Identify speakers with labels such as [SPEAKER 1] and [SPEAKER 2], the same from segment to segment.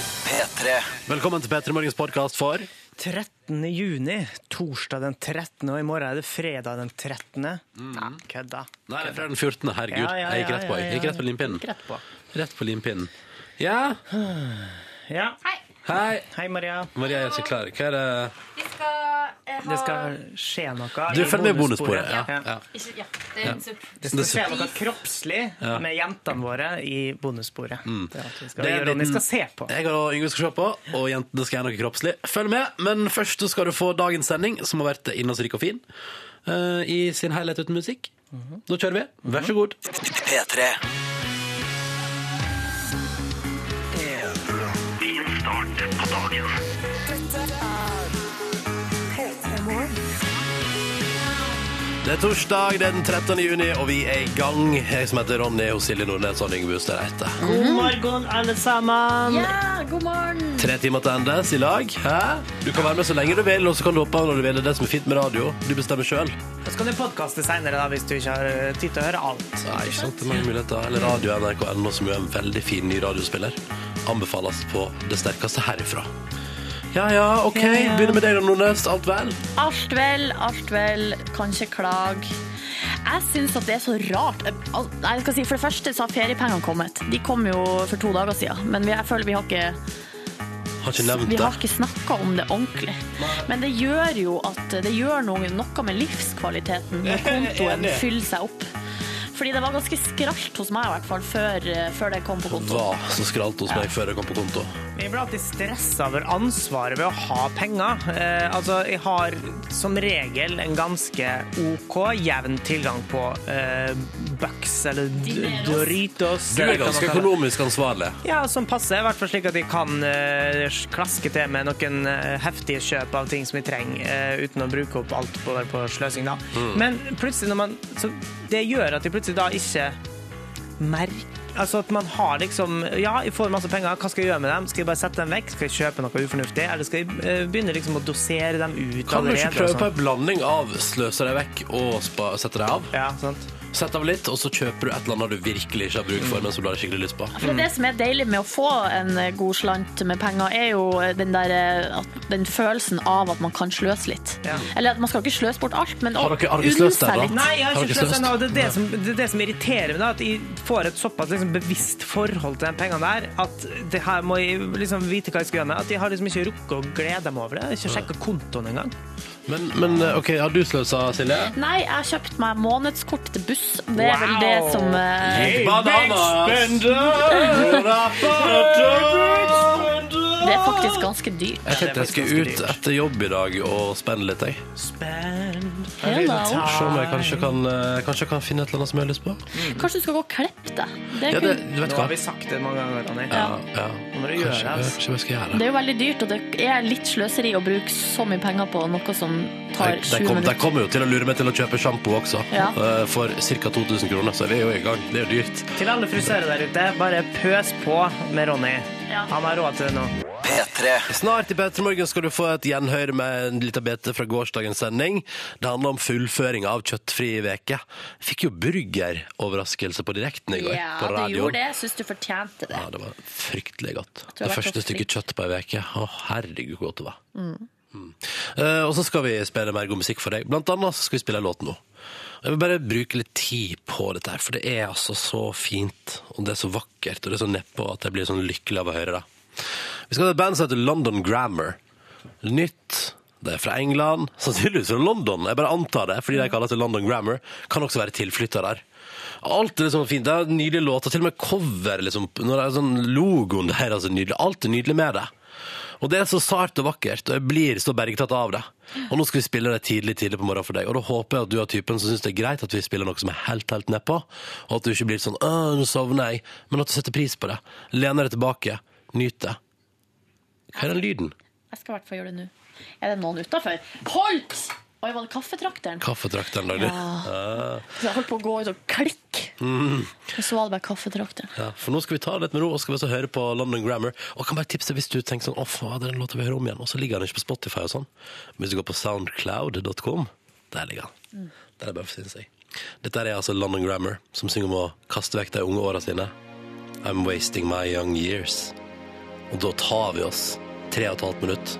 [SPEAKER 1] P3.
[SPEAKER 2] Velkommen til P3 Morgens podkast for
[SPEAKER 3] 13. juni, torsdag den 13., og i morgen er det fredag den 13. Nei, kødda.
[SPEAKER 2] Nei, det er fra den 14. Herregud,
[SPEAKER 3] Ja, ja,
[SPEAKER 2] jeg gikk
[SPEAKER 3] ja,
[SPEAKER 2] rett på. Jeg
[SPEAKER 3] ja,
[SPEAKER 2] gikk
[SPEAKER 3] ja.
[SPEAKER 2] rett på limpinnen.
[SPEAKER 3] Rett på.
[SPEAKER 2] Rett på limpinnen. Ja,
[SPEAKER 3] Ja.
[SPEAKER 2] hei.
[SPEAKER 3] Hei, Maria.
[SPEAKER 2] Maria er ikke klar. Hva er det
[SPEAKER 4] Vi skal eh, ha
[SPEAKER 3] Det skal skje noe.
[SPEAKER 2] Du
[SPEAKER 3] i
[SPEAKER 2] følg med i bonussporet. Ja, ja.
[SPEAKER 4] Ikke, Ja, det er en supp.
[SPEAKER 3] Det skal skje noe kroppslig med jentene våre i bonussporet. Det er alt vi
[SPEAKER 2] Mm.
[SPEAKER 3] skal
[SPEAKER 2] Det er
[SPEAKER 3] gjøre, og
[SPEAKER 2] liten- Eh.
[SPEAKER 3] vi skal se på.
[SPEAKER 2] Jeg og Yngve skal se på, og jentene skal gjøre noe kroppslig. Følg med, men først så skal du få dagens sending, som har vært innholdsrik og fin, eh, i sin helhet uten musikk. Nå kjører vi. Vær så god.
[SPEAKER 1] P3.
[SPEAKER 2] Det er torsdag, det er den 13. juni, og vi er i gang. Jeg som heter Ronny, og Silje Nordnes og Yngve Hustad Reite.
[SPEAKER 3] God morgen, alle sammen.
[SPEAKER 4] Ja, god morgen!
[SPEAKER 2] Tre timer til endes i lag. Hæ? Du kan være med så lenge du vil, og så kan du hoppe av når du vil. Det er det som er fint med radio. Du bestemmer sjøl.
[SPEAKER 3] Så kan du podkaste seinere hvis du ikke har tid til å høre alt.
[SPEAKER 2] Nei, ikke sant? Det er mange muligheter. Eller Radio NRK.no, som jo er en veldig fin ny radiospiller. Anbefales på det sterkeste herifra. Ja ja, OK. Begynner med deg, da, Nordnes. Alt vel?
[SPEAKER 5] Alt vel, alt vel, kan ikke klage. Jeg syns at det er så rart. Al- Nei, jeg skal si, for det første så har feriepengene kommet. De kom jo for to dager siden, men vi, jeg føler vi har ikke,
[SPEAKER 2] Har ikke nevnt
[SPEAKER 5] vi
[SPEAKER 2] det.
[SPEAKER 5] har ikke snakka om det ordentlig. Men det gjør jo at det gjør noe, noe med livskvaliteten når kontoen
[SPEAKER 2] Enig.
[SPEAKER 5] fyller seg opp. Fordi det var ganske skralt hos meg i hvert fall før, eh, før det kom på kontoen.
[SPEAKER 2] Var så skralt hos meg før jeg kom på konto.
[SPEAKER 3] Vi blir alltid stressa over ansvaret ved å ha penger. Eh, altså, jeg har som regel en ganske OK, jevn tilgang på eh, Bucks eller d-
[SPEAKER 5] Dineros.
[SPEAKER 3] Doritos.
[SPEAKER 2] Du
[SPEAKER 3] eller
[SPEAKER 2] er
[SPEAKER 3] hva man
[SPEAKER 2] ganske
[SPEAKER 3] kaller det.
[SPEAKER 2] økonomisk ansvarlig.
[SPEAKER 3] Ja, som passer. I hvert fall slik at jeg kan eh, klaske til med noen eh, heftige kjøp av ting som jeg trenger, eh, uten å bruke opp alt på, på sløsing. da.
[SPEAKER 2] Mm.
[SPEAKER 3] Men plutselig når man, så det gjør at jeg plutselig da ikke merker Altså at man har liksom Ja, jeg får masse penger, hva skal jeg gjøre med dem? Skal jeg bare sette dem vekk? Skal jeg kjøpe noe ufornuftig? Eller skal jeg eh, begynne liksom å dosere dem ut
[SPEAKER 2] Kan du
[SPEAKER 3] allerede?
[SPEAKER 2] ikke
[SPEAKER 3] og
[SPEAKER 2] prøve på
[SPEAKER 3] sånn?
[SPEAKER 2] en blanding av sløse deg vekk og spa- sette deg av?
[SPEAKER 3] Ja, sant.
[SPEAKER 2] Sett av litt, og så kjøper du et eller annet du virkelig ikke har bruk for, men som du har skikkelig lyst på.
[SPEAKER 5] For det som er deilig med å få en eh, god slant med penger, er jo den, der, eh, at, den følelsen av at man kan sløse litt.
[SPEAKER 3] Ja.
[SPEAKER 5] Eller at man skal ikke sløse bort alt, men å
[SPEAKER 2] Har dere aldri sløst der, da?
[SPEAKER 5] litt.
[SPEAKER 3] Nei, jeg
[SPEAKER 2] Har
[SPEAKER 3] har ikke
[SPEAKER 2] dere
[SPEAKER 3] sløst
[SPEAKER 2] sløst?
[SPEAKER 3] ennå. Det er det som, det er det som irriterer meg, da, at jeg får et såpass liksom, bevisst forhold til de pengene der, at det her må jeg liksom vite hva jeg skal gjøre med. At jeg har liksom ikke rukket å glede meg over det. Jeg har Ikke sjekka kontoen engang.
[SPEAKER 2] Men, men eh, OK, har du sløsa, Silje?
[SPEAKER 5] Nei, jeg har kjøpt meg månedskort til buss. Det er vel
[SPEAKER 3] Wow.
[SPEAKER 5] det som eh, Det er faktisk ganske dyrt.
[SPEAKER 2] Jeg tenkte jeg skulle ut etter jobb i dag og spenne litt. Jeg.
[SPEAKER 3] Spend.
[SPEAKER 5] Hello.
[SPEAKER 2] Se om jeg kanskje kan, eh, kanskje jeg kan finne et eller annet som jeg har lyst på.
[SPEAKER 5] Kanskje du skal gå og klippe deg. Det er,
[SPEAKER 2] Ja, det,
[SPEAKER 5] kun,
[SPEAKER 2] du vet
[SPEAKER 3] Nå
[SPEAKER 2] hva.
[SPEAKER 3] har vi sagt det mange ganger, Ronny.
[SPEAKER 2] Ja, ja.
[SPEAKER 3] må du
[SPEAKER 2] Kanskje,
[SPEAKER 3] gjøre det, altså.
[SPEAKER 2] kanskje jeg skal gjøre det.
[SPEAKER 5] det er jo veldig dyrt, og det er litt sløseri å bruke så mye penger på noe som tar
[SPEAKER 2] De-
[SPEAKER 5] sju
[SPEAKER 2] De kom- de
[SPEAKER 5] minutter.
[SPEAKER 2] kommer jo til å lure meg til å kjøpe sjampo også,
[SPEAKER 5] Ja.
[SPEAKER 2] eh, for ca. 2000 kroner. Så vi er jo i gang. Det er jo dyrt.
[SPEAKER 3] Til alle frustrere der ute, bare pøs på med Ronny.
[SPEAKER 5] Ja.
[SPEAKER 3] Han har råd til det nå.
[SPEAKER 1] P3.
[SPEAKER 2] Snart i Petter Morgen skal du få et gjenhør med en liten bete fra gårsdagens sending. Det handler om fullføring av kjøttfri veke. Fikk jo burgeroverraskelse på direkten i går.
[SPEAKER 5] Ja,
[SPEAKER 2] på
[SPEAKER 5] du
[SPEAKER 2] radioen.
[SPEAKER 5] gjorde det. Jeg syns du fortjente det.
[SPEAKER 2] Ja, det var fryktelig godt.
[SPEAKER 5] du har
[SPEAKER 2] Det
[SPEAKER 5] vært
[SPEAKER 2] første
[SPEAKER 5] så
[SPEAKER 2] stykket kjøtt på ei uke. Å, herregud, hvor godt det var. Mm. Eh, og så skal vi spille mer god musikk for deg. Blant annet så skal vi spille en låt nå. Jeg vil bare bruke litt tid på dette her, for det er altså så fint, og det er så vakkert, og det er så nedpå at jeg blir sånn lykkelig av å høre det. Vi skal ha et band som heter London Grammar. Nytt. Det er fra England, sannsynligvis fra London. Jeg bare antar det, fordi de kaller seg London Grammar. Kan også være tilflytter der. Alt er liksom fint. Det er nydelige låter, til og med cover. Liksom. Når det er sånn logoen der, altså nydelig. Alt er nydelig med det. Og det er så sart og vakkert, og jeg blir så bergtatt av det. Og nå skal vi spille det tidlig tidlig på morgenen for deg, og da håper jeg at du er typen som syns det er greit at vi spiller noe som er helt, helt nedpå, og at du ikke blir sånn 'Å, nå sovner jeg', men at du setter pris på det. Lener deg tilbake. Nyt det. Hva er den lyden?
[SPEAKER 5] Jeg skal i hvert fall gjøre det nå. Er det noen utafor? Holdt! Oi, var det kaffetrakteren?
[SPEAKER 2] Kaffetrakteren lagde.
[SPEAKER 5] Så Jeg holdt på å gå ut og klikk. Og så var det bare kaffetrakteren.
[SPEAKER 2] Ja, for nå skal vi ta det litt med ro, og skal vi også høre på London Grammar. Og kan bare tipse hvis du tenker sånn, å fader, den låta vi hører om igjen, og så ligger den ikke på Spotify og sånn. Men hvis du går på soundcloud.com, der ligger den. Der er det bare for sin seg. Dette er altså London Grammar, som synger om å kaste vekk de unge åra sine. I'm wasting my young years. Og da tar vi oss tre og et halvt minutt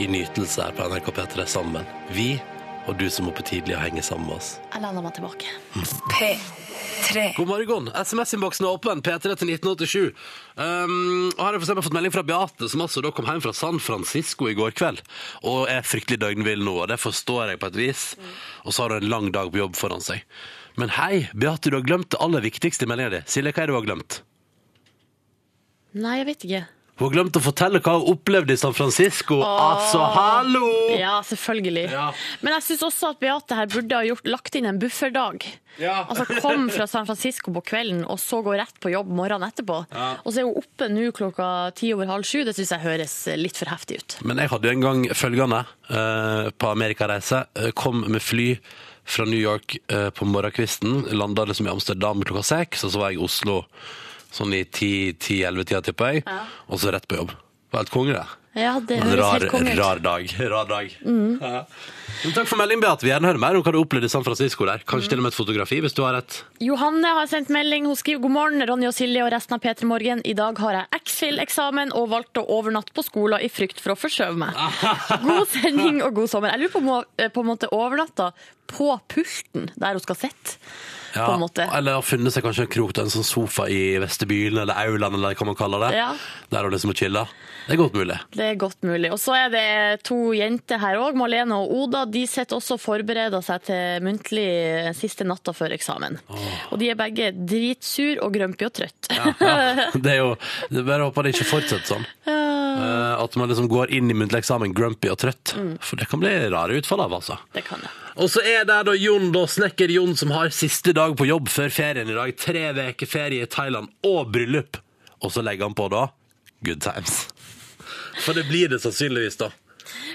[SPEAKER 2] i nytelse her på NRK P3 sammen. Vi og du som er oppe tidlig og henger sammen med oss.
[SPEAKER 5] Jeg lener meg tilbake.
[SPEAKER 1] P3
[SPEAKER 2] God morgen. SMS-innboksen er åpen. P3 til 1987. Um, og her har jeg for eksempel fått melding fra Beate, som altså da kom hjem fra San Francisco i går kveld. Og er fryktelig døgnvill nå, og det forstår jeg på et vis. Og så har hun en lang dag på jobb foran seg. Men hei, Beate, du har glemt det aller viktigste i meldinga di. Silje, hva er det du har glemt?
[SPEAKER 5] Nei, jeg vet ikke.
[SPEAKER 2] Hun har glemt å fortelle hva hun opplevde i San Francisco. Altså, hallo!
[SPEAKER 5] Ja, selvfølgelig.
[SPEAKER 2] Ja.
[SPEAKER 5] Men jeg syns også at Beate her burde ha gjort, lagt inn en bufferdag.
[SPEAKER 2] Ja.
[SPEAKER 5] Altså kom fra San Francisco på kvelden, og så gå rett på jobb morgenen etterpå.
[SPEAKER 2] Ja.
[SPEAKER 5] Og så er hun oppe nå klokka ti over halv sju. Det syns jeg høres litt for heftig ut.
[SPEAKER 2] Men jeg hadde jo en gang følgende eh, på amerikareise. Eh, Kom med fly fra New York eh, på morgenkvisten. Landa liksom i Amsterdam klokka seks, og så var jeg i Oslo sånn i 10-11-tida, tipper jeg. Og så rett på jobb. Det var helt konge, det.
[SPEAKER 5] Ja, det
[SPEAKER 2] En
[SPEAKER 5] høres
[SPEAKER 2] rar,
[SPEAKER 5] helt konge Mm. ut.
[SPEAKER 2] rar dag. Rar dag. Ja. Men takk for melding, Beate. Vi vil gjerne høre mer om hva du opplevde i San Francisco der. Kanskje til og med et fotografi, hvis du har et.
[SPEAKER 5] Johanne har sendt melding. Hun skriver god morgen, Ronny og Silje og resten av P3 Morgen. I dag har jeg X-Fill-eksamen og valgte å overnatte på skolen i frykt for å forsøve meg. God sending og god sommer. Jeg lurer på om hun eh, på en måte overnatta på pulten der hun skal sitte.
[SPEAKER 2] Ja,
[SPEAKER 5] På en måte.
[SPEAKER 2] Eller har funnet seg kanskje en krok til en sånn sofa i Vestebyen, eller Auland, eller hva man kaller det.
[SPEAKER 5] Ja.
[SPEAKER 2] Der har du liksom chilla. Det er godt mulig.
[SPEAKER 5] Det er godt mulig. Og så er det to jenter her òg, Malene og Oda. De sitter også og forbereder seg til muntlig siste natta før eksamen. Og de er begge dritsur og grumpy og trøtt.
[SPEAKER 2] Ja, det er jo det er Bare håper det ikke fortsetter sånn. Eh, at man liksom går inn i muntlig eksamen grumpy og trøtt. For det kan bli rare utfall av, altså.
[SPEAKER 5] det kan jeg.
[SPEAKER 2] Og så er det da Jon, da, snekker Jon, som har siste dag på jobb før ferien i dag. Tre uker ferie i Thailand og bryllup. Og så legger han på da good times. For det blir det sannsynligvis, da.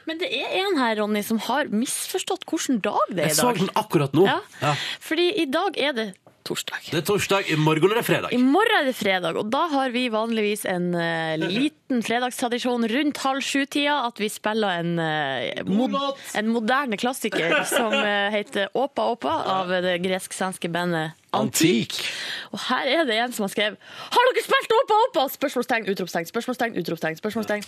[SPEAKER 5] Men det er en her, Ronny, som har misforstått hvilken dag det er
[SPEAKER 2] Jeg
[SPEAKER 5] i
[SPEAKER 2] så
[SPEAKER 5] dag.
[SPEAKER 2] den akkurat nå.
[SPEAKER 5] Ja.
[SPEAKER 2] Ja.
[SPEAKER 5] Fordi i dag er det torsdag.
[SPEAKER 2] Det er torsdag, i morgen er det fredag.
[SPEAKER 5] I morgen er det fredag, og da har vi vanligvis en eh, liten fredagstradisjon rundt halv sju-tida, at vi spiller en, eh, mod
[SPEAKER 2] låt!
[SPEAKER 5] en moderne klassiker som eh, heter Åpa Åpa av det gresk-svenske bandet Anti.
[SPEAKER 2] Antik.
[SPEAKER 5] Og her er det en som har skrevet Har dere spilt Åpa Åpa? Spørsmålstegn, utropstegn, spørsmålstegn, utropstegn, spørsmålstegn.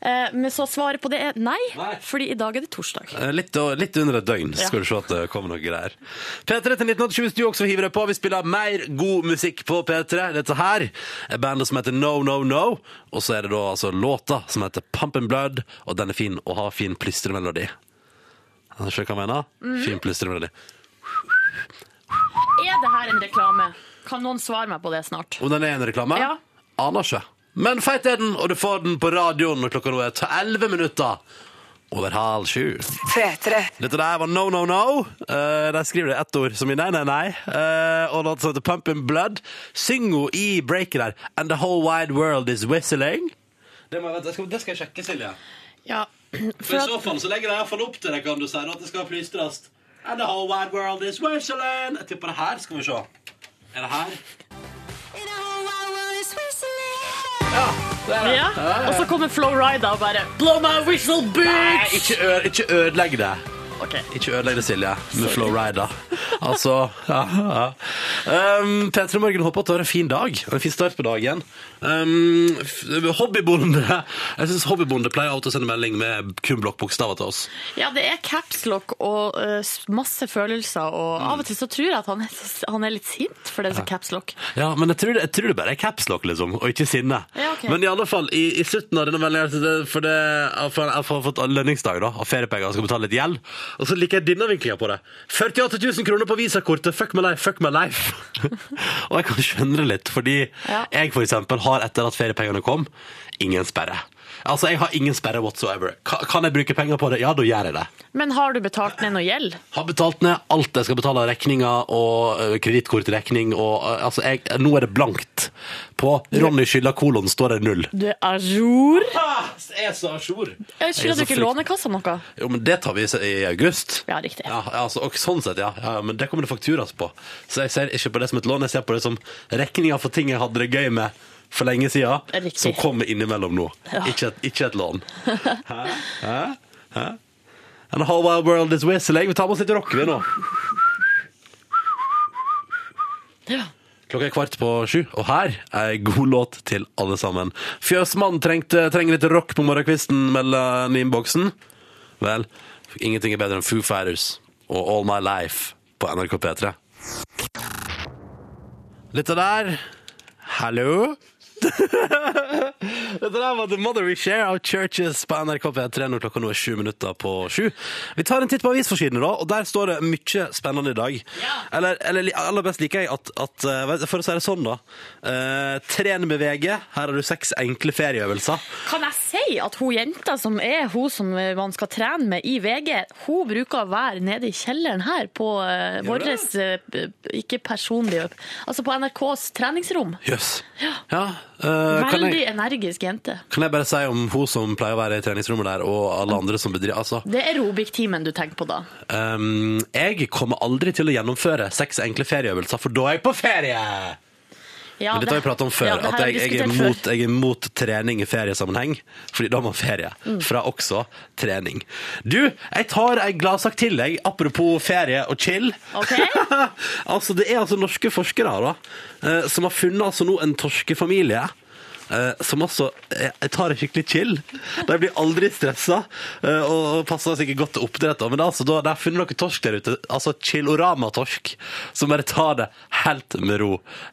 [SPEAKER 5] Eh, men så svaret på det er nei,
[SPEAKER 2] Nei.
[SPEAKER 5] fordi i dag er det torsdag.
[SPEAKER 2] Eh, Litt, litt under et døgn skal du se at det kommer noe greier. P3 til 1987 hvis du også hiver deg på. Vi spiller mer god musikk på P3. Dette her er bandet som heter No No No. Og så er det da altså låta som heter Pump and Blood, og den er fin å ha fin plystremelodi. Skjønner du hva jeg mener? Fin plystremelodi.
[SPEAKER 5] Er det her en reklame? Kan noen svare meg på det snart?
[SPEAKER 2] Om den er en reklame?
[SPEAKER 5] Ja.
[SPEAKER 2] Aner ikke. Men feit er den, og du får den på radioen når klokka nå er til 11 minutter over halv sju.
[SPEAKER 1] P3
[SPEAKER 2] Dette der var No No No. Eh, der skriver det ett ord som i nei, nei, nei. Eh, og låten som heter Pump in Blood. Syng hun i breaket der. And the whole wide world is whistling. Det, må jeg, vente, jeg skal, det skal jeg sjekke, Silje.
[SPEAKER 5] Ja,
[SPEAKER 2] For
[SPEAKER 5] for
[SPEAKER 2] I
[SPEAKER 5] at
[SPEAKER 2] så fall så legger jeg iallfall opp til det, kan du si. At det skal plystres. And the whole wide world is whistling. Jeg tipper det her. Skal vi se. Er det her?
[SPEAKER 5] Ja, og så kommer Flo Rida og bare Blow my whistle,
[SPEAKER 2] Nei,
[SPEAKER 5] bitch!
[SPEAKER 2] ikke, ø- ikke ødelegg det.
[SPEAKER 5] Ok.
[SPEAKER 2] Ikke ødelegg det, Silje, med Flow Rider. Altså ja, ja. Um, P3 Morgen håper at du har en fin dag. En fin start på dagen. Um, f- hobbybonde. Jeg syns hobbybonde pleier alltid å sende melding med kun blokkbokstaver til oss.
[SPEAKER 5] Ja, det er capslock og eh, masse følelser, og av og til så tror jeg at han er, han er litt sint for det som capslock.
[SPEAKER 2] Ja, men jeg tror, det, jeg tror det bare er capslock, liksom, og ikke sinne.
[SPEAKER 5] Ja, ok.
[SPEAKER 2] Men i alle fall, i, i slutten av denne meldingen så det- For det, jeg får- jeg har fått lønningsdag da, og feriepenger og skal betale litt gjeld. Og så liker jeg denne vinklinga på det. 48 000 kroner på visakortet! Fuck my life, fuck my life! og jeg kan skjønne det litt, fordi
[SPEAKER 5] Ja.
[SPEAKER 2] jeg for eksempel har etter at feriepengene kom, ingen sperre. Altså, jeg har ingen sperre whatsoever. Ka- Kan jeg bruke penger på det? Ja, da gjør jeg det.
[SPEAKER 5] Men har du betalt ned noe gjeld?
[SPEAKER 2] Har betalt ned alt jeg skal betale av regninger og ø, kredittkortregning. Og, ø, altså, jeg, nå er det blankt. På Ronny skylder kolon står det null.
[SPEAKER 5] Du er à jour.
[SPEAKER 2] Jeg er så à jour.
[SPEAKER 5] Jeg skylder du ikke Lånekassa noe?
[SPEAKER 2] Jo, men det tar vi i i august.
[SPEAKER 5] Ja, riktig.
[SPEAKER 2] Ja, altså, og sånn sett, ja. ja. Men det kommer det fakturas på. Så jeg ser ikke på det som et lån, jeg ser på det som regninger for ting jeg hadde det gøy med for lenge siden,
[SPEAKER 5] Riktig.
[SPEAKER 2] som kommer innimellom nå.
[SPEAKER 5] Ja.
[SPEAKER 2] Ikke, et, ikke et lån. Hæ? Hæ? Hæ? And the whole wide world is whistling. Vi tar med oss litt rock, vi nå. Klokka er kvart på sju, og her er en god låt til alle sammen. Fjøsmann trengte, trenger litt rock på morgenkvisten, melder han i innboksen. Vel, ingenting er bedre enn Foo Fighters og All My Life på NRK P3. Dette der Hallo? Dette der var The Mother We Share av Churches på NRK P3 når klokka nå er sju minutter på sju. Vi tar en titt på avisforsidene, da, og der står det mye spennende i dag. Eller, eller li- aller best liker jeg at, at eh, vet du, For å si det sånn, da. eh, tren med VG. Her har du seks enkle ferieøvelser.
[SPEAKER 5] Kan jeg si at hun jenta som er hun som man skal trene med i VG, hun bruker å være nede i kjelleren her på uh,
[SPEAKER 2] Gjør
[SPEAKER 5] vår
[SPEAKER 2] det?
[SPEAKER 5] Ikke personlige Altså på NRKs treningsrom.
[SPEAKER 2] Jøss. Ja. eh, kan jeg-
[SPEAKER 5] Veldig energisk jente.
[SPEAKER 2] Kan jeg bare si om hun som pleier å være i treningsrommet der, og alle andre som bedriver Altså,
[SPEAKER 5] Det er aerobic-timen du tenker på da.
[SPEAKER 2] ehm, jeg kommer aldri til å gjennomføre seks enkle ferieøvelser, for da er jeg på ferie!
[SPEAKER 5] Ja,
[SPEAKER 2] Men dette har vi pratet om før,
[SPEAKER 5] ja, det
[SPEAKER 2] at
[SPEAKER 5] har vi
[SPEAKER 2] jeg, jeg, er
[SPEAKER 5] diskutert
[SPEAKER 2] mot, jeg er mot trening i feriesammenheng, fordi da har man ferie.
[SPEAKER 5] Mm.
[SPEAKER 2] Fra også trening. Du, jeg tar ei gladsak til, jeg, apropos ferie og chill.
[SPEAKER 5] Ok.
[SPEAKER 2] altså, det er altså norske forskere da, eh, som har funnet altså nå en torskefamilie. eh, som altså eh, jeg tar det skikkelig chill. De blir aldri stressa eh, og, og passer sikkert godt til oppdrett. da. Men det er altså, da, de har funnet noen torsk der ute, altså chillorama-torsk, som bare tar det helt med ro.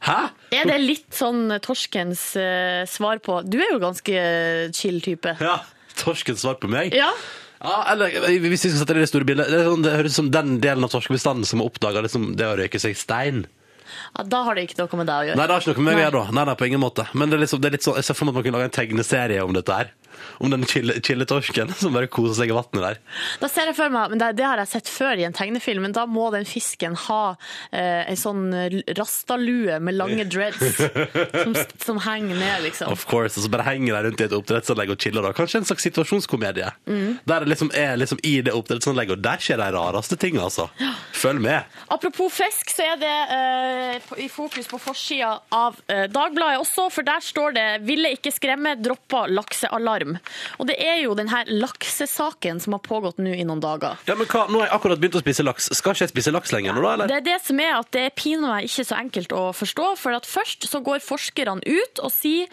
[SPEAKER 2] Hæ?
[SPEAKER 5] Er det litt sånn torskens eh, svar på Du er jo ganske eh, chill type.
[SPEAKER 2] Ja, Torsken svar på meg?
[SPEAKER 5] Ja.
[SPEAKER 2] Ja, eller hvis vi skal sette det i det store bildet Det, er sånn, det høres ut som den delen av torskebestanden som har oppdaga liksom, det å røyke seg stein.
[SPEAKER 5] ja. Da har det ikke noe med deg å
[SPEAKER 2] Nei,
[SPEAKER 5] gjøre.
[SPEAKER 2] det har ikke noe med meg å
[SPEAKER 5] Nei.
[SPEAKER 2] gjøre, da. Nei, nei, på ingen måte. Men det er liksom, det er litt sånn, jeg ser for meg at man kunne lage en tegneserie om dette her. Om den chille chille torsken som bare koser seg i vannet der.
[SPEAKER 5] Da ser jeg for meg, men det, det har jeg sett før i en tegnefilm, men da må den fisken ha eh, ei sånn rastalue med lange dreads som, som henger ned, liksom.
[SPEAKER 2] Of course, og så bare henger de rundt i et oppdrettsanlegg og chiller. da. Kanskje en slags situasjonskomedie.
[SPEAKER 5] Mm.
[SPEAKER 2] Der det liksom er liksom i det oppdrettsanlegget, og der skjer de rareste ting, altså. Følg med.
[SPEAKER 5] Apropos fisk, så er det eh, på- i fokus på forsida av eh, Dagbladet også, for der står det 'Ville ikke skremme, droppa laksealarm'. Og det er jo denne laksesaken som har pågått nå i noen dager.
[SPEAKER 2] Ja, men hva? Nå har jeg akkurat begynt å spise laks. Skal ikke jeg spise laks lenger nå, da? eller?
[SPEAKER 5] Det er det som er at det er pinadø ikke så enkelt å forstå. For at først så går forskerne ut og sier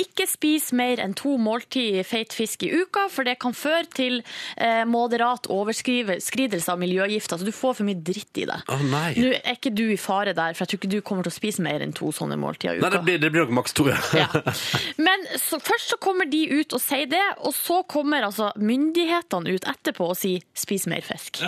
[SPEAKER 5] ikke spis mer enn to måltid feit fisk i uka, for det kan føre til eh, moderat overskridelse av miljøgifter. Så du får for mye dritt i deg.
[SPEAKER 2] Å, nei.
[SPEAKER 5] Nå er ikke du i fare der, for jeg tror ikke du kommer til å spise mer enn to sånne måltider i uka.
[SPEAKER 2] Nei, det blir, det blir nok maks to, ja.
[SPEAKER 5] Ja. Men så, først så kommer de ut og sier det, og så kommer altså myndighetene ut etterpå og sier 'spis mer fisk'.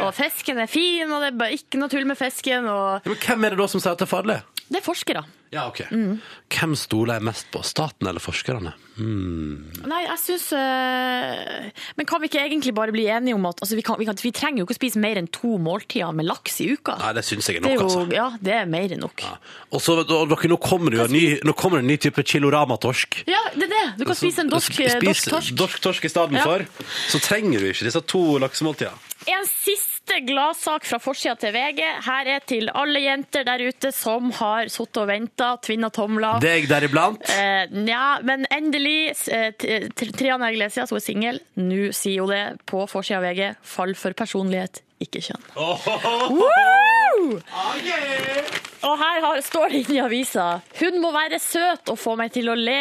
[SPEAKER 5] og fisken er fin, og det er bare ikke noe tull med fisken. Og
[SPEAKER 2] Ja, Men hvem er det da som sier at det er farlig?
[SPEAKER 5] det er forskere.
[SPEAKER 2] Ja, ok.
[SPEAKER 5] Mm.
[SPEAKER 2] Hvem stoler jeg mest på, staten eller forskerne?
[SPEAKER 5] Nei, jeg syns øh, Men kan vi ikke egentlig bare bli enige om at altså, vi, kan, vi, kan, vi trenger jo ikke å spise mer enn to måltider med laks i uka?
[SPEAKER 2] Nei, det syns jeg er
[SPEAKER 5] det
[SPEAKER 2] nok,
[SPEAKER 5] er jo
[SPEAKER 2] altså.
[SPEAKER 5] ja, det er mer enn nok. Ja.
[SPEAKER 2] Og så, vet du, og dere, nå kommer det jo en ny, nå kommer det en ny type kiloramatorsk.
[SPEAKER 5] det er det! Du kan spise en dorsk,
[SPEAKER 2] Altså,
[SPEAKER 5] eh,
[SPEAKER 2] Spis
[SPEAKER 5] dorsk torsk.
[SPEAKER 2] dorsk torsk i stedet
[SPEAKER 5] Ja.
[SPEAKER 2] for. Så trenger du ikke disse to laksemåltidene.
[SPEAKER 5] En siste gladsak fra forsida til VG. Her er til alle jenter der ute som har sittet og venta, tvinna tomler.
[SPEAKER 2] Deg deriblant.
[SPEAKER 5] Eh, nja, men endelig. Eh, T- T- Triana Iglesias, hun er singel. Nå sier hun det på forsida av VG. Fall for personlighet, ikke kjønn. Woo! Og her har, står det inne i avisa Hun må være søt og få meg til å le.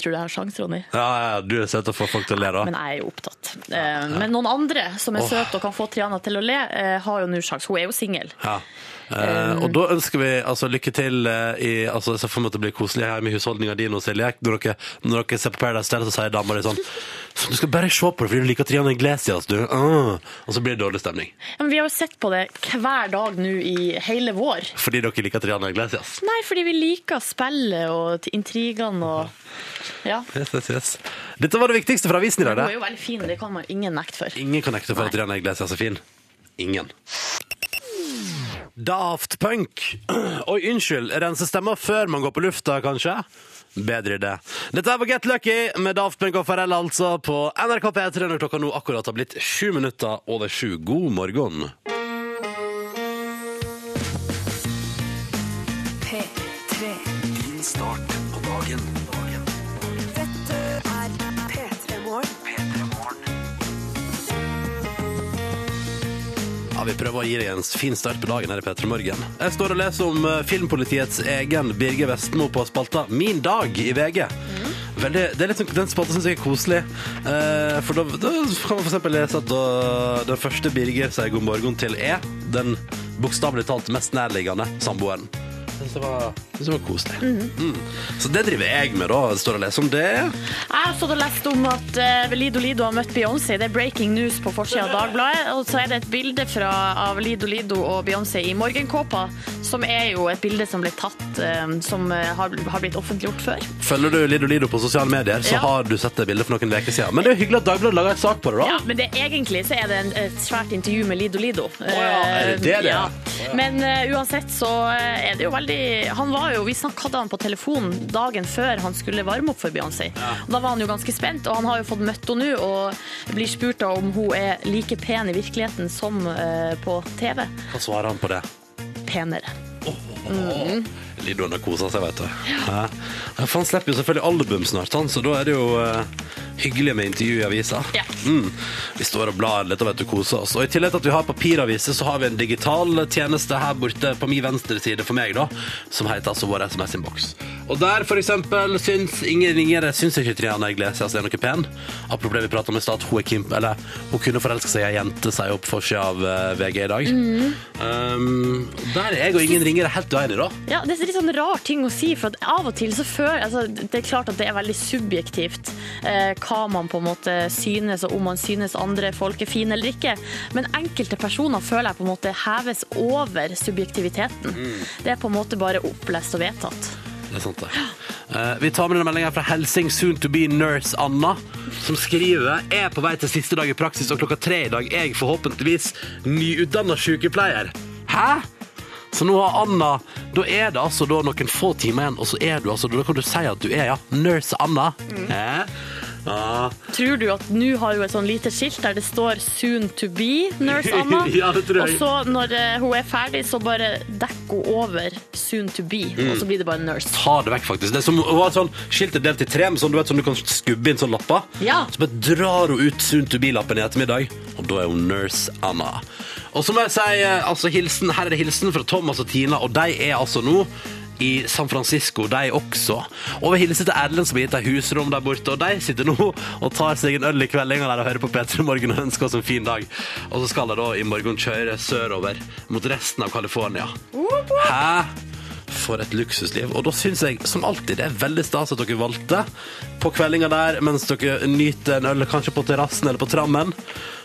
[SPEAKER 5] Tror du jeg har sjans, Ronny?
[SPEAKER 2] Ja, ja, du er søt og får folk til å le, da.
[SPEAKER 5] Men jeg er jo opptatt. Eh, Men noen andre som er
[SPEAKER 2] Åh.
[SPEAKER 5] søte og kan få Triana til å le, eh, har jo nå sjans. Hun er jo singel.
[SPEAKER 2] Ja. Eh, og da ønsker vi altså, lykke til eh, i altså, Så får vi at det blir koselig hjemme i husholdninga di nå, Silje. Når dere, når dere ser på Paradise Hotel, så sier dama di sånn «Så Du skal bare se på det fordi du liker Triana Iglesias, du. Ah. Og så blir det dårlig stemning.
[SPEAKER 5] Men vi har jo sett på det hver dag nå i hele vår.
[SPEAKER 2] Fordi dere liker Triana Iglesias.
[SPEAKER 5] Nei, fordi vi liker spillet og t- intrigene og Ja.
[SPEAKER 2] Yes, yes, yes. Dette var det viktigste fra avisen i
[SPEAKER 5] Hun
[SPEAKER 2] dag.
[SPEAKER 5] er jo
[SPEAKER 2] det.
[SPEAKER 5] veldig fin, det kan man ingen nekte for.
[SPEAKER 2] Ingen kan nekte for at Triana Iglesias er fin. Ingen. Daft Punk. Oi, unnskyld. Rense stemmer før man går på lufta, kanskje? Bedre idé. Dette er på Get Lucky med Daft Punk og Farrell, altså, på NRK P3 når klokka nå akkurat har blitt sju minutter over sju. God morgen.
[SPEAKER 1] P3.
[SPEAKER 6] er
[SPEAKER 2] Ja, Ja, Vi prøver å gi deg en fin start på dagen her i Petter Morgen. Jeg står og leser om eh, filmpolitiets egen Birger Vestmo på spalta Min dag i VG. Veldig, det er litt, sånn- den spalta syns jeg er koselig. Eh, for da, da kan man f.eks. lese at da, den første Birger sier god morgen til, er den bokstavelig talt mest nærliggende samboeren. Jeg synes Det var, jeg synes det var koselig.
[SPEAKER 5] Mhm.
[SPEAKER 2] Mm. Så det driver jeg med, da. Står og leser om det.
[SPEAKER 5] Jeg har stått og lest om at eh, Lido Lido har møtt Beyoncé. Det er breaking news på forsida av Dagbladet. Og så er det et bilde fra, av Lido Lido og Beyoncé i morgenkåpa, som er jo et bilde som ble tatt, eh, som eh, har, har blitt offentliggjort før.
[SPEAKER 2] Følger du Lido Lido på sosiale medier, så
[SPEAKER 5] Ja.
[SPEAKER 2] har du sett det bildet for noen uker siden. Men det er jo hyggelig at Dagbladet lager en sak på det, da.
[SPEAKER 5] Ja, men det, egentlig så er det en, et svært intervju med Lido Lido.
[SPEAKER 2] ja, er det det det er?
[SPEAKER 5] Ja.
[SPEAKER 2] Å,
[SPEAKER 5] Men eh, uansett så eh, er det jo veldig Han var jo, Vi snakket hadde han på telefonen dagen før han skulle varme opp for Beyoncé. Og Da var han jo ganske spent, og han har jo fått møtt henne nå og blir spurt da om hun er like pen i virkeligheten som eh, på TV.
[SPEAKER 2] Hva svarer han på det?
[SPEAKER 5] Penere.
[SPEAKER 2] Lidoen har kosa seg, vet du. Ja. For han slipper jo selvfølgelig album snart, han, så da er det jo eh, hyggelig med intervju i avisa.
[SPEAKER 5] Ja.
[SPEAKER 2] Mm. Vi står og blar litt og vet du, koser oss. Og I tillegg til at vi har papiraviser, så har vi en digital tjeneste her borte på min venstre side for meg, da, som heter altså vår SMS-innboks. Og der for eksempel syns Inger Ingere syns ikke Triana Iglesias er noe pen. Apropos det vi pratet om i stad, at hun er Kim Eller hun kunne forelske seg i ei jente, sier hun på forsida av eh, VG i dag. Um, der er jeg og ingen ringere helt uenige, da.
[SPEAKER 5] Ja, Det er litt sånn rar ting å si, for at av og til så føler altså, Det er klart at det er veldig subjektivt eh, hva man på en måte synes, og om man synes andre folk er fine eller ikke. Men enkelte personer føler jeg på en måte heves over subjektiviteten.
[SPEAKER 2] Mm.
[SPEAKER 5] Det er på en måte bare opplest og vedtatt.
[SPEAKER 2] Det er sant, det. Eh, vi tar med denne meldinga fra Helsing Soon To Be Nurse Anna, som skriver er på vei til siste dag i praksis, og klokka tre i dag er jeg forhåpentligvis nyutdanna sykepleier. Hæ?! Så nå har Anna Da er det altså da noen få timer igjen, og så er du altså Da kan du si at du er, ja, nurse Anna. Hæ? Ja.
[SPEAKER 5] Tror du at nå har hun et sånn lite skilt der det står 'soon to be', nurse Anna?
[SPEAKER 2] Ja, det tror jeg.
[SPEAKER 5] Og så når eh, hun er ferdig, så bare dekker hun over 'soon to be',
[SPEAKER 2] Mm.
[SPEAKER 5] og så blir det bare 'nurse'.
[SPEAKER 2] ta det vekk, faktisk. Det er som å ha et sånn skiltet delt i tre, men sånn du, vet, sånn du kan skubbe inn sånn lapper.
[SPEAKER 5] Ja.
[SPEAKER 2] Så bare drar hun ut sunt to be-lappen i ettermiddag, og da er hun nurse Anna. Og så må jeg si, eh, altså, hilsen, her er det hilsen fra Thomas og Tina, og de er altså nå i San Francisco, de også. Og vi hilser til Erlend som har gitt deg husrom der borte, og de sitter nå og tar seg en øl i kveldinga der og hører på P3 Morgen og ønsker oss en fin dag. Og så skal de da i morgen kjøre sørover mot resten av California. Hæ? For et luksusliv. Og da syns jeg som alltid det er veldig stas at dere valgte på kveldinga der mens dere nyter en øl, kanskje på terrassen eller på trammen,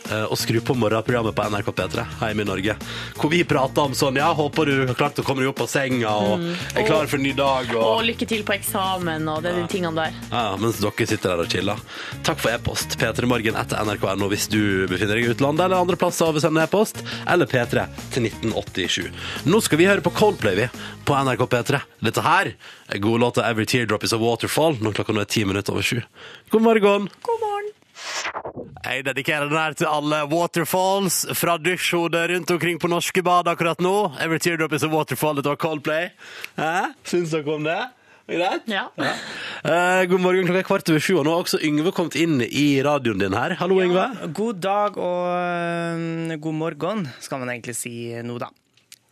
[SPEAKER 2] eh, og skru på morgenprogrammet på NRK P3 hjemme i Norge. Hvor vi prater om sånn Ja, håper du har klart å komme deg opp av senga og er klar for en ny dag
[SPEAKER 5] Og
[SPEAKER 2] og
[SPEAKER 5] lykke til på eksamen og de tingene der.
[SPEAKER 2] ja, mens dere sitter der og chiller. Takk for e-post. P3morgen etter nrk.no hvis du befinner deg i utlandet eller andre plasser og vil sende e-post. Eller P3 til 1987. Nå skal vi høre på Coldplay, vi, på NRK P3. Dette her er godlåta 'Every Teardrop Is A Waterfall' når klokka nå er ti minutter over sju. God morgen. Jeg dedikerer den her til alle waterfalls fra dusjhodet rundt omkring på norske bad akkurat nå. 'Every Teardrop Is A Waterfall' dette var Coldplay. Hæ? Syns dere om det? Greit?
[SPEAKER 5] Ja.
[SPEAKER 2] Eh, god morgen, klokka er kvart over sju, og nå har også Yngve kommet inn i radioen din her. Hallo, Yngve.
[SPEAKER 3] God dag og øhm, god morgen, skal man egentlig si nå, da.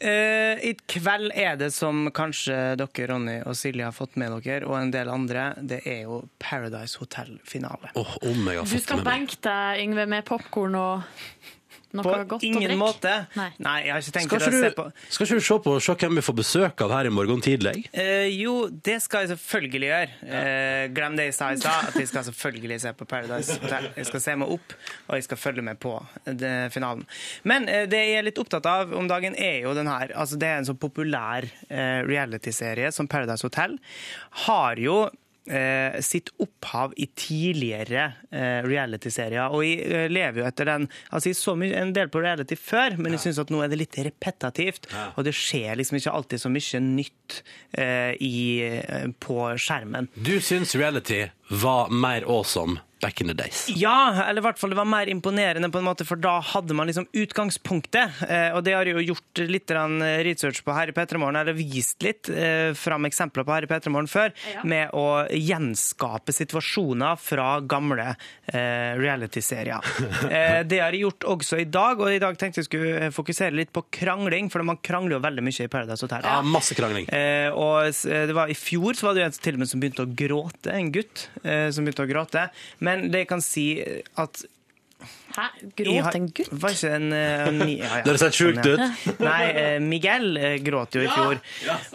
[SPEAKER 3] Eh, I kveld er det, som kanskje dere, Ronny og Silje, har fått med dere, og en del andre, det er jo Paradise Hotel-finale.
[SPEAKER 2] Åh, om jeg har
[SPEAKER 5] Du
[SPEAKER 2] fått
[SPEAKER 5] skal
[SPEAKER 2] det med meg.
[SPEAKER 5] benke deg, Yngve, med popkorn og noe
[SPEAKER 3] På
[SPEAKER 5] godt å drikke.
[SPEAKER 3] ingen måte.
[SPEAKER 5] Nei.
[SPEAKER 3] jeg har ikke tenkt
[SPEAKER 2] Skal
[SPEAKER 3] å se
[SPEAKER 2] ikke
[SPEAKER 3] på
[SPEAKER 2] du, skal ikke du se på se hvem vi får besøk av her i morgen tidlig?
[SPEAKER 3] Eh, jo, det skal jeg selvfølgelig gjøre. Eh, glem det jeg sa i stad, at jeg skal selvfølgelig se på Paradise Hotel. Jeg skal se meg opp, og jeg skal følge med på eh, det, finalen. Men eh, det jeg er litt opptatt av om dagen, er jo den her. Altså, det er en så populær eh, realityserie som Paradise Hotel. Har jo eh, sitt opphav i tidligere eh, realityserier. Og jeg eh, lever jo etter den Altså, jeg så mye, en del på reality før, men jeg syns at nå er det litt repetativt. Og det skjer liksom ikke alltid så mye nytt eh, i, eh, på skjermen.
[SPEAKER 2] Du syns reality var mer awesome back in the days.
[SPEAKER 3] Ja, eller i hvert fall det var mer imponerende, på en måte, for da hadde man liksom utgangspunktet. Eh, og det har jeg jo gjort litt grann research på her i Petremorgen, eller vist litt eh, fram eksempler på her i Petremorgen før, med å gjenskape situasjoner fra gamle eh, reality-serier. Eh, det har jeg gjort også i dag, og i dag tenkte jeg skulle fokusere litt på krangling, for man krangler jo veldig mye i Paradise Hotel.
[SPEAKER 2] Ja, masse krangling.
[SPEAKER 3] Eh, og s- eh, det var, I fjor så var det jo en som til og med som begynte å gråte, en gutt eh, som begynte å gråte. Men det jeg kan si eh, at
[SPEAKER 5] Hæ?
[SPEAKER 3] jeg har-
[SPEAKER 5] Gråt en gutt?
[SPEAKER 3] Var ikke en, eh, en ni- ja, ja.
[SPEAKER 2] Det høres helt sjukt ut.
[SPEAKER 3] Nei, eh, Miguel eh, gråt jo i fjor.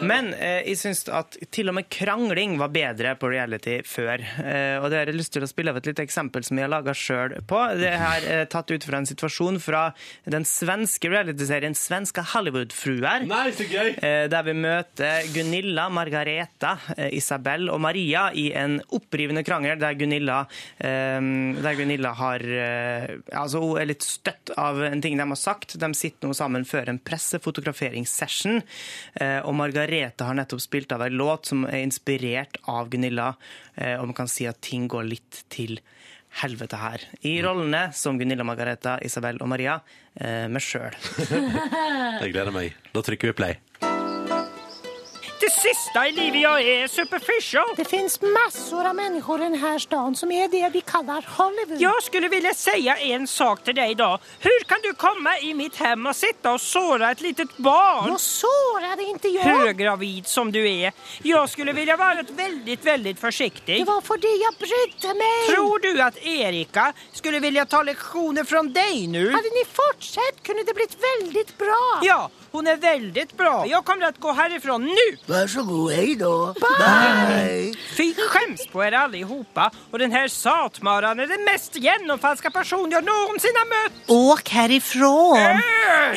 [SPEAKER 3] Men eh, jeg syns at til og med krangling var bedre på reality før. Eh, og det har jeg lyst til å spille av et lite eksempel som jeg har laga sjøl på. Det her er tatt ut fra en situasjon fra den svenske realityserien Svenska Hollywood-fruer.
[SPEAKER 2] Nei, så gøy!
[SPEAKER 3] Eh, Der vi møter Gunilla, Margareta, eh, Isabel og Maria i en opprivende krangel der Gunilla, eh, der Gunilla har eh, Altså, hun er litt støtt av en ting de har sagt. De sitter nå sammen før en pressefotograferingssession, eh, og Margareta har nettopp spilt av en låt som er inspirert av Gunilla, eh, og man kan si at ting går litt til helvete her. I rollene som Gunilla, Margareta, Isabel og Maria, eh, meg sjøl.
[SPEAKER 2] Jeg gleder meg. Da trykker vi play.
[SPEAKER 3] Det siste i livet jeg er superficial.
[SPEAKER 7] Det finns massor av människor i den här stan som är det vi kallar Hollywood.
[SPEAKER 8] Jag skulle vilja säga en sak till dig idag. Hur kan du komma i mitt hem och sitta och såra ett litet barn?
[SPEAKER 7] Och sårade inte jag.
[SPEAKER 8] Högravid som du är. Jag skulle vilja vara väldigt, väldigt
[SPEAKER 7] Det
[SPEAKER 8] försiktig.
[SPEAKER 7] var för det jag brydde mig.
[SPEAKER 8] Tror du att Erika skulle vilja ta lektioner från dig nu?
[SPEAKER 7] Hade ni fortsatt kunde det blivit väldigt bra.
[SPEAKER 8] Mm. Ja, hon är väldigt bra. Jag kommer att gå härifrån nu.
[SPEAKER 9] Varsågod, hej då.
[SPEAKER 8] Fy skäms på er allihopa. Och den här satmaran är den mest genomfalska person jag någonsin har mött.
[SPEAKER 9] Åk härifrån.
[SPEAKER 8] Äh!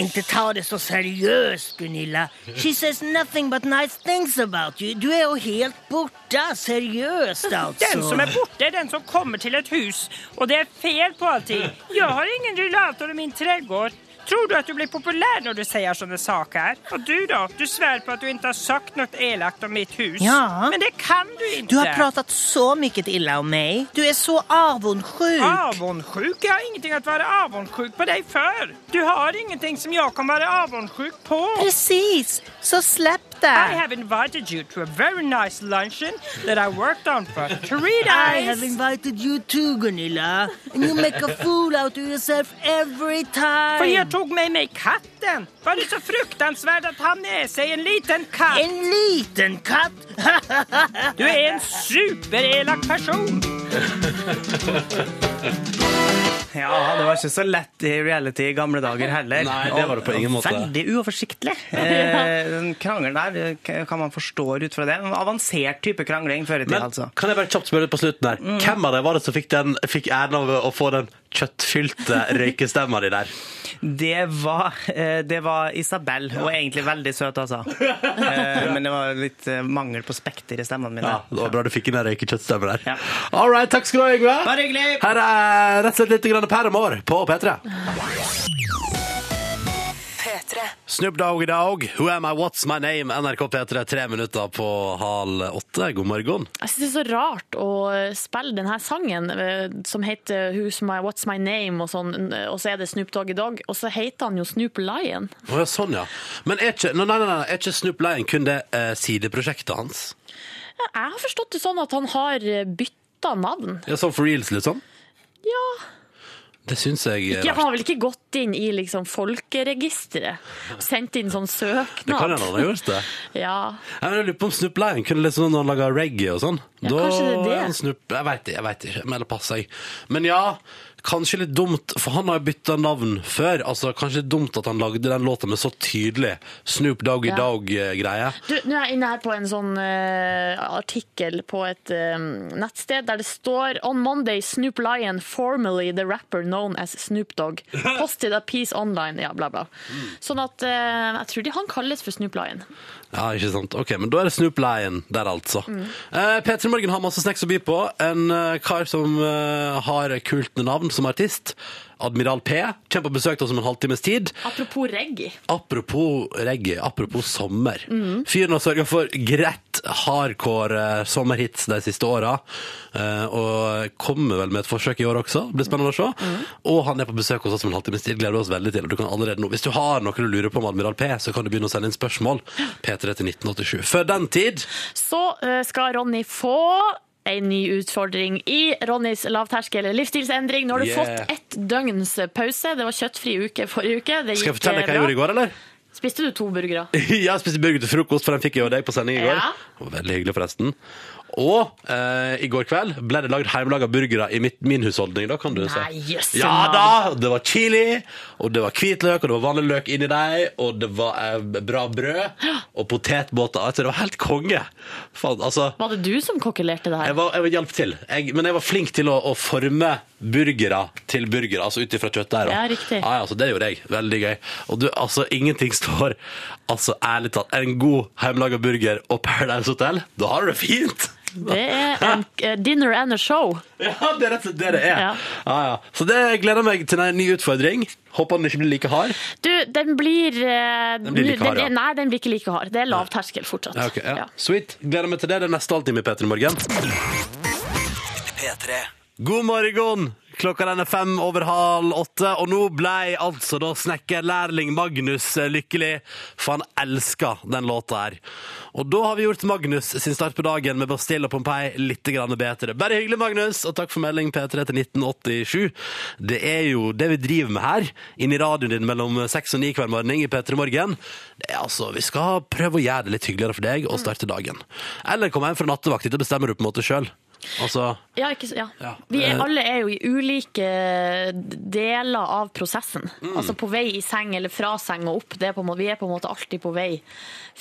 [SPEAKER 9] Inte ta det så seriöst, Gunilla. She says nothing but nice things about you. Du är ju helt borta. Seriöst alltså.
[SPEAKER 8] Den som är borta är den som kommer till ett hus och det är fel på allting. Jag har ingen rullator i min trädgård. Tror du att du blir populär när du säger sådana saker? Och du då? Du svär på att du inte har sagt något elakt om mitt hus.
[SPEAKER 9] Ja.
[SPEAKER 8] Men det kan du inte.
[SPEAKER 9] Du har pratat så mycket illa om mig. Du är så avundsjuk.
[SPEAKER 8] Ah. Avundsjuk? Jag har ingenting att vara avundsjuk på dig för. Du har ingenting som jag kommer vara avundsjuk på.
[SPEAKER 9] Precis. Så släpp det.
[SPEAKER 8] I have invited you to a very nice luncheon that I worked on for three
[SPEAKER 9] I
[SPEAKER 8] days.
[SPEAKER 9] have invited you too, Gunilla. And you make a fool out of yourself every time.
[SPEAKER 8] För jag tog med mig katten. Var det så fruktansvärt att ha med sig en liten katt?
[SPEAKER 9] En liten katt!
[SPEAKER 8] Du är en superelak person.
[SPEAKER 3] Ja, det var ikke så lett i reality i gamle dager heller.
[SPEAKER 2] Nei, det var det på ingen måte.
[SPEAKER 3] Og Veldig uoversiktlig. Eh, den krangelen der eh, k- kan man forstå ut fra det. En avansert type krangling før i tida,
[SPEAKER 2] Men
[SPEAKER 3] altså.
[SPEAKER 2] kan jeg bare kjapt spørre litt på slutten her? Hvem av dere var det som fikk, den, fikk æren av å få den kjøttfylte røykestemma di der?
[SPEAKER 3] Det var, eh, det var Isabel. Hun er egentlig veldig søt, altså. Eh, men det var litt eh, mangel på spekter i stemmene mine.
[SPEAKER 2] Ja, det var bra du fikk inn den røykekjøttstemmen der.
[SPEAKER 3] Ja.
[SPEAKER 2] All right, takk skal du ha, Yngve.
[SPEAKER 3] Bare hyggelig!
[SPEAKER 2] Her er rett og slett litt grann permår på P3.
[SPEAKER 1] P3.
[SPEAKER 2] Snoop Doggy Dog, Who Am I, What's My Name, NRK P3, tre minutter på halv åtte. God morgen.
[SPEAKER 5] Jeg synes det er så rart å spille denne sangen eh, som heter Who's my, What's My Name, og, sånn, og så er det Snoop Doggy Dogg, og så heter han jo Snoop Lion.
[SPEAKER 2] Å ja, sånn, ja. Men er ikke, nei, nei, nei, nei, er ikke Snoop Lion kun det eh, sideprosjektet hans?
[SPEAKER 5] Jeg har forstått det sånn at han har bytta navn.
[SPEAKER 2] Ja, Sånn for reals, liksom?
[SPEAKER 5] Ja.
[SPEAKER 2] Det syns jeg eh, er
[SPEAKER 5] Ja, han
[SPEAKER 2] rart.
[SPEAKER 5] har vel ikke gått inn i liksom folkeregisteret? Sendt inn sånn søknad?
[SPEAKER 2] Det kan hende han har gjort det.
[SPEAKER 5] Ja.
[SPEAKER 2] Ja, men Jeg lurer på om Snoop Lion kunne litt sånn når han lager reggae og sånn.
[SPEAKER 5] Ja, kanskje det er det.
[SPEAKER 2] han Snoop, jeg veit ikke, jeg vet ikke, men det passer jeg. Men ja, kanskje litt dumt, for han har jo bytta navn før. Altså, Kanskje dumt at han lagde den låta med så tydelig Snoop Doggy
[SPEAKER 5] Ja.
[SPEAKER 2] Dog-greie.
[SPEAKER 5] Du, nå er jeg inne her på en sånn eh, artikkel på et eh, nettsted der det står On Monday, Snoop Lion, formerly the rapper known as Snoop Dogg, posted a piece online, ja, bla, bla. Sånn at eh, jeg tror de han kalles for Snoop Lion.
[SPEAKER 2] Ja, ikke sant. Ok, men da er det Snoop Lion der, altså.
[SPEAKER 5] Mm.
[SPEAKER 2] Eh, P3 Morgen har masse snacks å by på. En eh, kar som eh, har kult navn, som artist. Admiral P kommer på besøk til oss om en halvtimes tid.
[SPEAKER 5] Apropos reggae.
[SPEAKER 2] Apropos reggae, apropos sommer. Fyren har sørga for greit hardcore eh, sommerhits de siste åra. eh, Og kommer vel med et forsøk i år også. Blir spennende å se. Og han er på besøk hos oss om en halvtime tid. Gleder oss veldig til. Og du kan allerede nå, hvis du har noe du lurer på om Admiral P, så kan du begynne å sende inn spørsmål. P3 til 1987. Før den tid
[SPEAKER 5] Så eh, skal Ronny få en ny utfordring i Ronnys lavterskel livsstilsendring. Nå har du
[SPEAKER 2] Yeah.
[SPEAKER 5] fått ett døgns pause. Det var kjøttfri uke forrige uke. Det gikk
[SPEAKER 2] Skal jeg fortelle
[SPEAKER 5] eh,
[SPEAKER 2] hva jeg
[SPEAKER 5] bra.
[SPEAKER 2] gjorde i går, eller?
[SPEAKER 5] Spiste du to burgere?
[SPEAKER 2] Jeg spiste burger til frokost, for den fikk jeg og deg på sending i går.
[SPEAKER 5] Ja.
[SPEAKER 2] Det var Veldig hyggelig, forresten. Og eh, i går kveld ble det lagd hjemmelaga burgere i mitt, min husholdning. Da kan du
[SPEAKER 5] Nei,
[SPEAKER 2] se.
[SPEAKER 5] jøsse
[SPEAKER 2] Ja
[SPEAKER 5] navn.
[SPEAKER 2] da! Det var chili, og det var hvitløk, og det var vanlig løk inni deg, og det var eh, bra brød, og potetbåter. Altså, det var helt konge. Faen, altså
[SPEAKER 5] Var det du som kokkelerte det
[SPEAKER 2] jeg
[SPEAKER 5] her?
[SPEAKER 2] var, jeg var hjelp til, jeg, men jeg var flink til å, å forme burgere til burgere, altså ut ifra kjøttdeigen.
[SPEAKER 5] Ja, riktig.
[SPEAKER 2] Ja, ja, altså, det gjorde jeg. Veldig gøy. Og du, altså, ingenting står Altså, ærlig talt, en god hjemmelaga burger og Paradise Hotel, da har du det fint!
[SPEAKER 5] Det er en eh, dinner and a show.
[SPEAKER 2] Ja, det er rett og slett det det er. Ja.
[SPEAKER 5] Ja.
[SPEAKER 2] Ja, Så det gleder jeg meg til en ny utfordring. Håper den ikke blir like hard.
[SPEAKER 5] Du, den blir eh, Den
[SPEAKER 2] blir like hard, ja.
[SPEAKER 5] er- Nei, den blir ikke like hard. Det er lav terskel fortsatt.
[SPEAKER 2] Ja, ok, ja.
[SPEAKER 5] Ja.
[SPEAKER 2] Sweet. Gleder meg til det. Det er neste halvtime i P3 Morgen. God morgen! Klokka den er fem over halv åtte, og nå ble altså da snekkerlærling Magnus eh, lykkelig, for han elska den låta her. Og da har vi gjort Magnus sin start på dagen med Bastille og Pompeii litt grann bedre. Bare hyggelig, Magnus, og takk for melding P3 til 1987. Det er jo det vi driver med her, inni radioen din mellom seks og ni hver morgen i P3 Morgen. Det er altså, vi skal prøve å gjøre det litt hyggeligere for deg og starte dagen. Eller komme hjem fra nattevakt, dette bestemmer du på en måte sjøl. Altså
[SPEAKER 5] Ja, ikke, s- ja.
[SPEAKER 2] Ja.
[SPEAKER 5] Vi er,
[SPEAKER 2] Eh.
[SPEAKER 5] alle er jo i ulike eh, deler av prosessen.
[SPEAKER 2] Mm.
[SPEAKER 5] Altså på vei i seng eller fra seng og opp. Det er på en måte, vi er på en måte alltid på vei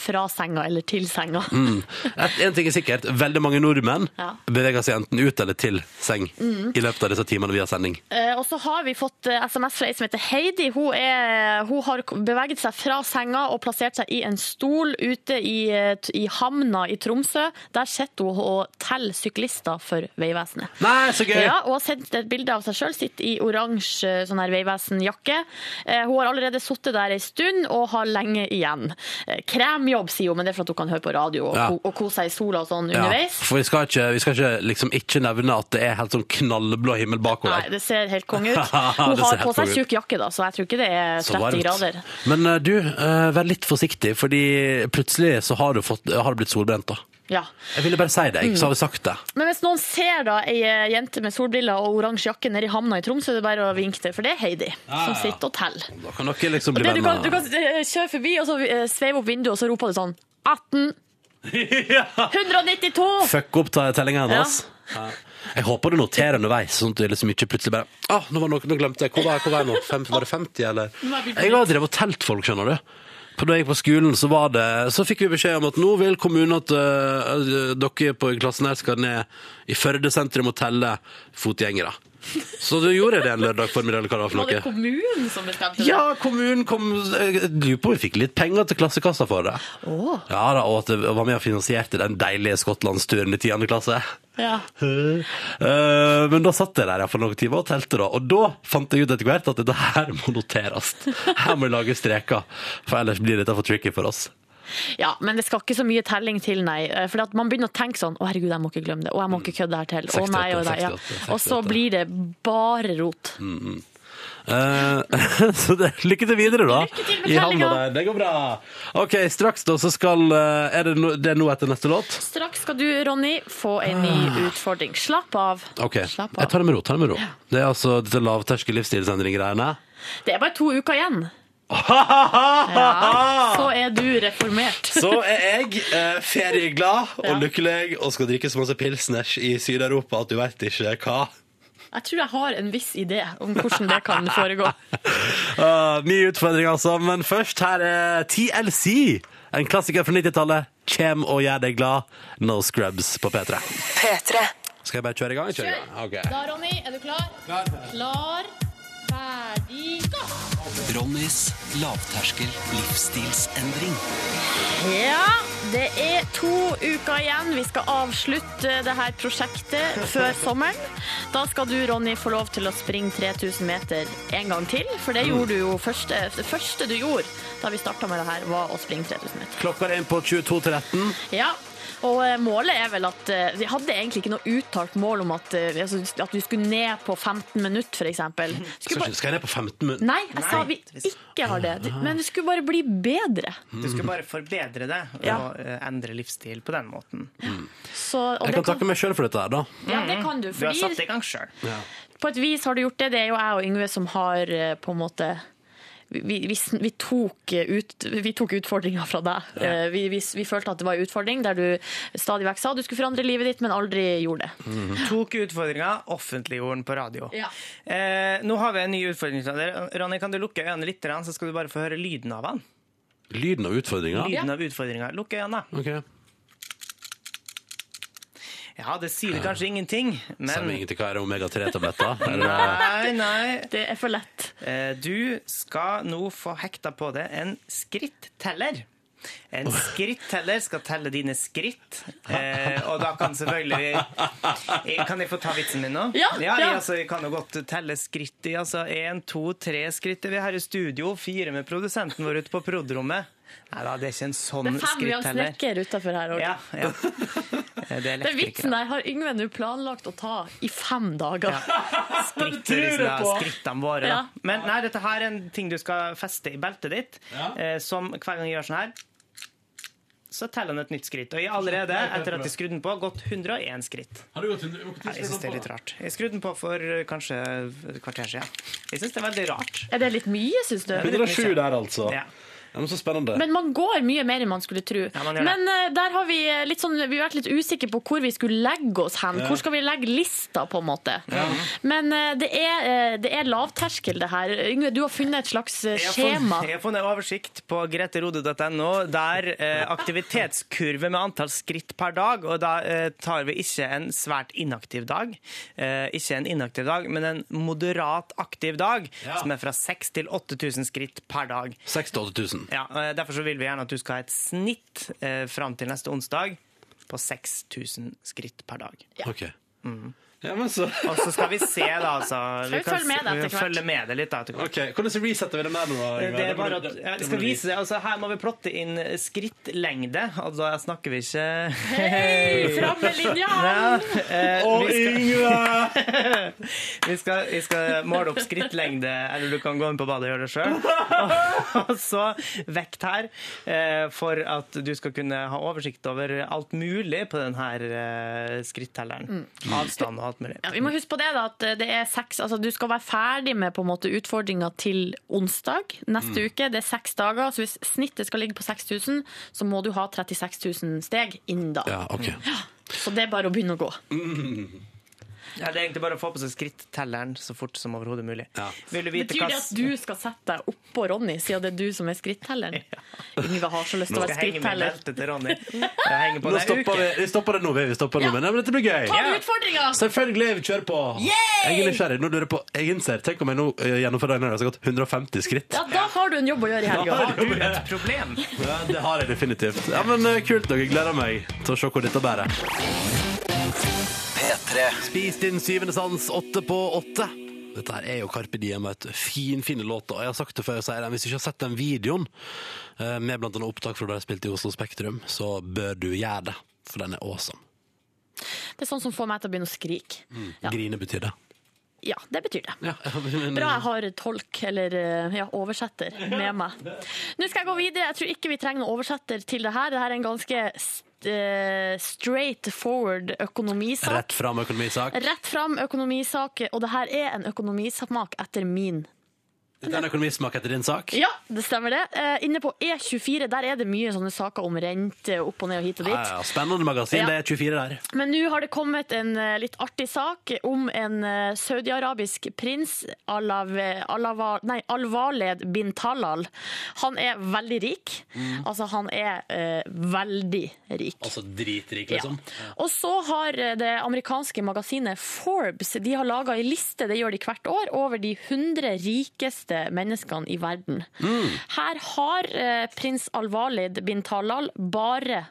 [SPEAKER 5] fra senga eller til senga.
[SPEAKER 2] Mm. Et, en ting er sikkert, veldig mange nordmenn
[SPEAKER 5] Ja. Mm.
[SPEAKER 2] beveger seg enten ut eller til seng i løpet av disse timene vi har sending.
[SPEAKER 5] Eh, og så har vi fått eh, SMS fra ei som heter Heidi. Hun, er, hun har k- beveget seg fra senga og plassert seg i en stol ute i, eh, t- i havna i Tromsø. Der sitter hun og teller syklister for Vegvesenet.
[SPEAKER 2] Nei, så gøy!
[SPEAKER 5] Ja, hun har sendt et bilde av seg sjøl, sitter i oransje sånn her Vegvesen-jakke. Eh, Hun har allerede sittet der ei stund og har lenge igjen. Eh, Kremjobb, sier hun, men det er for at hun kan høre på radio og,
[SPEAKER 2] Ja.
[SPEAKER 5] ko- og kose seg i sola og sånn
[SPEAKER 2] Ja,
[SPEAKER 5] underveis.
[SPEAKER 2] for vi skal, ikke, vi skal ikke, liksom, ikke nevne at det er helt sånn knallblå himmel bakover.
[SPEAKER 5] Nei, det ser helt konge ut.
[SPEAKER 2] Det
[SPEAKER 5] Hun
[SPEAKER 2] ser
[SPEAKER 5] har
[SPEAKER 2] helt
[SPEAKER 5] på seg
[SPEAKER 2] konge ut.
[SPEAKER 5] tjukk jakke, da, så jeg tror ikke det er
[SPEAKER 2] Så
[SPEAKER 5] 30
[SPEAKER 2] varmt.
[SPEAKER 5] grader.
[SPEAKER 2] Men eh, du, eh, vær litt forsiktig, fordi plutselig så har du, fått, har du blitt solbrent. da.
[SPEAKER 5] Ja.
[SPEAKER 2] Jeg ville bare si det, jeg, så har vi sagt det.
[SPEAKER 5] Men hvis noen ser da ei eh, jente med solbriller og oransje jakke nede i havna i Tromsø, det er bare å vinke til, for det er Heidi
[SPEAKER 2] ja.
[SPEAKER 5] som sitter og teller.
[SPEAKER 2] Da kan dere liksom bli
[SPEAKER 5] Mm. Det, du, kan,
[SPEAKER 2] venner.
[SPEAKER 5] du kan eh, kjøre forbi og så eh, sveive opp vinduet, og så roper du sånn 18! 192!
[SPEAKER 2] Fuck opp ta- tellinga
[SPEAKER 5] Ja.
[SPEAKER 2] hennes. Jeg håper du noterer underveis, sånn at du liksom ikke plutselig bare ah, nå, var noe, nå glemte jeg. Hvor var jeg, hvor var jeg nå? Fem, var det 50, eller? Jeg har drevet og telt folk, skjønner du. For da jeg gikk på skolen, så, var det, så fikk vi beskjed om at nå vil kommunen at øh, øh, dere på klassen her skal ned i Førde sentrum og telle fotgjengere. Så da gjorde jeg det en lørdag formiddag, eller hva det var for noe.
[SPEAKER 5] Var det kommunen som bestemte det?
[SPEAKER 2] Ja, kommunen kom eh, Jeg lurer på om vi fikk litt penger til klassekassa for det. Ja da, Og at jeg var med og finansierte den deilige skottlandsturen i 10. klasse.
[SPEAKER 5] Ja.
[SPEAKER 2] Eh, men da satt jeg der ja, for noen timer og telte, da. Og da fant jeg ut etter hvert at dette her må noteres. Her må jeg lage streker, for ellers blir dette for tricky for oss.
[SPEAKER 5] ja, men det skal ikke så mye telling til, nei. For at man begynner å tenke sånn Å, herregud, jeg må ikke glemme det. Å, jeg må ikke kødde det her til. Å, nei, og nei. Ja.
[SPEAKER 2] 68,
[SPEAKER 5] Og så blir det bare rot.
[SPEAKER 2] Eh, så det, lykke til videre, da.
[SPEAKER 5] Lykke til med
[SPEAKER 2] I havna
[SPEAKER 5] tellinga.
[SPEAKER 2] der. Det går bra. OK, straks da så skal eh, Er det, no, det er nå etter neste låt?
[SPEAKER 5] Straks skal du, Ronny, få en ny utfordring. Slapp av.
[SPEAKER 2] Ah. Ok,
[SPEAKER 5] Slapp
[SPEAKER 2] jeg
[SPEAKER 5] av.
[SPEAKER 2] tar det med ro, tar det med ro. Det er altså dette lavterske livsstilsendring-greiene.
[SPEAKER 5] Det er bare to uker igjen. Ja, så er du reformert.
[SPEAKER 2] Ah, Så er jeg eh, ferieglad og lykkelig og skal drikke så masse pilsners i Syd-Europa at du veit ikke hva.
[SPEAKER 5] Jeg tror jeg har en viss idé om hvordan det kan foregå.
[SPEAKER 2] Ah, ny utfordring, altså. Men først, her er TLC. En klassiker fra 90-tallet. Kjem og gjør deg glad. No Scrubs på P3.
[SPEAKER 1] P3.
[SPEAKER 2] Skal jeg bare kjøre i gang? Kjøre i gang. Ok.
[SPEAKER 5] Da, Ronny, er du klar? Klar, ferdig,
[SPEAKER 10] Ronnys lavterskel livsstilsendring.
[SPEAKER 5] Ja, det er to uker igjen. Vi skal avslutte det her prosjektet før sommeren. Da skal du, Ronny, få lov til å springe 3000 meter en gang til. For det gjorde du jo første, det første du gjorde da vi starta med det her, var å springe 3000 meter.
[SPEAKER 2] Klokka er inn på 22.13.
[SPEAKER 5] Ja, og eh, målet er vel at eh, Vi hadde egentlig ikke noe uttalt mål om at, eh, altså, at vi skulle ned på 15 minutter, f.eks.
[SPEAKER 2] Skal
[SPEAKER 5] Bare...
[SPEAKER 2] skal jeg ned på 15 minutter?
[SPEAKER 5] Nei, jeg sa vi ikke har det. Men vi skulle bare bli bedre.
[SPEAKER 3] Du skal bare forbedre det
[SPEAKER 5] Ja.
[SPEAKER 3] og eh, endre livsstil på den måten.
[SPEAKER 5] Så, og
[SPEAKER 2] Jeg
[SPEAKER 5] det
[SPEAKER 2] kan takke meg sjøl for dette her, da.
[SPEAKER 5] Ja, det kan du.
[SPEAKER 3] Du har satt
[SPEAKER 5] Fordi
[SPEAKER 3] det i gang sjøl.
[SPEAKER 5] på et vis har du gjort det. Det er jo jeg og Yngve som har eh, på en måte vi, vi, vi, tok eh, ut, vi tok utfordringa fra deg. Eh, Vi, vi, vi følte at det var en utfordring der du stadig vekk sa du skulle forandre livet ditt, men aldri gjorde det.
[SPEAKER 3] Tok utfordringa, offentliggjorde den på radio.
[SPEAKER 5] Ja.
[SPEAKER 3] Eh, nå har vi en ny utfordring til deg. Ronny, kan du lukke øynene litt, grann, så skal du bare få høre lyden av den?
[SPEAKER 2] Lyden av utfordringa.
[SPEAKER 3] Lyden av utfordringa. Lukk øynene.
[SPEAKER 2] Ok.
[SPEAKER 3] Ja, det sier kanskje ingenting,
[SPEAKER 2] Sier meg
[SPEAKER 3] men
[SPEAKER 2] ingenting hva er det, omega-3-tabletter? Er det
[SPEAKER 3] Nei, nei.
[SPEAKER 5] Det er for lett.
[SPEAKER 3] Eh, Du skal nå få hekta på deg en skritteller. En skritteller skal telle dine skritt. Eh, og da kan selvfølgelig Eh, Kan jeg få ta vitsen min nå?
[SPEAKER 5] Ja,
[SPEAKER 3] jeg,
[SPEAKER 5] ja.
[SPEAKER 3] altså, jeg kan jo godt telle skritt i. Altså én, to, tre skritt er vi her i studio. Fire med produsenten vår ute på prodrommet. Nei da, det er ikke en
[SPEAKER 5] Det
[SPEAKER 3] sånn
[SPEAKER 5] er fem vi har
[SPEAKER 3] skritteller.
[SPEAKER 5] snekker utafor her.
[SPEAKER 3] Ja,
[SPEAKER 5] Ja.
[SPEAKER 3] ja. Eh, Det er
[SPEAKER 5] Den vitsen
[SPEAKER 3] elektrikere.
[SPEAKER 5] der har Yngve nå planlagt å ta i fem dager.
[SPEAKER 3] skritt, liksom, da, skrittene våre.
[SPEAKER 5] Ja.
[SPEAKER 3] Da. Men nei, dette her er en ting du skal feste i beltet ditt, eh, som hver gang jeg gjør sånn her, så teller han et nytt skritt. Og jeg har allerede, etter at jeg skrudde den på, gått 101 skritt. Nei, jeg synes det er litt rart. Jeg skrudde den på for eh, kanskje et kvarter siden. Jeg synes det er veldig rart.
[SPEAKER 5] Er det litt mye, syns du?
[SPEAKER 2] 107 der, altså.
[SPEAKER 3] Ja.
[SPEAKER 2] Ja, men så spennende.
[SPEAKER 5] Men man går mye mer enn man skulle tro.
[SPEAKER 3] Ja, man gjør det.
[SPEAKER 5] men eh, der har vi eh, litt sånn, vi har vært litt usikre på hvor vi skulle legge oss hen. Hvor skal vi legge lista, på en måte. Men eh, det er, eh, det er lavterskel, det her. Yngve, du har funnet et slags eh,
[SPEAKER 3] Jeg har
[SPEAKER 5] skjema.
[SPEAKER 3] funnet- Jeg har funnet oversikt på greterode.no der eh, aktivitetskurve med antall skritt per dag, og da eh, tar vi ikke en svært inaktiv dag, eh, ikke en inaktiv dag, men en moderat aktiv dag, som er fra 6 til 8000 skritt per dag.
[SPEAKER 2] 6000-8000.
[SPEAKER 3] Ja, eh, derfor så vil vi gjerne at du skal ha et snitt eh, fram til neste onsdag på 6000 skritt per dag.
[SPEAKER 2] Ok.
[SPEAKER 3] Mm.
[SPEAKER 2] Ja, men så
[SPEAKER 3] Og så skal vi se, da, altså.
[SPEAKER 5] Skal vi følge med det etter
[SPEAKER 3] vi
[SPEAKER 5] hvert?
[SPEAKER 3] følge med det litt, da, etter hvert.
[SPEAKER 2] Ok, Hvordan resetter vi den der nå? Yngve?
[SPEAKER 3] Det er
[SPEAKER 2] må
[SPEAKER 3] bare
[SPEAKER 2] du-
[SPEAKER 3] at,
[SPEAKER 2] det-
[SPEAKER 3] ja,
[SPEAKER 2] det
[SPEAKER 3] jeg skal
[SPEAKER 2] må du
[SPEAKER 3] vise deg, altså Her må vi plotte inn skrittlengde. Altså, da snakker vi ikke
[SPEAKER 5] Hei, fram med linja!
[SPEAKER 3] ja, eh,
[SPEAKER 2] Å,
[SPEAKER 3] vi, skal,
[SPEAKER 2] Yngve!
[SPEAKER 3] vi, skal, vi skal måle opp skrittlengde, eller du kan gå inn på badet og gjøre det sjøl. Og så vekt her, eh, for at du skal kunne ha oversikt over alt mulig på denne skrittelleren. Avstand og alt mulig.
[SPEAKER 5] Ja, vi må huske på det da, at det er seks, altså du skal være ferdig med på en måte utfordringa til onsdag neste
[SPEAKER 3] Mm.
[SPEAKER 5] uke. Det er seks dager, så hvis snittet skal ligge på 6000, så må du ha 36 000 steg innen da.
[SPEAKER 2] Ja, ok.
[SPEAKER 5] Så det er bare å begynne å gå.
[SPEAKER 3] Ja, det er egentlig bare å få på seg skrittelleren så fort som overhodet mulig. Vil du vite
[SPEAKER 5] Betyr
[SPEAKER 3] hva
[SPEAKER 5] det at du skal sette deg oppå Ronny, siden det er du som er skrittelleren? Yngve har så lyst til å
[SPEAKER 3] Skal
[SPEAKER 5] være
[SPEAKER 3] jeg henge med i
[SPEAKER 5] skritteller.
[SPEAKER 3] beltet til Ronny. Jeg henger på
[SPEAKER 2] Nå
[SPEAKER 3] det en
[SPEAKER 2] stopper
[SPEAKER 3] uke.
[SPEAKER 2] vi, vi stopper det nå, vi. vi stopper det nå, men, nei, men dette blir gøy.
[SPEAKER 5] Har du utfordringer?
[SPEAKER 2] Selvfølgelig! Vi kjører på. Jeg er nysgjerrig. Nå lurer jeg på, jeg innser, Tenk om jeg nå eh, gjennomfører den her, så har jeg gått 150 skritt.
[SPEAKER 5] Ja, da har du en jobb å gjøre i helga.
[SPEAKER 3] Har du et problem?
[SPEAKER 2] Ja, det har jeg definitivt. Ja, men eh, Kult nok. Jeg gleder meg til å se hvor dette bærer.
[SPEAKER 10] P3.
[SPEAKER 2] Spis din syvende sans, åtte på åtte. Dette her er jo Carpe Diem, vet du. Fin, fine låter. Og jeg har sagt det før, jeg sier det, men hvis du ikke har sett den videoen, eh, med blant annet opptak fra da jeg spilte i Oslo Spektrum, så bør du gjøre det. For den er awesome.
[SPEAKER 5] Det er sånn som får meg til å begynne å skrike.
[SPEAKER 3] Mm.
[SPEAKER 5] Ja.
[SPEAKER 2] Grine betyr det.
[SPEAKER 5] Ja, det betyr det.
[SPEAKER 2] Ja, men, eh,
[SPEAKER 5] Bra jeg har tolk, eller eh, ja, oversetter, med meg. Nå skal jeg gå videre. Jeg tror ikke vi trenger noen oversetter til det her. Det her er en ganske st eh, straight forward økonomisak.
[SPEAKER 2] Rett fram økonomisak.
[SPEAKER 5] Rett fram økonomisak, og det her er en økonomisak etter min
[SPEAKER 2] Dette er en økonomismak etter din sak.
[SPEAKER 5] Ja, det stemmer det. Eh, inne på E24 der er det mye sånne saker om rente opp og ned og hit og dit.
[SPEAKER 2] Ja, ja, spennende magasin.
[SPEAKER 5] Ja.
[SPEAKER 2] Det er 24 der.
[SPEAKER 5] Men nå har det kommet en eh, litt artig sak om en eh, saudiarabisk prins, Alav, eh, Alava, nei, Al-Walid bin Talal. Han er veldig rik. Altså, han er eh, veldig rik.
[SPEAKER 2] Altså dritrik,
[SPEAKER 5] Ja.
[SPEAKER 2] liksom.
[SPEAKER 5] Og så har eh, det amerikanske magasinet Forbes de har laga ei liste det gjør de hvert år, over de 100 rikeste menneskene i verden. Her har eh, prins Al-Walid bin Talal bare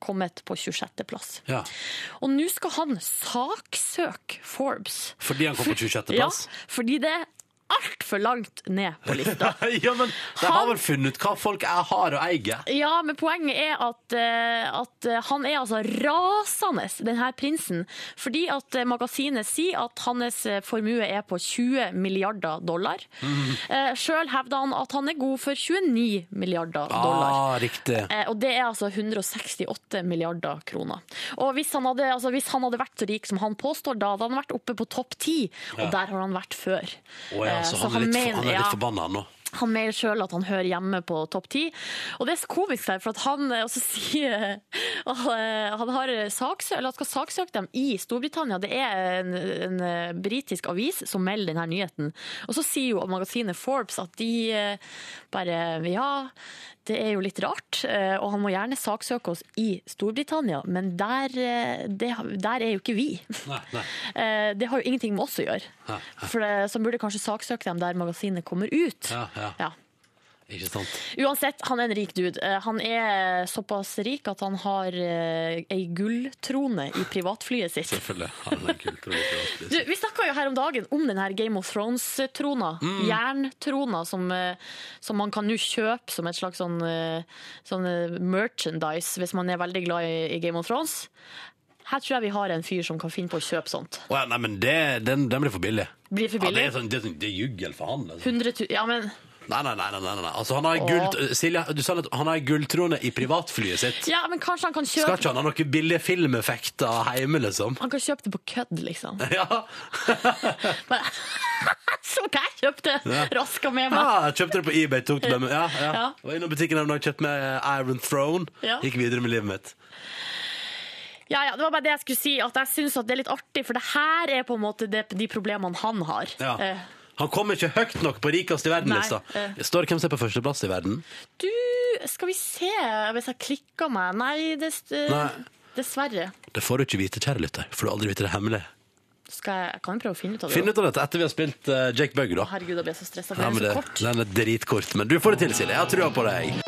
[SPEAKER 5] kommet på 26. plass.
[SPEAKER 2] Ja.
[SPEAKER 5] Og nå skal han saksøke Forbes.
[SPEAKER 2] Fordi han kom på 26. plass.
[SPEAKER 5] Ja, fordi det er altfor langt ned på lista.
[SPEAKER 2] Ja, men de har vel funnet ut hva folk er, har og eier.
[SPEAKER 5] Ja, men poenget er at, eh, at eh, han er altså rasende, denne prinsen. Fordi at eh, magasinet sier at hans eh, formue er på 20 milliarder dollar. Eh, Sjøl hevder han at han er god for 29 milliarder Eh, dollar.
[SPEAKER 2] Ah, riktig.
[SPEAKER 5] Eh, Og det er altså 168 milliarder kroner. Og hvis han, hadde, altså hvis han hadde vært så rik som han påstår, da hadde han vært oppe på topp ti, og der har han vært før.
[SPEAKER 2] Å ja,
[SPEAKER 5] Eh,
[SPEAKER 2] så han er litt,
[SPEAKER 5] mener-
[SPEAKER 2] han er
[SPEAKER 5] ja,
[SPEAKER 2] litt forbanna nå.
[SPEAKER 5] han mener sjøl at han hører hjemme på topp ti. Og det er så komisk, der, for at han eh, også sier eh, Han, har saksø eller han skal saksøke dem i Storbritannia. Det er en, en eh, britisk avis som melder denne nyheten. Og så sier jo magasinet Forbes at de eh, bare Ja, det er jo litt rart, eh, og han må gjerne saksøke oss i Storbritannia, men der, eh, det, der er jo ikke vi.
[SPEAKER 2] Nei, nei.
[SPEAKER 5] Eh, Det har jo ingenting med oss å gjøre.
[SPEAKER 2] Ja,
[SPEAKER 5] For det, Så burde kanskje saksøke dem der magasinet kommer ut.
[SPEAKER 2] Ja, ja.
[SPEAKER 5] Ja.
[SPEAKER 2] Ikke sant.
[SPEAKER 5] Uansett, han er en rik dude. Eh, Han er såpass rik at han har eh, ei gulltrone i privatflyet sitt.
[SPEAKER 2] Selvfølgelig. Han er en kul trolig privatpris.
[SPEAKER 5] Du, vi snakka jo her om dagen om den her Game of Thrones-trona.
[SPEAKER 2] Mm.
[SPEAKER 5] Jerntrona som, eh, som man kan jo kjøpe som et slags sånn, eh, sånn eh, merchandise hvis man er veldig glad i, i Game of Thrones. Her tror jeg vi har en fyr som kan finne på å kjøpe sånt.
[SPEAKER 2] Å ja, nei, men det, den, den blir for billig.
[SPEAKER 5] Blir
[SPEAKER 2] Ja,
[SPEAKER 5] for
[SPEAKER 2] det,
[SPEAKER 5] billig.
[SPEAKER 2] er sånn, det, er sånn, det er juggel for han. Altså.
[SPEAKER 5] 100 000 Ja, men
[SPEAKER 2] Nei, nei, nei. nei, nei, nei. Altså, han har en gull, Silja, du sa at han har en gulltrone i privatflyet sitt.
[SPEAKER 5] Ja, men kanskje han kan
[SPEAKER 2] Skal
[SPEAKER 5] kjøpe
[SPEAKER 2] ikke han ha noen billige filmeffekter hjemme, liksom?
[SPEAKER 5] Han kan kjøpe det på kødd, liksom.
[SPEAKER 2] Ja,
[SPEAKER 5] Men, som jeg kjøpte raska
[SPEAKER 2] ja
[SPEAKER 5] med meg.
[SPEAKER 2] jeg kjøpte det på eBay. Tok det med meg. Ja, ja.
[SPEAKER 5] Ja.
[SPEAKER 2] Var innom butikken her og kjøpte meg Iron Throne.
[SPEAKER 5] Ja.
[SPEAKER 2] Gikk videre med livet mitt.
[SPEAKER 5] Ja, ja, det var bare det jeg skulle si, at jeg syns det er litt artig, for det her er på en måte det, de problemene han har.
[SPEAKER 2] Ja.
[SPEAKER 5] Eh,
[SPEAKER 2] Han kom ikke høyt nok på rikest i verden-lista.
[SPEAKER 5] Nei, eh.
[SPEAKER 2] Står det hvem som er på førsteplass i verden?
[SPEAKER 5] Du, skal vi se hvis jeg klikker meg Nei, det,
[SPEAKER 2] Nei.
[SPEAKER 5] dessverre.
[SPEAKER 2] Det får du ikke vite, kjære lytter, for du aldri vite det hemmelige.
[SPEAKER 5] Skal jeg, jeg kan jo prøve å finne ut av det.
[SPEAKER 2] Finn ut av dette etter vi har spilt eh, Jake Bugg, da.
[SPEAKER 5] Herregud, jeg ble så stressa.
[SPEAKER 2] Ja,
[SPEAKER 5] Det
[SPEAKER 2] men
[SPEAKER 5] ble
[SPEAKER 2] det,
[SPEAKER 5] så kort.
[SPEAKER 2] den er dritkort, men du får det til, Silje. Jeg har trua på deg.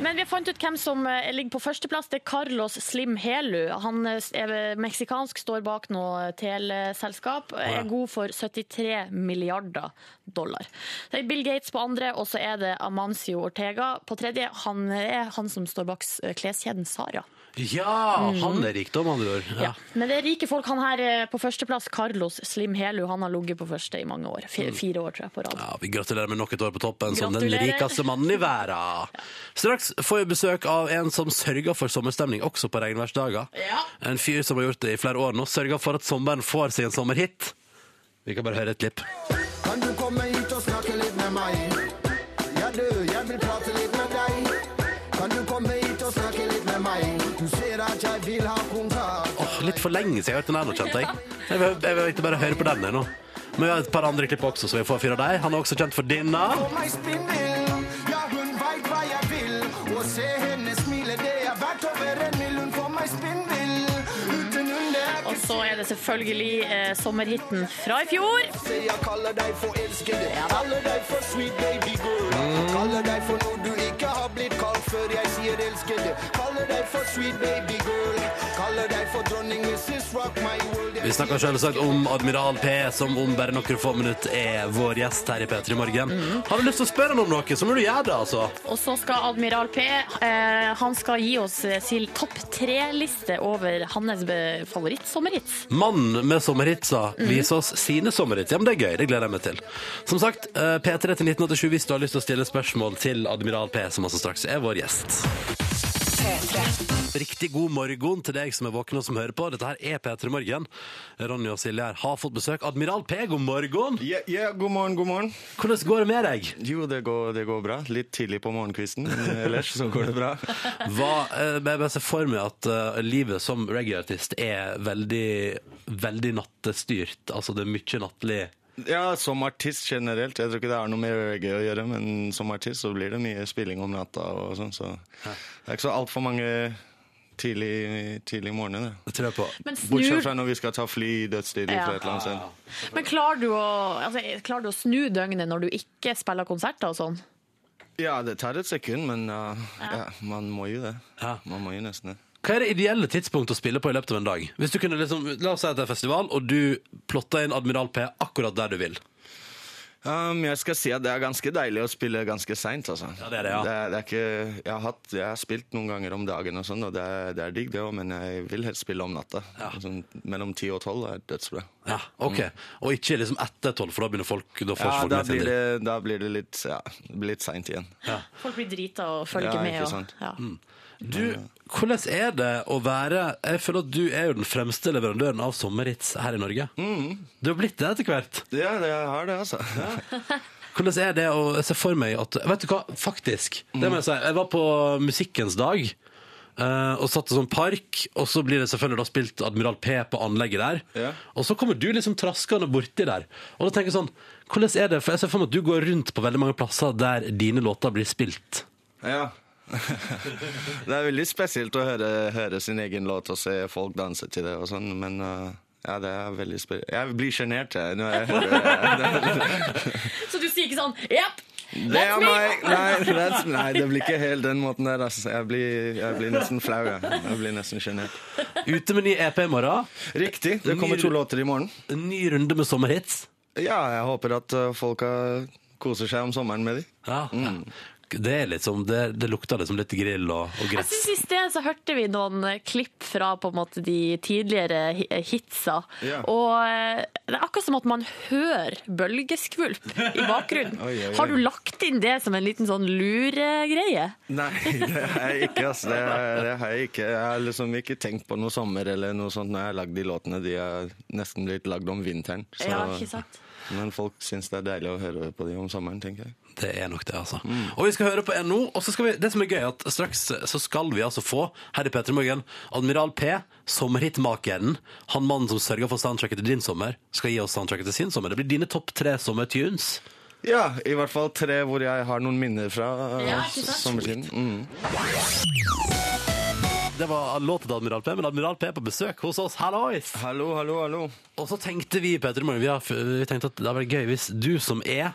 [SPEAKER 5] Men vi har funnet ut hvem som eh, ligger på førsteplass. Det er Carlos Slim Helu. Han eh, er meksikansk, står bak noe teleselskap. Er god for 73 milliarder dollar. Det er Bill Gates på andre, og så er det Amancio Ortega på tredje. Han er han som står bak eh, kleskjeden Sara.
[SPEAKER 2] Ja, han er rikdom, han gjør.
[SPEAKER 5] Ja. Men det er rike folk. Han her eh, på førsteplass, Carlos Slim Helu, han har ligget på første i mange år. Fi- Fire år, tror jeg, på rad.
[SPEAKER 2] Ja, vi gratulerer med nok et år på toppen som den
[SPEAKER 5] Gratulerer.
[SPEAKER 2] rikeste mannen i verden. Straks får jeg besøk av en som sørger for sommerstemning også på regnværsdager.
[SPEAKER 5] Ja.
[SPEAKER 2] En fyr som har gjort det i flere år nå, sørger for at sommeren får seg en sommerhit. Vi kan bare høre et klipp.
[SPEAKER 11] Kan du komme hit og snakke litt med meg? Ja, du, jeg vil prate litt med deg. Kan du komme hit og snakke litt med meg? Du ser at jeg vil ha kontakt.
[SPEAKER 2] Åh, litt for lenge siden jeg har hørt den her nå, kjente jeg. Jeg vil, jeg vil ikke bare høre på den her nå. Men vi har et par andre klipp også, så vi får fyre deg. Han er også kjent for denne.
[SPEAKER 11] Få meg spinnvill, ja, hun veit hva jeg vil. Å se henne smile, det er verdt over en mil. Hun får meg spinnvill, uten hun det er
[SPEAKER 5] Og
[SPEAKER 11] ikke
[SPEAKER 5] så er det selvfølgelig eh, sommerhitten fra i fjor.
[SPEAKER 11] Se, jeg kaller deg for elskede. Jeg kaller deg for sweet baby girl. Jeg kaller deg for noe du ikke har blitt kalt før jeg sier elskede. Kaller deg for sweet baby girl. Kaller deg for dronning Mrs. Rock my world.
[SPEAKER 2] Vi snakker selvsagt om Admiral P, som om bare noen få minutter er vår gjest her i P3 Morgen. Har du lyst til å spørre han om noe, så må du gjøre det, altså.
[SPEAKER 5] Og så skal Admiral P eh, han skal gi oss eh, sin topp tre-liste over hans be- favorittsommerhits.
[SPEAKER 2] Mannen med sommerhitsa viser oss sine sommerhits. Ja, men det er gøy. Det gleder jeg meg til. Som sagt, eh, P3 til 1987 hvis du har lyst til å stille spørsmål til Admiral P, som altså straks er vår gjest. Riktig god morgen til deg som er våken og som hører på. Dette her er P3 Morgen. Ronny og Silje her har fått besøk. Admiral P, god morgen!
[SPEAKER 12] Ja, ja, god morgen, god morgen.
[SPEAKER 2] Hvordan går det med deg?
[SPEAKER 12] Jo, det går, det går bra. Litt tidlig på morgenkvisten, men ellers så går det bra.
[SPEAKER 2] Hva, eh, jeg bare ser for meg at eh, livet som reggae-artist er veldig, veldig nattestyrt. Altså det er mye nattlig.
[SPEAKER 12] Ja, som artist generelt. Jeg tror ikke det har noe med reggae å gjøre, men som artist så blir det mye spilling om natta og sånn, så det er ikke så altfor mange tidlig, tidlig morgener, det.
[SPEAKER 2] Det tror jeg på.
[SPEAKER 5] Men snur-
[SPEAKER 12] Bortsett fra når vi skal ta fly dødstidlig
[SPEAKER 5] Ja.
[SPEAKER 12] fra et eller annet sted.
[SPEAKER 5] Men klarer du, å, altså, klarer du å snu døgnet når du ikke spiller konserter og sånn?
[SPEAKER 12] Ja, det tar et sekund, men uh, ja. man må jo det. Man må jo nesten det.
[SPEAKER 2] Hva er det ideelle tidspunkt å spille på i løpet av en dag? Hvis du kunne liksom, La oss si at det er festival, og du plotter inn Admiral P akkurat der du vil.
[SPEAKER 12] Um, jeg skal si at det er ganske deilig å spille ganske seint, altså.
[SPEAKER 2] Ja, det er det, ja.
[SPEAKER 12] er, det er ikke, jeg, har hatt, jeg har spilt noen ganger om dagen og sånn, og det er, det er digg det òg, men jeg vil helst spille om natta. Sånn, mellom ti og tolv er dødsbra.
[SPEAKER 2] Ja, ok. Og ikke liksom etter tolv, for da begynner folk da får
[SPEAKER 12] Mm. Ja,
[SPEAKER 2] folk
[SPEAKER 12] da
[SPEAKER 2] nedsendinger.
[SPEAKER 12] blir det, da blir det litt, ja, det blir litt seint igjen.
[SPEAKER 5] Folk blir drita og følger
[SPEAKER 12] Ja,
[SPEAKER 5] med.
[SPEAKER 12] ikke
[SPEAKER 5] Og,
[SPEAKER 12] sant. Mm.
[SPEAKER 5] ja.
[SPEAKER 2] Du, hvordan er det å være Jeg føler at du er jo den fremste leverandøren av sommerhits her i Norge.
[SPEAKER 12] Mm.
[SPEAKER 2] Du har blitt det etter hvert.
[SPEAKER 12] Ja, det har det, altså.
[SPEAKER 2] Hvordan er det å se for meg at Vet du hva, faktisk. Det må jeg si. Jeg var på Musikkens dag. eh, og satt i sånn park, og så blir det selvfølgelig da spilt Admiral P på anlegget der. Og så kommer du liksom traskende borti der. Og da tenker jeg sånn Hvordan er det? For jeg ser for meg at du går rundt på veldig mange plasser der dine låter blir spilt.
[SPEAKER 12] Ja. det er veldig spesielt å høre, høre sin egen låt og se folk danse til det og sånn, men uh, ja, det er veldig spesielt. Jeg blir sjenert, jeg, når jeg hører
[SPEAKER 5] Så du sier ikke sånn Jepp!
[SPEAKER 12] Det er meg! Nei, that's, nei, det blir ikke helt den måten der. Altså. Jeg, blir, jeg blir nesten flau. Jeg, jeg blir nesten sjenert.
[SPEAKER 2] Ute med ny EP i morgen.
[SPEAKER 12] Riktig. Det kommer to låter i morgen.
[SPEAKER 2] En ny runde med sommerhits.
[SPEAKER 12] Ja, jeg håper at uh, folka koser seg om sommeren med de.
[SPEAKER 2] Ja, Det, er liksom, det, det lukter liksom litt grill og, og
[SPEAKER 5] Jeg
[SPEAKER 2] gress.
[SPEAKER 5] synes I sted så hørte vi noen eh, klipp fra på en måte de tidligere hi- eh, hitsa.
[SPEAKER 2] Ja.
[SPEAKER 5] Og eh, det er akkurat som at man hører bølgeskvulp i bakgrunnen.
[SPEAKER 12] Oi, oi, oi.
[SPEAKER 5] Har du lagt inn det som en liten sånn luregreie?
[SPEAKER 12] Nei, det har jeg ikke. ass. Det, har- det har jeg ikke. Jeg har liksom ikke tenkt på noe sommer eller noe sånt når jeg har lagd de låtene. De har nesten blitt lagd om vinteren. så-
[SPEAKER 5] Ja, ikke sant?
[SPEAKER 12] Men folk syns det er deilig å høre på de om sommeren, tenker jeg.
[SPEAKER 2] Det er nok det, altså. Og vi skal høre på en nå. Og så skal vi, det som er gøy, er at straks så skal vi altså få, her i P3 Morgen, Admiral P, sommerhitmakeren, han mannen som sørger for soundtracket til din sommer, skal gi oss soundtracket til sin sommer. Det blir dine topp tre sommertunes.
[SPEAKER 12] Ja, i hvert fall tre hvor jeg har noen minner fra uh,
[SPEAKER 2] Ja, ikke sant?
[SPEAKER 12] sommertiden. Mm.
[SPEAKER 2] Det var låten til Admiral P, men Admiral P er på besøk hos oss. Hallois!
[SPEAKER 12] Hallo, hallo, hallo.
[SPEAKER 2] Og så tenkte vi, Peter, i morgen, vi, har, vi tenkte at det hadde vært gøy hvis du som er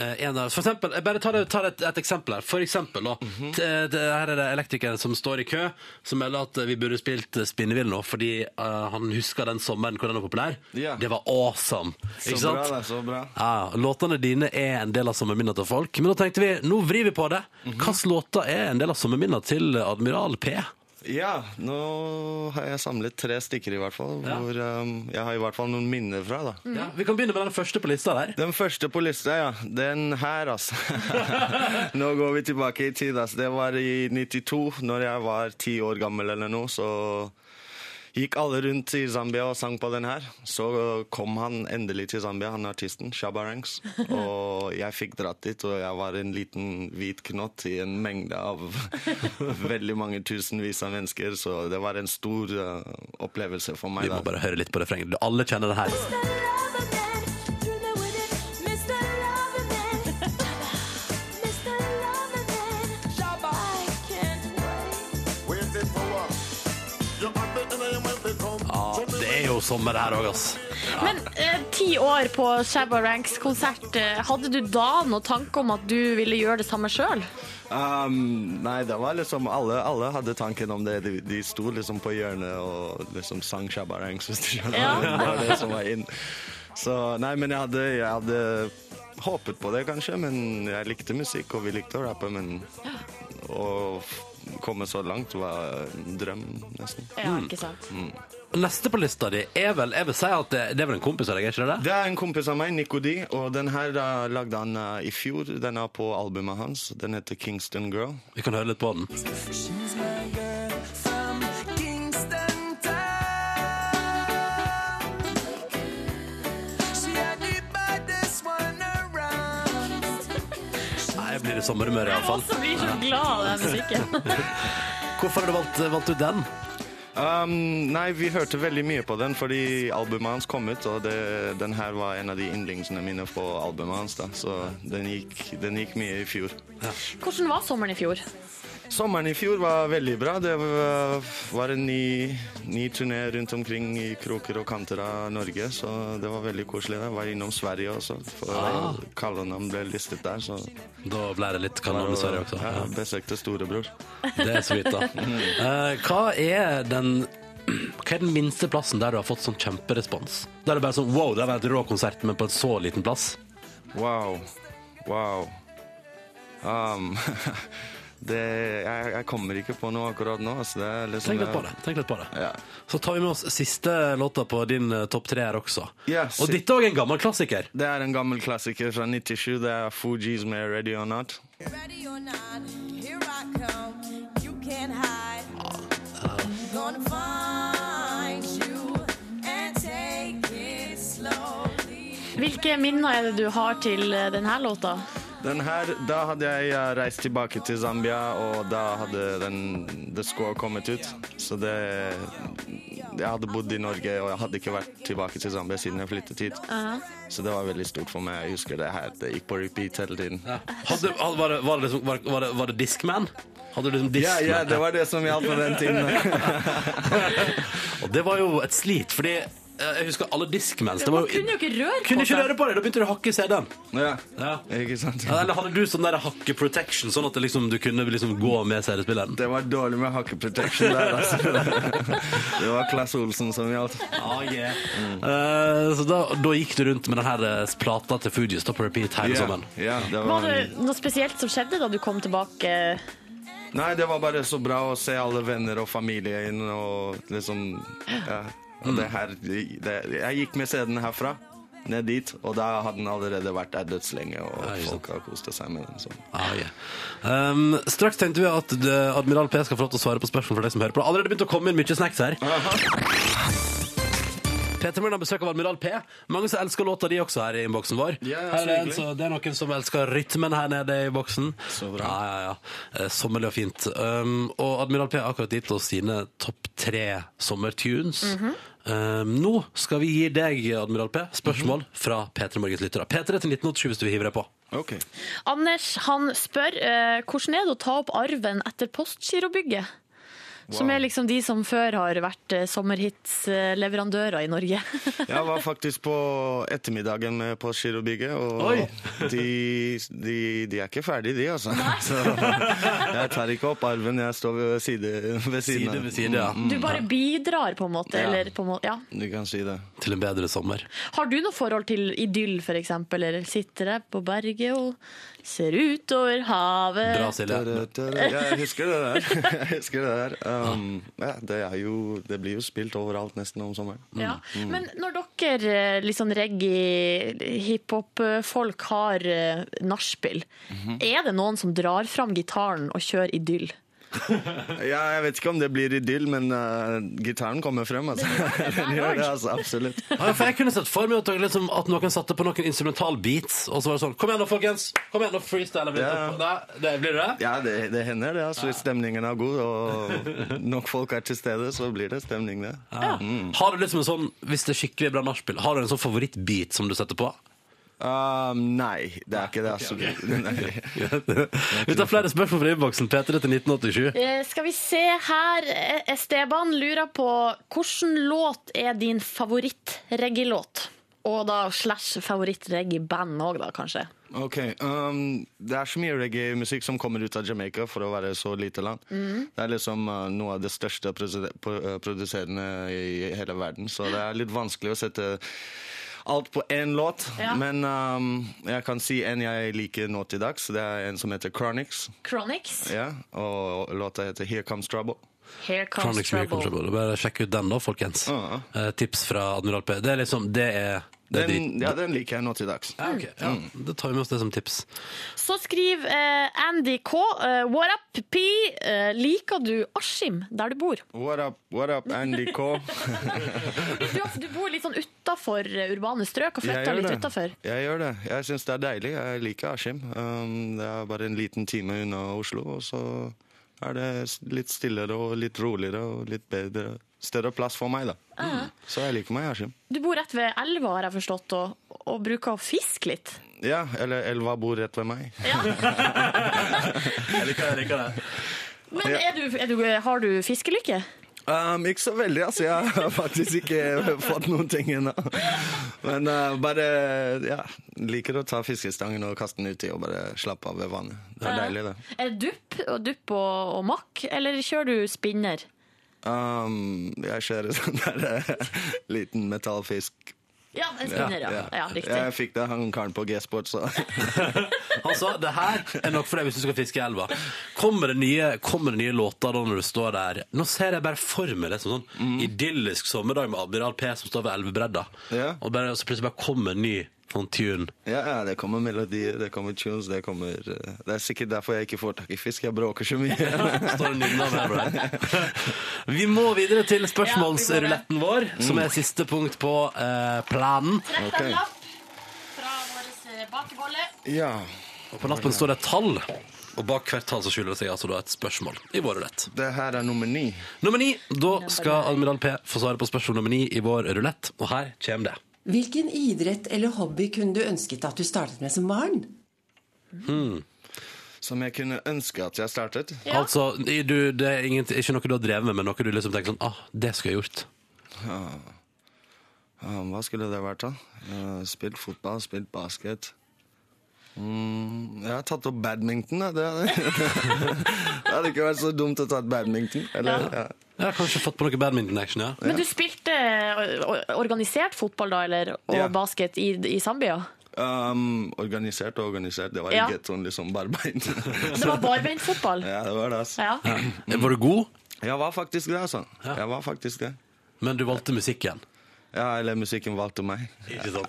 [SPEAKER 2] eh, en av oss For eksempel, jeg bare tar, det- tar et, et eksempel her. For eksempel, da.
[SPEAKER 12] Mhm.
[SPEAKER 2] t- eh, det, her er det elektrikeren som står i kø, som melder at vi burde spilt eh, Spinnevill nå, fordi eh, han husker den sommeren hvor den var populær.
[SPEAKER 12] Ja.
[SPEAKER 2] Det var awesome!
[SPEAKER 12] Så
[SPEAKER 2] Ikke
[SPEAKER 12] bra,
[SPEAKER 2] sant?
[SPEAKER 12] det. Så bra.
[SPEAKER 2] Ja, Låtene dine er en del av sommerminna til folk. Men da tenkte vi, nå vrir vi på det.
[SPEAKER 12] Mhm.
[SPEAKER 2] Hvilke låter er en del av sommerminna til Admiral P?
[SPEAKER 12] Ja, nå har jeg samlet tre stykker i hvert fall, hvor um, jeg har i hvert fall noen minner fra. da.
[SPEAKER 2] Ja, vi kan begynne med den første på lista der.
[SPEAKER 12] Den første på lista, ja. Den her, altså. Nå går vi tilbake i tid. altså. Det var i 92, når jeg var ti år gammel eller noe. så... Gikk alle rundt i Zambia og sang på den her. Så kom han endelig til Zambia, han artisten, Shabba Ranks. Og jeg fikk dratt dit, og jeg var en liten hvit knott i en mengde av veldig mange tusenvis av mennesker, så det var en stor eh, opplevelse for meg.
[SPEAKER 2] Vi må bare høre litt på refrenget. Alle kjenner det her. Ja, det er jo sommer her òg, ass.
[SPEAKER 5] Men eh, ti år på Shabba Ranks-konsert, eh, hadde du da noen tanke om at du ville gjøre det samme sjøl?
[SPEAKER 12] Um, nei, det var liksom alle, alle hadde tanken om det. De, de sto liksom på hjørnet og liksom sang Shabba Ranks, hvis du skjønner.
[SPEAKER 11] Ja.
[SPEAKER 12] Det var det som var inn. Så nei, men jeg hadde, jeg hadde håpet på det, kanskje. Men jeg likte musikk, og vi likte å rappe, men å f- komme så langt var en drøm, nesten.
[SPEAKER 5] Ja, ikke sant?
[SPEAKER 12] Mm.
[SPEAKER 2] Neste på lista di er vel Jeg vil si at det, det er vel en kompis av deg, er ikke det det?
[SPEAKER 12] Det er en kompis av meg, Nico D, og den her da, lagde han eh, i fjor. Den er på albumet hans. Den heter Kingston Girl.
[SPEAKER 2] Vi kan høre litt på den.
[SPEAKER 11] She's my girl.
[SPEAKER 2] mer sommermøre, iallfall.
[SPEAKER 5] Jeg også blir så glad av den musikken.
[SPEAKER 2] Hvorfor har du valgt, valgt ut den?
[SPEAKER 12] Um, nei, vi hørte veldig mye på den fordi albumet hans kom ut, og det, den her var en av de yndlingsene mine på albumet hans. da, Så den gikk, den gikk mye i fjor.
[SPEAKER 5] Hvordan var sommeren i fjor?
[SPEAKER 12] Sommeren i fjor var veldig bra. Det var- var en ny, ny turné rundt omkring i kroker og kanter av Norge, så det var veldig koselig. Jeg var innom Sverige også, for
[SPEAKER 2] Ah.
[SPEAKER 12] kallenavn ble listet der. så...
[SPEAKER 2] Da ble det litt kallenavn i Sverige også,
[SPEAKER 12] Ja,
[SPEAKER 2] ja.
[SPEAKER 12] besøkte storebror.
[SPEAKER 2] Det er sweet, da. Eh, hva er den hva er den minste plassen der du har fått sånn kjemperespons? Der det bare sånn wow, det har vært rå konsert, men på en så liten plass.
[SPEAKER 12] Wow. Wow. Um, det, jeg, jeg kommer ikke på noe akkurat nå. Så det er liksom,
[SPEAKER 2] Tenk litt på det. Tenk litt på det.
[SPEAKER 12] Ja.
[SPEAKER 2] Så tar vi med oss siste låta på din eh, topp tre her også.
[SPEAKER 12] Yes.
[SPEAKER 2] Og dette òg er en gammel klassiker.
[SPEAKER 12] Det er en gammel klassiker fra 97. Det er Fugees med 'Ready or Not'.
[SPEAKER 6] Ready or not, here I come. You can't hide. Gonna find you and take it slowly.
[SPEAKER 5] Hvilke minner er det du har til eh, denne låta?
[SPEAKER 12] Den her, da hadde jeg eh, reist tilbake til Zambia, og da hadde den The Score kommet ut. Så det Jeg hadde bodd i Norge, og jeg hadde ikke vært tilbake til Zambia siden jeg flyttet hit.
[SPEAKER 5] Aha.
[SPEAKER 12] Så det var veldig stort for meg. Jeg husker det her. Det gikk på repeat hele tiden.
[SPEAKER 2] Hadde, hadde, var, det, var, det liksom, var, var, det, var det Discman? Hadde du liksom
[SPEAKER 12] Ja,
[SPEAKER 2] Discman?
[SPEAKER 12] ja, det var det som gjaldt på den tiden.
[SPEAKER 2] Og det var jo et slit, fordi eh, jeg husker alle Discmans. Det
[SPEAKER 5] Man
[SPEAKER 2] var jo,
[SPEAKER 5] kunne jo ikke røre
[SPEAKER 2] kunne
[SPEAKER 5] på
[SPEAKER 2] ikke
[SPEAKER 5] seg.
[SPEAKER 2] røre på det, da begynte du å hakke i CD-en.
[SPEAKER 12] Ja.
[SPEAKER 2] Ja.
[SPEAKER 12] Ikke sant?
[SPEAKER 2] Ja, Eller hadde du sånn der hakke-protection, sånn at det liksom, du kunne liksom gå med CD-spilleren?
[SPEAKER 12] Det var dårlig med hakkeprotection der, altså. Det var Klass Olsen som gjaldt.
[SPEAKER 2] Ah, yeah. Eh, så da, da gikk du rundt med denne plata til Fugees da på repeat hele
[SPEAKER 12] Ja,
[SPEAKER 2] sommeren.
[SPEAKER 12] ja, det
[SPEAKER 5] Var
[SPEAKER 12] var,
[SPEAKER 5] det noe spesielt som skjedde da du kom tilbake?
[SPEAKER 12] nei, det var bare så bra å se alle venner og familie inn og liksom ja. Og det her det, Jeg gikk med CD-en herfra ned dit, og da hadde den allerede vært der dødslenge, og folk har kost seg med den. Så.
[SPEAKER 2] Ah, yeah. um, straks tenkte vi at eh, Admiral P skal få lov til å svare på spørsmål for deg som hører på. Det har allerede begynt å komme inn mye snacks her. Peter Møller har besøk av Admiral P. Mange som elsker låta di også her i innboksen vår.
[SPEAKER 12] Ja,
[SPEAKER 2] her er
[SPEAKER 12] ja, så
[SPEAKER 2] det, en,
[SPEAKER 12] hyggelig.
[SPEAKER 2] som- det er noen som elsker rytmen her nede i boksen. Så bra. Ja, ja, ja. Eh, Sommerlig og fint. Um, og Admiral P har akkurat gitt oss sine topp tre sommertunes. Um, nå skal vi gi deg, Admiral P,
[SPEAKER 12] Mhm.
[SPEAKER 2] spørsmål fra P3 Morgens lyttere. P3 til 1987 hvis du vil hive deg på.
[SPEAKER 12] Okay.
[SPEAKER 5] Anders han spør eh, hvordan er det å ta opp arven etter Postgirobygget? Som
[SPEAKER 12] Wow.
[SPEAKER 5] er liksom de som før har vært eh, sommerhitsleverandører i Norge.
[SPEAKER 12] Jeg var faktisk på ettermiddagen med på Girobygget, og de, de, de er ikke ferdige, de, altså. Så jeg tar ikke opp arven, jeg står ved, side, ved siden
[SPEAKER 2] Side ved side, ja.
[SPEAKER 12] Mm, mm.
[SPEAKER 5] Du bare bidrar, på en måte.
[SPEAKER 12] Ja.
[SPEAKER 5] Eller på en måte ja.
[SPEAKER 12] Du kan si det.
[SPEAKER 2] Til en bedre sommer.
[SPEAKER 5] Har du noe forhold til idyll, f.eks.? Eller sitter jeg på berget og ser ut over havet?
[SPEAKER 12] Bra, Ja, jeg husker det der. Jeg husker det der. Um, ja, det, er jo, det blir jo spilt overalt nesten om sommeren.
[SPEAKER 5] Ja.
[SPEAKER 12] Mm.
[SPEAKER 5] Men når dere eh, litt sånn reggae, hiphop-folk har eh, nachspiel, er det noen som drar fram gitaren og kjører idyll?
[SPEAKER 12] Ja, jeg vet ikke om det blir idyll, men uh, gitaren kommer frem, altså. Den gjør det, altså. Absolutt.
[SPEAKER 2] Ja, for jeg kunne sett for meg at, dere liksom, at noen satte på noen instrumental beats, og så var det sånn Kom igjen, da, folkens! Kom igjen, da, freestyler vi litt
[SPEAKER 12] Ja.
[SPEAKER 2] opp. Nei, det blir det?
[SPEAKER 12] Ja, det, det hender det. Altså, Hvis stemningen er god og nok folk er til stede, så blir det stemning, det. Mm.
[SPEAKER 2] Har du liksom en sånn, Hvis det er skikkelig bra nachspiel, har du en sånn favorittbeat som du setter på?
[SPEAKER 12] Um, nei, det er ikke det. Altså. Nei.
[SPEAKER 2] Vi tar flere spørsmål fra innboksen. P3 til 1987.
[SPEAKER 5] Eh, skal vi se her. eh, Esteban lurer på hvilken låt er din favoritt-reggae-låt? Og da slash favoritt-reggae-band òg, da, kanskje.
[SPEAKER 12] Ok, um, Det er så mye reggae-musikk som kommer ut av Jamaica for å være så lite land.
[SPEAKER 5] Mm.
[SPEAKER 12] Det er liksom uh, noe av det største produse- pro- uh, produserende i hele verden, så det er litt vanskelig å sette alt på én låt.
[SPEAKER 5] Ja.
[SPEAKER 12] Men um, jeg kan si en jeg liker nå til dags. Det er en som heter Chronics.
[SPEAKER 5] Chronics.
[SPEAKER 12] Ja, og låta heter Here Comes Trouble.
[SPEAKER 5] Here comes
[SPEAKER 2] Chronics Miracle
[SPEAKER 5] trouble.
[SPEAKER 2] Trouble. Bare sjekk ut den, Mm. da, folkens. Eh, tips fra Admiral P. Det er liksom Det er Det er
[SPEAKER 12] Den,
[SPEAKER 2] de-
[SPEAKER 12] ja, den liker jeg nå til dags.
[SPEAKER 2] Ja, ok. Ja, Da tar vi med oss det som tips.
[SPEAKER 5] Så skriver eh, Andy K. eh, what up, P? Eh, liker du Askim der du bor?
[SPEAKER 12] What up, what up, Andy K?
[SPEAKER 5] Du, du bor litt sånn utafor urbane strøk og flytta litt utafor.
[SPEAKER 12] Jeg gjør det. Jeg syns det er deilig. Jeg liker Askim. Um, det er bare en liten time unna Oslo, og så er det s- litt stillere og litt roligere og litt bedre. Større plass for meg, da. Mm.
[SPEAKER 5] Mhm.
[SPEAKER 12] Så jeg liker meg i Askim.
[SPEAKER 5] Du bor rett ved elva, har jeg forstått, og, og bruker å fiske litt.
[SPEAKER 12] Ja, eller elva bor rett ved meg.
[SPEAKER 2] jeg liker det. jeg liker det.
[SPEAKER 5] Men
[SPEAKER 12] Ja.
[SPEAKER 5] er du, er du, har du fiskelykke?
[SPEAKER 12] Um, ikke så veldig, altså. Jeg har faktisk ikke fått noen ting ennå. Men uh, bare ja, liker å ta fiskestangen og kaste den uti og bare slappe av ved vannet. Det er
[SPEAKER 5] Ja.
[SPEAKER 12] deilig, det.
[SPEAKER 5] Er det dupp og, dupp og, og makk, eller kjører du spinner?
[SPEAKER 12] Um, jeg kjører sånn der eh, liten metallfisk.
[SPEAKER 5] Ja, en spinner, ja. ja. riktig.
[SPEAKER 12] Jeg fikk det av han karen på G-sport, så
[SPEAKER 2] Han sa det her er nok for deg hvis du skal fiske i elva. Kommer det nye, kommer det nye låter da når du står der? Nå ser jeg bare for meg det som sånn idyllisk sommerdag med Admiral P som står ved elvebredda, og, bare, og så plutselig bare kommer en ny sånn tune.
[SPEAKER 12] ja, ja, det kommer melodier, det kommer tunes, det kommer eh, Det er sikkert derfor jeg ikke får tak i fisk, jeg bråker så mye.
[SPEAKER 2] Står og nynner med elva. Vi må videre til spørsmålsruletten vår, som er siste punkt på eh, planen.
[SPEAKER 5] Trekk en lapp fra vår eh, bakebolle.
[SPEAKER 12] Ja.
[SPEAKER 2] Og på lappen står det et tall, og bak hvert tall så skjuler det seg altså da et spørsmål i vår rulett.
[SPEAKER 12] Det her er nummer ni.
[SPEAKER 2] Nummer ni. Da skal Admiral P få svare på spørsmål nummer ni i vår rulett, og her kommer det.
[SPEAKER 13] Hvilken idrett eller hobby kunne du ønsket at du startet med som barn?
[SPEAKER 12] Som jeg kunne ønske at jeg startet.
[SPEAKER 2] Altså, i- du, det er ingent- ikke noe du har drevet med, men noe du liksom tenker sånn ah, det skulle jeg gjort.
[SPEAKER 12] Ja. Um, hva skulle det vært, da? Eh, spilt fotball, spilt basket. Mm, jeg har tatt opp badminton. Da. Det, hadde, det hadde ikke vært så dumt å ta badminton. Eller, ja.
[SPEAKER 2] Jeg har kanskje fått på noe badminton-action, ja.
[SPEAKER 5] Men du spilte eh, o- organisert fotball da, eller, og
[SPEAKER 12] Ja.
[SPEAKER 5] basket i, i Zambia?
[SPEAKER 12] Um, organisert og organisert. Det var i
[SPEAKER 5] Ja.
[SPEAKER 12] gettoen, liksom. Barbeint.
[SPEAKER 5] Det var barbeint fotball.
[SPEAKER 12] ja, det var det, altså.
[SPEAKER 5] Ja.
[SPEAKER 2] Var du god?
[SPEAKER 12] Jeg var faktisk det, altså. Jeg var faktisk det.
[SPEAKER 2] Men du valgte musikken?
[SPEAKER 12] Ja, eller musikken valgte meg.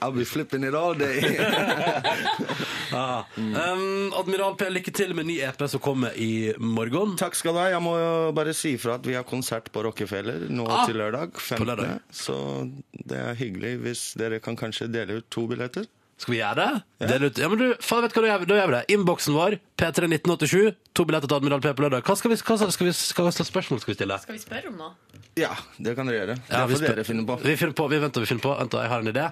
[SPEAKER 12] I'll be flipping it all day.
[SPEAKER 2] Ah. Um, Admiral P, lykke til med ny EP som kommer i morgen.
[SPEAKER 12] Takk skal du ha. Jeg må jo bare si ifra at vi har konsert på Rockefeller nå
[SPEAKER 2] Ah,
[SPEAKER 12] til lørdag. 15.
[SPEAKER 2] lørdag.
[SPEAKER 12] Så det er hyggelig hvis dere kan kanskje dele ut to billetter.
[SPEAKER 2] Skal vi gjøre det? Del ut. Ja, men du, faen vet hva du gjør, da gjør vi det. Innboksen vår, P31987, to billetter til Admiral P på lørdag. Hva skal vi, hva skal vi, skal vi, hva slags spørsmål skal vi stille?
[SPEAKER 5] Skal vi spørre om noe?
[SPEAKER 12] Ja, det kan dere gjøre.
[SPEAKER 2] Ja,
[SPEAKER 12] det
[SPEAKER 2] vi
[SPEAKER 12] får
[SPEAKER 2] spør-
[SPEAKER 12] dere finne på.
[SPEAKER 2] Vi finner på, vi venter, vi finner på. Vent, da, jeg har en idé.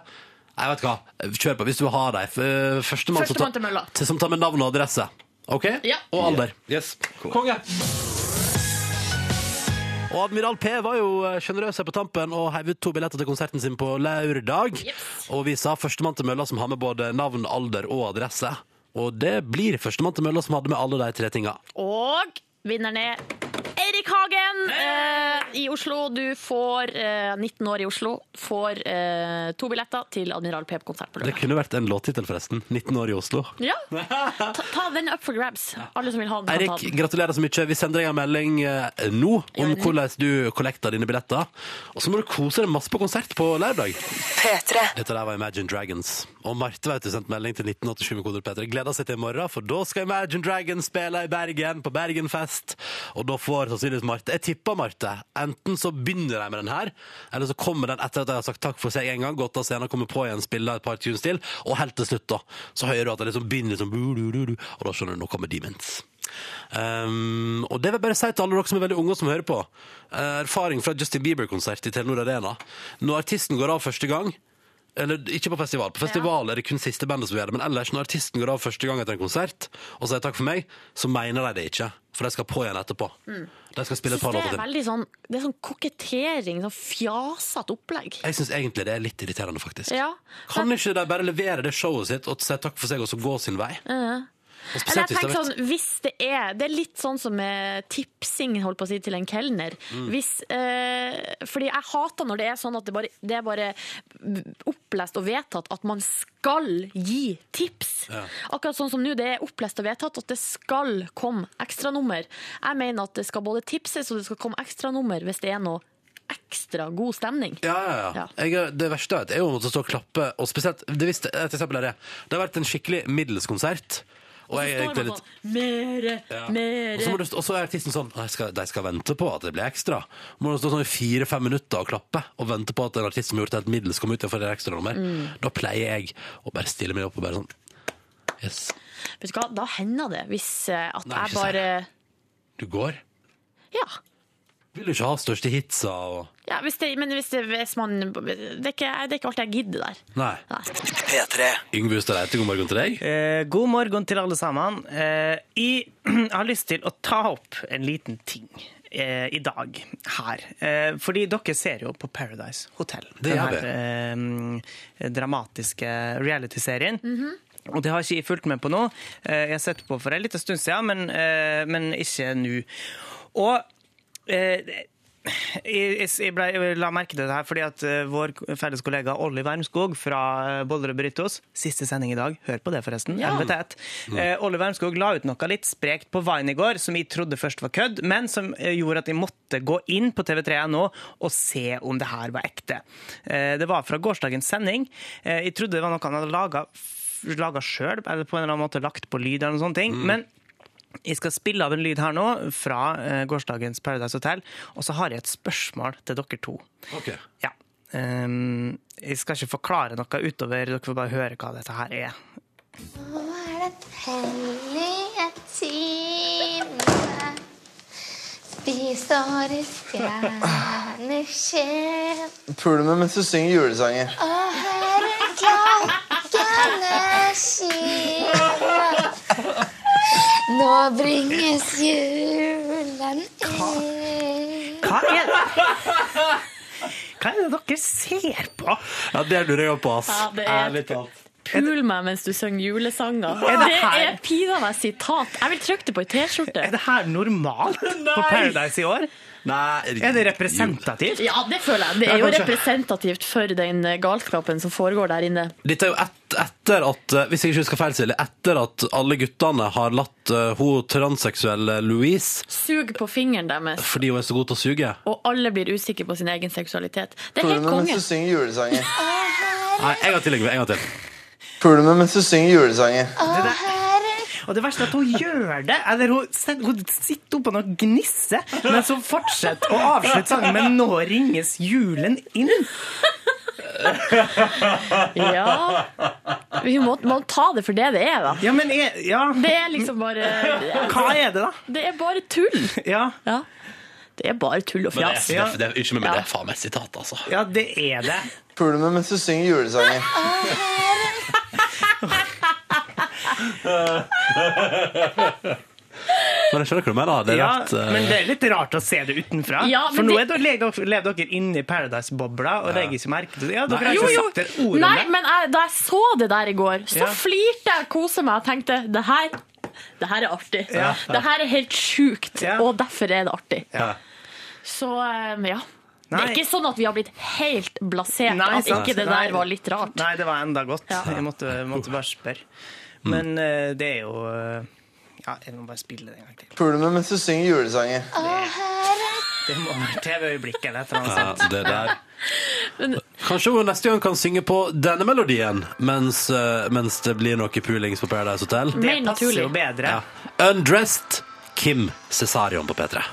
[SPEAKER 2] Nei, vet du hva. Kjør på hvis du vil ha deg. F- Førstemann som,
[SPEAKER 5] Førstemann til
[SPEAKER 2] tar-
[SPEAKER 5] mølla.
[SPEAKER 2] til- som tar med navn og adresse. Ok?
[SPEAKER 5] Ja.
[SPEAKER 2] Og alder.
[SPEAKER 12] Yes.
[SPEAKER 2] Konge! Og Admiral P var jo eh, sjenerøs her på tampen og heiv ut to billetter til konserten sin på lørdag. Og vi sa førstemann til mølla som har med både navn, alder og adresse. Og det blir førstemann til mølla som hadde med alle de tre tinga.
[SPEAKER 5] Og vinneren er Erik Hagen eh, i Oslo. Du får eh, 19 år i Oslo. Får eh, to billetter til Admiral P på konsert på
[SPEAKER 2] Det
[SPEAKER 5] lørdag.
[SPEAKER 2] kunne vært en låttittel, forresten. 19 år i Oslo.
[SPEAKER 5] Ja. Ta, ta den up for grabs. Alle som vil ha den, kan ta
[SPEAKER 2] Eirik,
[SPEAKER 5] den.
[SPEAKER 2] gratulerer så mye. Vi sender deg en melding eh, nå om hvordan du kollekter dine billetter. Og så må du kose deg masse på konsert på lørdag.
[SPEAKER 1] P3.
[SPEAKER 2] Dette der var Imagine Dragons. Og Marte vet du sendte melding til 1987 med koder P3. Gleder seg til i morgen, for da skal Imagine Dragons spille i Bergen, på Bergenfest. Og da får sannsynligvis Marte Jeg tipper Marte. Enten så begynner de med den her, eller så kommer den etter at de har sagt takk for seg en gang, gått av scenen, kommer på igjen, spiller et par tunes til, og helt til slutt, da, så hører du at det liksom begynner sånn bu-du-du-du, og da skjønner du nå kommer Demons. Um, og det vil jeg bare si til alle dere som er veldig unge og som hører på. Eh, erfaring fra Justin Bieber-konsert i Telenor Arena. Når artisten går av første gang eller ikke på festival. På festival er det kun siste bandet som gjør det. Men ellers, når artisten går av første gang etter en konsert og sier takk for meg, så mener de det ikke. For de skal på igjen etterpå.
[SPEAKER 5] Mm.
[SPEAKER 2] De skal
[SPEAKER 5] Jeg
[SPEAKER 2] spille et
[SPEAKER 5] synes
[SPEAKER 2] par
[SPEAKER 5] det
[SPEAKER 2] låter
[SPEAKER 5] er
[SPEAKER 2] til.
[SPEAKER 5] veldig sånn, det er sånn kokettering, sånn fjasete opplegg.
[SPEAKER 2] Jeg syns egentlig det er litt irriterende, faktisk.
[SPEAKER 5] Ja.
[SPEAKER 2] Eh, Kan ikke de bare levere det showet sitt og si takk for seg, og så gå sin vei?
[SPEAKER 5] Eh.
[SPEAKER 2] Og
[SPEAKER 5] Eller
[SPEAKER 2] spesielt
[SPEAKER 5] jeg
[SPEAKER 2] hvis de
[SPEAKER 5] tenker
[SPEAKER 2] vet
[SPEAKER 5] sånn, hvis det er Det er litt sånn som med tipsing holdt på å si, til en kelner.
[SPEAKER 2] Mm.
[SPEAKER 5] Hvis, eh, fordi jeg hater når det er sånn at det bare, det er bare opplest og vedtatt at man skal gi tips.
[SPEAKER 2] Ja.
[SPEAKER 5] Akkurat sånn som nå, det er opplest og vedtatt at det skal komme ekstranummer. Jeg mener at det skal både tipses og det skal komme ekstranummer hvis det er noe ekstra god stemning.
[SPEAKER 2] Ja, ja, ja. Jeg, er- det verste jeg vet, er jo å måtte stå og klappe, og spesielt det, visste, et eksempel er det. Det har vært en skikkelig middels konsert. Og, jeg,
[SPEAKER 5] Står
[SPEAKER 2] egentlig
[SPEAKER 5] man
[SPEAKER 2] litt,
[SPEAKER 5] sånn, Mere,
[SPEAKER 2] Ja. og, så må
[SPEAKER 5] mere
[SPEAKER 2] du, st- og så er artisten sånn «Nei, skal, De skal vente på at det blir ekstra. Må du stå sånn i fire-fem minutter og klappe og vente på at en artist som har gjort det helt middels, kommer ut og får et ekstra nummer.
[SPEAKER 5] Mm.
[SPEAKER 2] Da pleier jeg å bare stille meg opp og bare sånn Yes.
[SPEAKER 5] Vet du hva, da hender det hvis eh, at
[SPEAKER 2] Nei, ikke
[SPEAKER 5] jeg
[SPEAKER 2] si
[SPEAKER 5] bare
[SPEAKER 2] Du går.
[SPEAKER 5] Ja.
[SPEAKER 2] Vil du ikke ha største hitsa og
[SPEAKER 5] ja hvis det, men hvis, det, hvis man det er, ikke, det er ikke alltid jeg gidder der.
[SPEAKER 2] Nei. P3. Yngve Hustad Reite, god morgen til deg.
[SPEAKER 3] Eh, god morgen til alle sammen. Eh, jeg har lyst til å ta opp en liten ting eh, i dag her. Eh, fordi dere ser jo på Paradise Hotel.
[SPEAKER 2] Det gjør vi.
[SPEAKER 3] Den her eh, dramatiske realityserien. Og det har ikke jeg fulgt med på nå. Eh, jeg har sett på for en liten stund siden, men, eh, men ikke nå. Og eh, jeg, jeg- jeg, ble, jeg la merke til det her fordi at eh, vår felles kollega Olli Wermskog fra eh, Bollerud Brytos, siste sending i dag, hør på det forresten,
[SPEAKER 8] Ja.
[SPEAKER 3] 11 til 1.
[SPEAKER 8] Mm.
[SPEAKER 3] Eh, Olli Wermskog la ut noe litt sprekt på Vine i går som jeg trodde først var kødd, men som eh, gjorde at jeg måtte gå inn på TV3 nå og se om det her var ekte. Eh, det var fra gårsdagens sending. Eh, jeg trodde det var noe han hadde laga, laga sjøl, eller på en eller annen måte lagt på lyd eller noen sånne ting. men jeg skal spille av en lyd her nå fra eh, gårsdagens Paradise Hotel, og så har jeg et spørsmål til dere to.
[SPEAKER 2] Ok.
[SPEAKER 3] Ja. Ehm, jeg skal ikke forklare noe utover, dere får bare høre hva dette her er.
[SPEAKER 14] Nå er det hellige time. Spis åre stjerner skjev.
[SPEAKER 15] Pule meg mens du synger julesanger.
[SPEAKER 14] Og hører klokkene skille. Nå bringes julen inn.
[SPEAKER 3] Hva er Hva er det dere ser på?
[SPEAKER 2] Ja, det lurer jeg på, ass.
[SPEAKER 5] Ja, det er-
[SPEAKER 2] Ærlig talt.
[SPEAKER 5] Pul meg mens du synger julesanger.
[SPEAKER 3] Er det
[SPEAKER 5] Det
[SPEAKER 3] her-
[SPEAKER 5] er pinadø meg sitat. Jeg vil trykke det på ei T-skjorte.
[SPEAKER 3] Er det her normalt på Paradise i år?
[SPEAKER 15] Nei.
[SPEAKER 3] Er det representativt?
[SPEAKER 5] Ja, det føler jeg. Det er jo
[SPEAKER 2] Ja, kanskje.
[SPEAKER 5] representativt for den galskapen som foregår der inne.
[SPEAKER 2] Dette er jo et, etter at eh, Hvis jeg ikke husker feil, Silje, etter at alle guttene har latt eh, hun transseksuelle Louise
[SPEAKER 5] Sug på fingeren deres,
[SPEAKER 2] fordi hun er så god til å suge
[SPEAKER 5] og alle blir usikre på sin egen seksualitet. Det er
[SPEAKER 15] Pule
[SPEAKER 5] helt
[SPEAKER 15] meg
[SPEAKER 5] konge.
[SPEAKER 15] mens du synger julesanger.
[SPEAKER 2] Nei, en gang til, Yngve. En gang til.
[SPEAKER 15] Pule meg mens du synger julesanger.
[SPEAKER 3] Det der- Og det verste er at hun gjør det. Eller hun, sen- hun sitter oppå og gnisser, mens hun fortsetter å avslutte sangen med 'Nå ringes julen inn'.
[SPEAKER 5] Ja. Vi må, må ta det for det det er, da.
[SPEAKER 3] Ja, men
[SPEAKER 5] Det er liksom bare
[SPEAKER 3] Hva er det, da?
[SPEAKER 5] Det er bare tull.
[SPEAKER 3] Ja.
[SPEAKER 5] Det er bare tull og
[SPEAKER 2] Men det,
[SPEAKER 5] fjas.
[SPEAKER 2] er- det, er- det, er- unnskyld meg, men
[SPEAKER 5] Ja.
[SPEAKER 2] det er faen meg et sitat, altså.
[SPEAKER 3] Ja, det er det.
[SPEAKER 15] Pule meg mens du synger julesanger.
[SPEAKER 2] Men jeg skjønner hva du mener. Det er
[SPEAKER 3] Ja,
[SPEAKER 2] rett, eh,
[SPEAKER 3] men det er litt rart å se det utenfra.
[SPEAKER 5] Ja,
[SPEAKER 3] For
[SPEAKER 5] men
[SPEAKER 3] nå
[SPEAKER 5] det-
[SPEAKER 3] er dere, lever dere- lever dere inne i Paradise-bobla og legger ikke merke til det. Ja, dere har
[SPEAKER 5] Jo,
[SPEAKER 3] ikke
[SPEAKER 5] jo.
[SPEAKER 3] sagt et ord om
[SPEAKER 5] Nei,
[SPEAKER 3] det.
[SPEAKER 5] men jeg, da jeg så det der i går, så
[SPEAKER 3] Ja.
[SPEAKER 5] flirte jeg og koste meg og tenkte det her, det her er artig.
[SPEAKER 3] Ja.
[SPEAKER 5] Det her er helt sjukt, og derfor er det artig.
[SPEAKER 3] Ja.
[SPEAKER 5] Så eh, ja. Det
[SPEAKER 3] Nei.
[SPEAKER 5] er ikke sånn at vi har blitt helt blasert
[SPEAKER 3] Nei,
[SPEAKER 5] at
[SPEAKER 3] sant.
[SPEAKER 5] ikke det
[SPEAKER 3] Nei.
[SPEAKER 5] der var litt rart.
[SPEAKER 3] Nei, det var enda godt.
[SPEAKER 5] Ja.
[SPEAKER 3] Jeg måtte, måtte bare spørre. Men eh, det er jo eh, Ja, jeg må bare spille det en gang til.
[SPEAKER 15] Pule meg mens du synger julesanger.
[SPEAKER 3] Det må være TV-øyeblikket eller et eller
[SPEAKER 2] ja,
[SPEAKER 3] annet sånt.
[SPEAKER 2] det der. Kanskje hun neste gang kan synge på denne melodien mens, eh, mens det blir noe pulings på Paradise Hotel.
[SPEAKER 3] Det Mer passer naturlig. jo bedre.
[SPEAKER 2] Ja. Undressed Kim Cesarion på P3.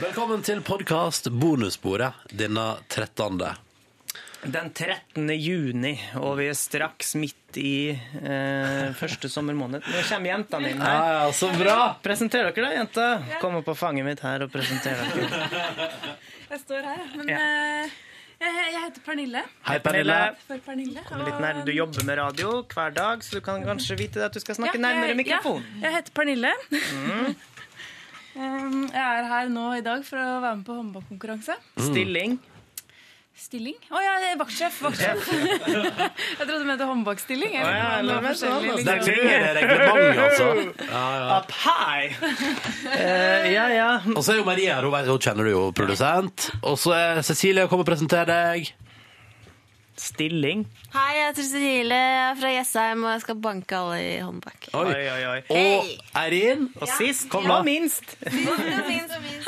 [SPEAKER 2] Velkommen til podkast Bonusbordet denne 13.
[SPEAKER 3] Den 13. juni, og vi er straks midt i eh, første sommermåned. Nå kommer jentene inn her.
[SPEAKER 2] Ja, ja, så bra.
[SPEAKER 3] Presenter dere, da, jenter. Kom opp på fanget mitt her og presenter dere.
[SPEAKER 16] Jeg står her, men
[SPEAKER 3] Ja.
[SPEAKER 16] eh, jeg, jeg heter Pernille.
[SPEAKER 3] Hei, Pernille.
[SPEAKER 16] For Pernille.
[SPEAKER 3] Kom litt
[SPEAKER 16] og-
[SPEAKER 3] nærmere. Du jobber med radio hver dag, så du kan kanskje vite at du skal
[SPEAKER 16] Ja,
[SPEAKER 3] snakke
[SPEAKER 16] jeg-
[SPEAKER 3] nærmere mikrofon.
[SPEAKER 16] Ja, jeg heter Pernille.
[SPEAKER 3] Mm.
[SPEAKER 16] Um, jeg er her nå i dag for å være med på håndballkonkurranse.
[SPEAKER 3] Stilling.
[SPEAKER 16] Stilling? Å ja, jeg er vaktsjef. vaktsjef. jeg trodde du mente håndbakstilling. jeg.
[SPEAKER 3] Å, ja,
[SPEAKER 16] Det var
[SPEAKER 3] la meg sånn,
[SPEAKER 16] forskjellig, liksom.
[SPEAKER 3] altså. Det er reglement, altså.
[SPEAKER 2] Up
[SPEAKER 3] high! Eh, ja, ja.
[SPEAKER 2] Og så er jo Maria her, hun, vet- hun kjenner du jo, produsent. Og så er Cecilie kommer og presenterer deg.
[SPEAKER 3] Stilling.
[SPEAKER 17] Hei, jeg heter Cecilie jeg er fra Jessheim, og jeg skal banke alle i håndbak.
[SPEAKER 3] Oi, oi, oi.
[SPEAKER 17] Hei.
[SPEAKER 3] Eirin. Og sist, kom da.
[SPEAKER 17] Ja.
[SPEAKER 3] minst.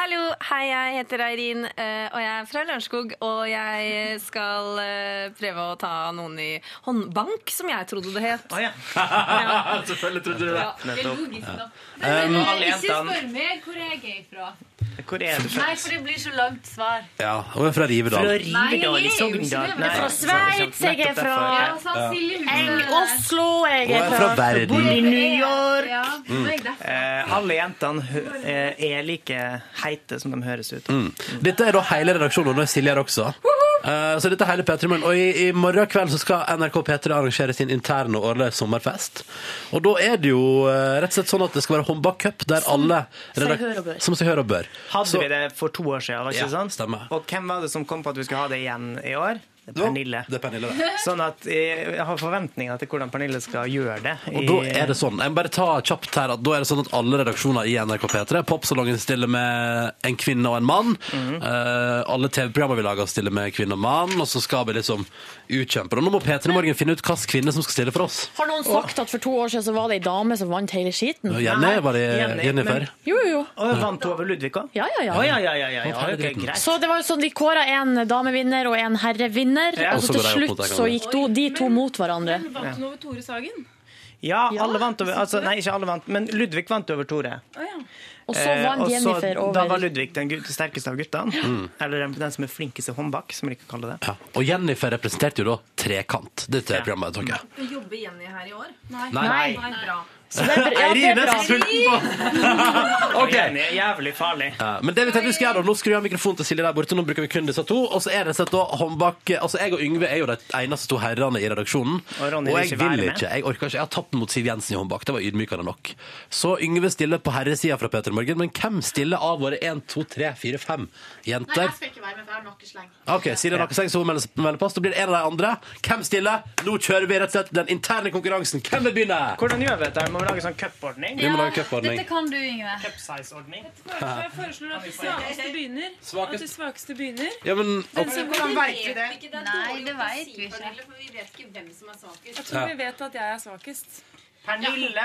[SPEAKER 17] Hallo, hei, jeg heter Eirin, eh, og jeg er fra Lørenskog. Og jeg skal eh, prøve å ta noen i håndbank, som jeg trodde det het.
[SPEAKER 2] Selvfølgelig trodde du det.
[SPEAKER 4] Det er logisk, da.
[SPEAKER 2] Ja. Um,
[SPEAKER 4] Men ikke spør meg hvor jeg er fra.
[SPEAKER 3] Hvor er du fra?
[SPEAKER 4] Nei, for det blir så langt svar.
[SPEAKER 2] Ja, hun er fra Rivedal.
[SPEAKER 3] Fra Rivedal i Sogndal.
[SPEAKER 4] Nei, jeg er jo ikke det, men jeg er fra Sveits, jeg er fra- Ja,
[SPEAKER 2] Ja.
[SPEAKER 4] Jeg-
[SPEAKER 5] Oslo, jeg
[SPEAKER 2] Hun er fra verden.
[SPEAKER 3] Bor i New York.
[SPEAKER 4] Ja, nå er jeg derfra.
[SPEAKER 3] Eh, alle jentene hø- eh, er like heite som de høres ut.
[SPEAKER 2] Mm. Dette er da hele redaksjonen, og nå er Silje her også. Eh, så dette er hele P3 Morgen. Og i, i morgen kveld så skal NRK P3 arrangere sin interne og årlige sommerfest. Og da er det jo eh, rett og slett sånn at det skal være håndbakcup der alle
[SPEAKER 3] seg
[SPEAKER 2] redak-
[SPEAKER 3] hør og bør.
[SPEAKER 2] Som seg hør og bør.
[SPEAKER 3] Hadde
[SPEAKER 2] Så-
[SPEAKER 3] vi det for to år siden, var ikke
[SPEAKER 2] Ja,
[SPEAKER 3] det sant? Og hvem var det som kom på at vi skulle ha det igjen i år? Det er Pernille.
[SPEAKER 2] det.
[SPEAKER 3] Sånn at eh, jeg har forventninger til hvordan Pernille skal gjøre det.
[SPEAKER 2] Og da er det sånn, jeg må bare ta kjapt her at da er det sånn at alle redaksjoner i NRK P3, Popsalongen stiller med en kvinne og en mann,
[SPEAKER 3] Mhm.
[SPEAKER 2] Eh, alle TV-programmer vi lager stiller med kvinne og mann, og så skal vi liksom utkjempe. Og nå må P3 Morgen finne ut hvilken kvinne som skal stille for oss.
[SPEAKER 5] Har noen sagt at for to år siden så var det ei dame som vant hele skiten?
[SPEAKER 2] Ja, Jenny var det- Jenny
[SPEAKER 3] men-
[SPEAKER 2] før.
[SPEAKER 5] Jo, jo, jo.
[SPEAKER 3] Og vant hun over Ludvig òg?
[SPEAKER 5] Ja, ja, ja.
[SPEAKER 3] ja, ja, ja, ja, ja. ok, greit.
[SPEAKER 5] Så det var jo sånn, De kåra en damevinner og en herrevinner,
[SPEAKER 3] Ja.
[SPEAKER 5] og
[SPEAKER 3] Og
[SPEAKER 5] så
[SPEAKER 3] så går
[SPEAKER 5] til
[SPEAKER 3] de opp mot
[SPEAKER 5] slutt så
[SPEAKER 3] hverandre.
[SPEAKER 5] gikk do, de to mot hverandre.
[SPEAKER 16] Vant hun over Tore Sagen?
[SPEAKER 3] Ja, alle vant over altså, Nei, ikke alle vant, men Ludvig vant over Tore.
[SPEAKER 16] Å ja.
[SPEAKER 5] Og så
[SPEAKER 3] Eh,
[SPEAKER 5] vant
[SPEAKER 3] og så-
[SPEAKER 5] Jennifer
[SPEAKER 3] Da var
[SPEAKER 5] over
[SPEAKER 3] Ludvig den gut- sterkeste av guttene. Eller den, den som er flinkest i håndbak, som vi liker å kalle det.
[SPEAKER 2] Og Jennifer representerte jo da trekant, det TV-programmet, tok jeg.
[SPEAKER 16] Jobber Jenny her i år?
[SPEAKER 2] Nei. Nei.
[SPEAKER 16] bra.
[SPEAKER 2] Så det er bra. Ja, det er bra. Eirin er så
[SPEAKER 3] sulten
[SPEAKER 2] Ok.
[SPEAKER 3] Jenny er jævlig farlig.
[SPEAKER 2] Ja, men det vi tenkte vi skulle gjøre da, nå skrur jeg mikrofonen til Silje der borte, nå bruker vi kun disse to, og så er det sett da håndbak, altså jeg og Yngve er jo de eneste to herrene i redaksjonen,
[SPEAKER 3] Og Ronny vil
[SPEAKER 2] jeg
[SPEAKER 3] ikke være
[SPEAKER 2] vil
[SPEAKER 3] med.
[SPEAKER 2] ikke, jeg orker ikke, jeg har tapt mot Siv Jensen i håndbak, det var ydmykende nok. Så Yngve stiller på herresiden fra Peter Morgen, men hvem stiller av våre 1, 2, 3, 4, 5
[SPEAKER 18] Nei,
[SPEAKER 2] jenter?
[SPEAKER 18] jeg skal ikke være med, for jeg har nakkesleng.
[SPEAKER 2] Ok, Silje har så hun melder, melder pass, da blir det en av de andre. Hvem stiller? Nå kjører vi rett og slett den interne konkurransen. Hvem vil begynne?
[SPEAKER 3] Hvordan gjør vi dette? Må vi lage sånn cupordning?
[SPEAKER 2] Vi må lage cupordning.
[SPEAKER 16] Dette kan du, Yngve.
[SPEAKER 3] Cupsize-ordning.
[SPEAKER 16] Jeg foreslår at de svakeste begynner. At de svakeste begynner.
[SPEAKER 2] Ja, men...
[SPEAKER 16] Den som går
[SPEAKER 4] vi det? Ikke, det
[SPEAKER 16] Nei, det
[SPEAKER 4] vet vi ikke. For vi vet ikke hvem som er svakest.
[SPEAKER 16] Jeg tror vi vet at jeg er svakest.
[SPEAKER 3] Pernille.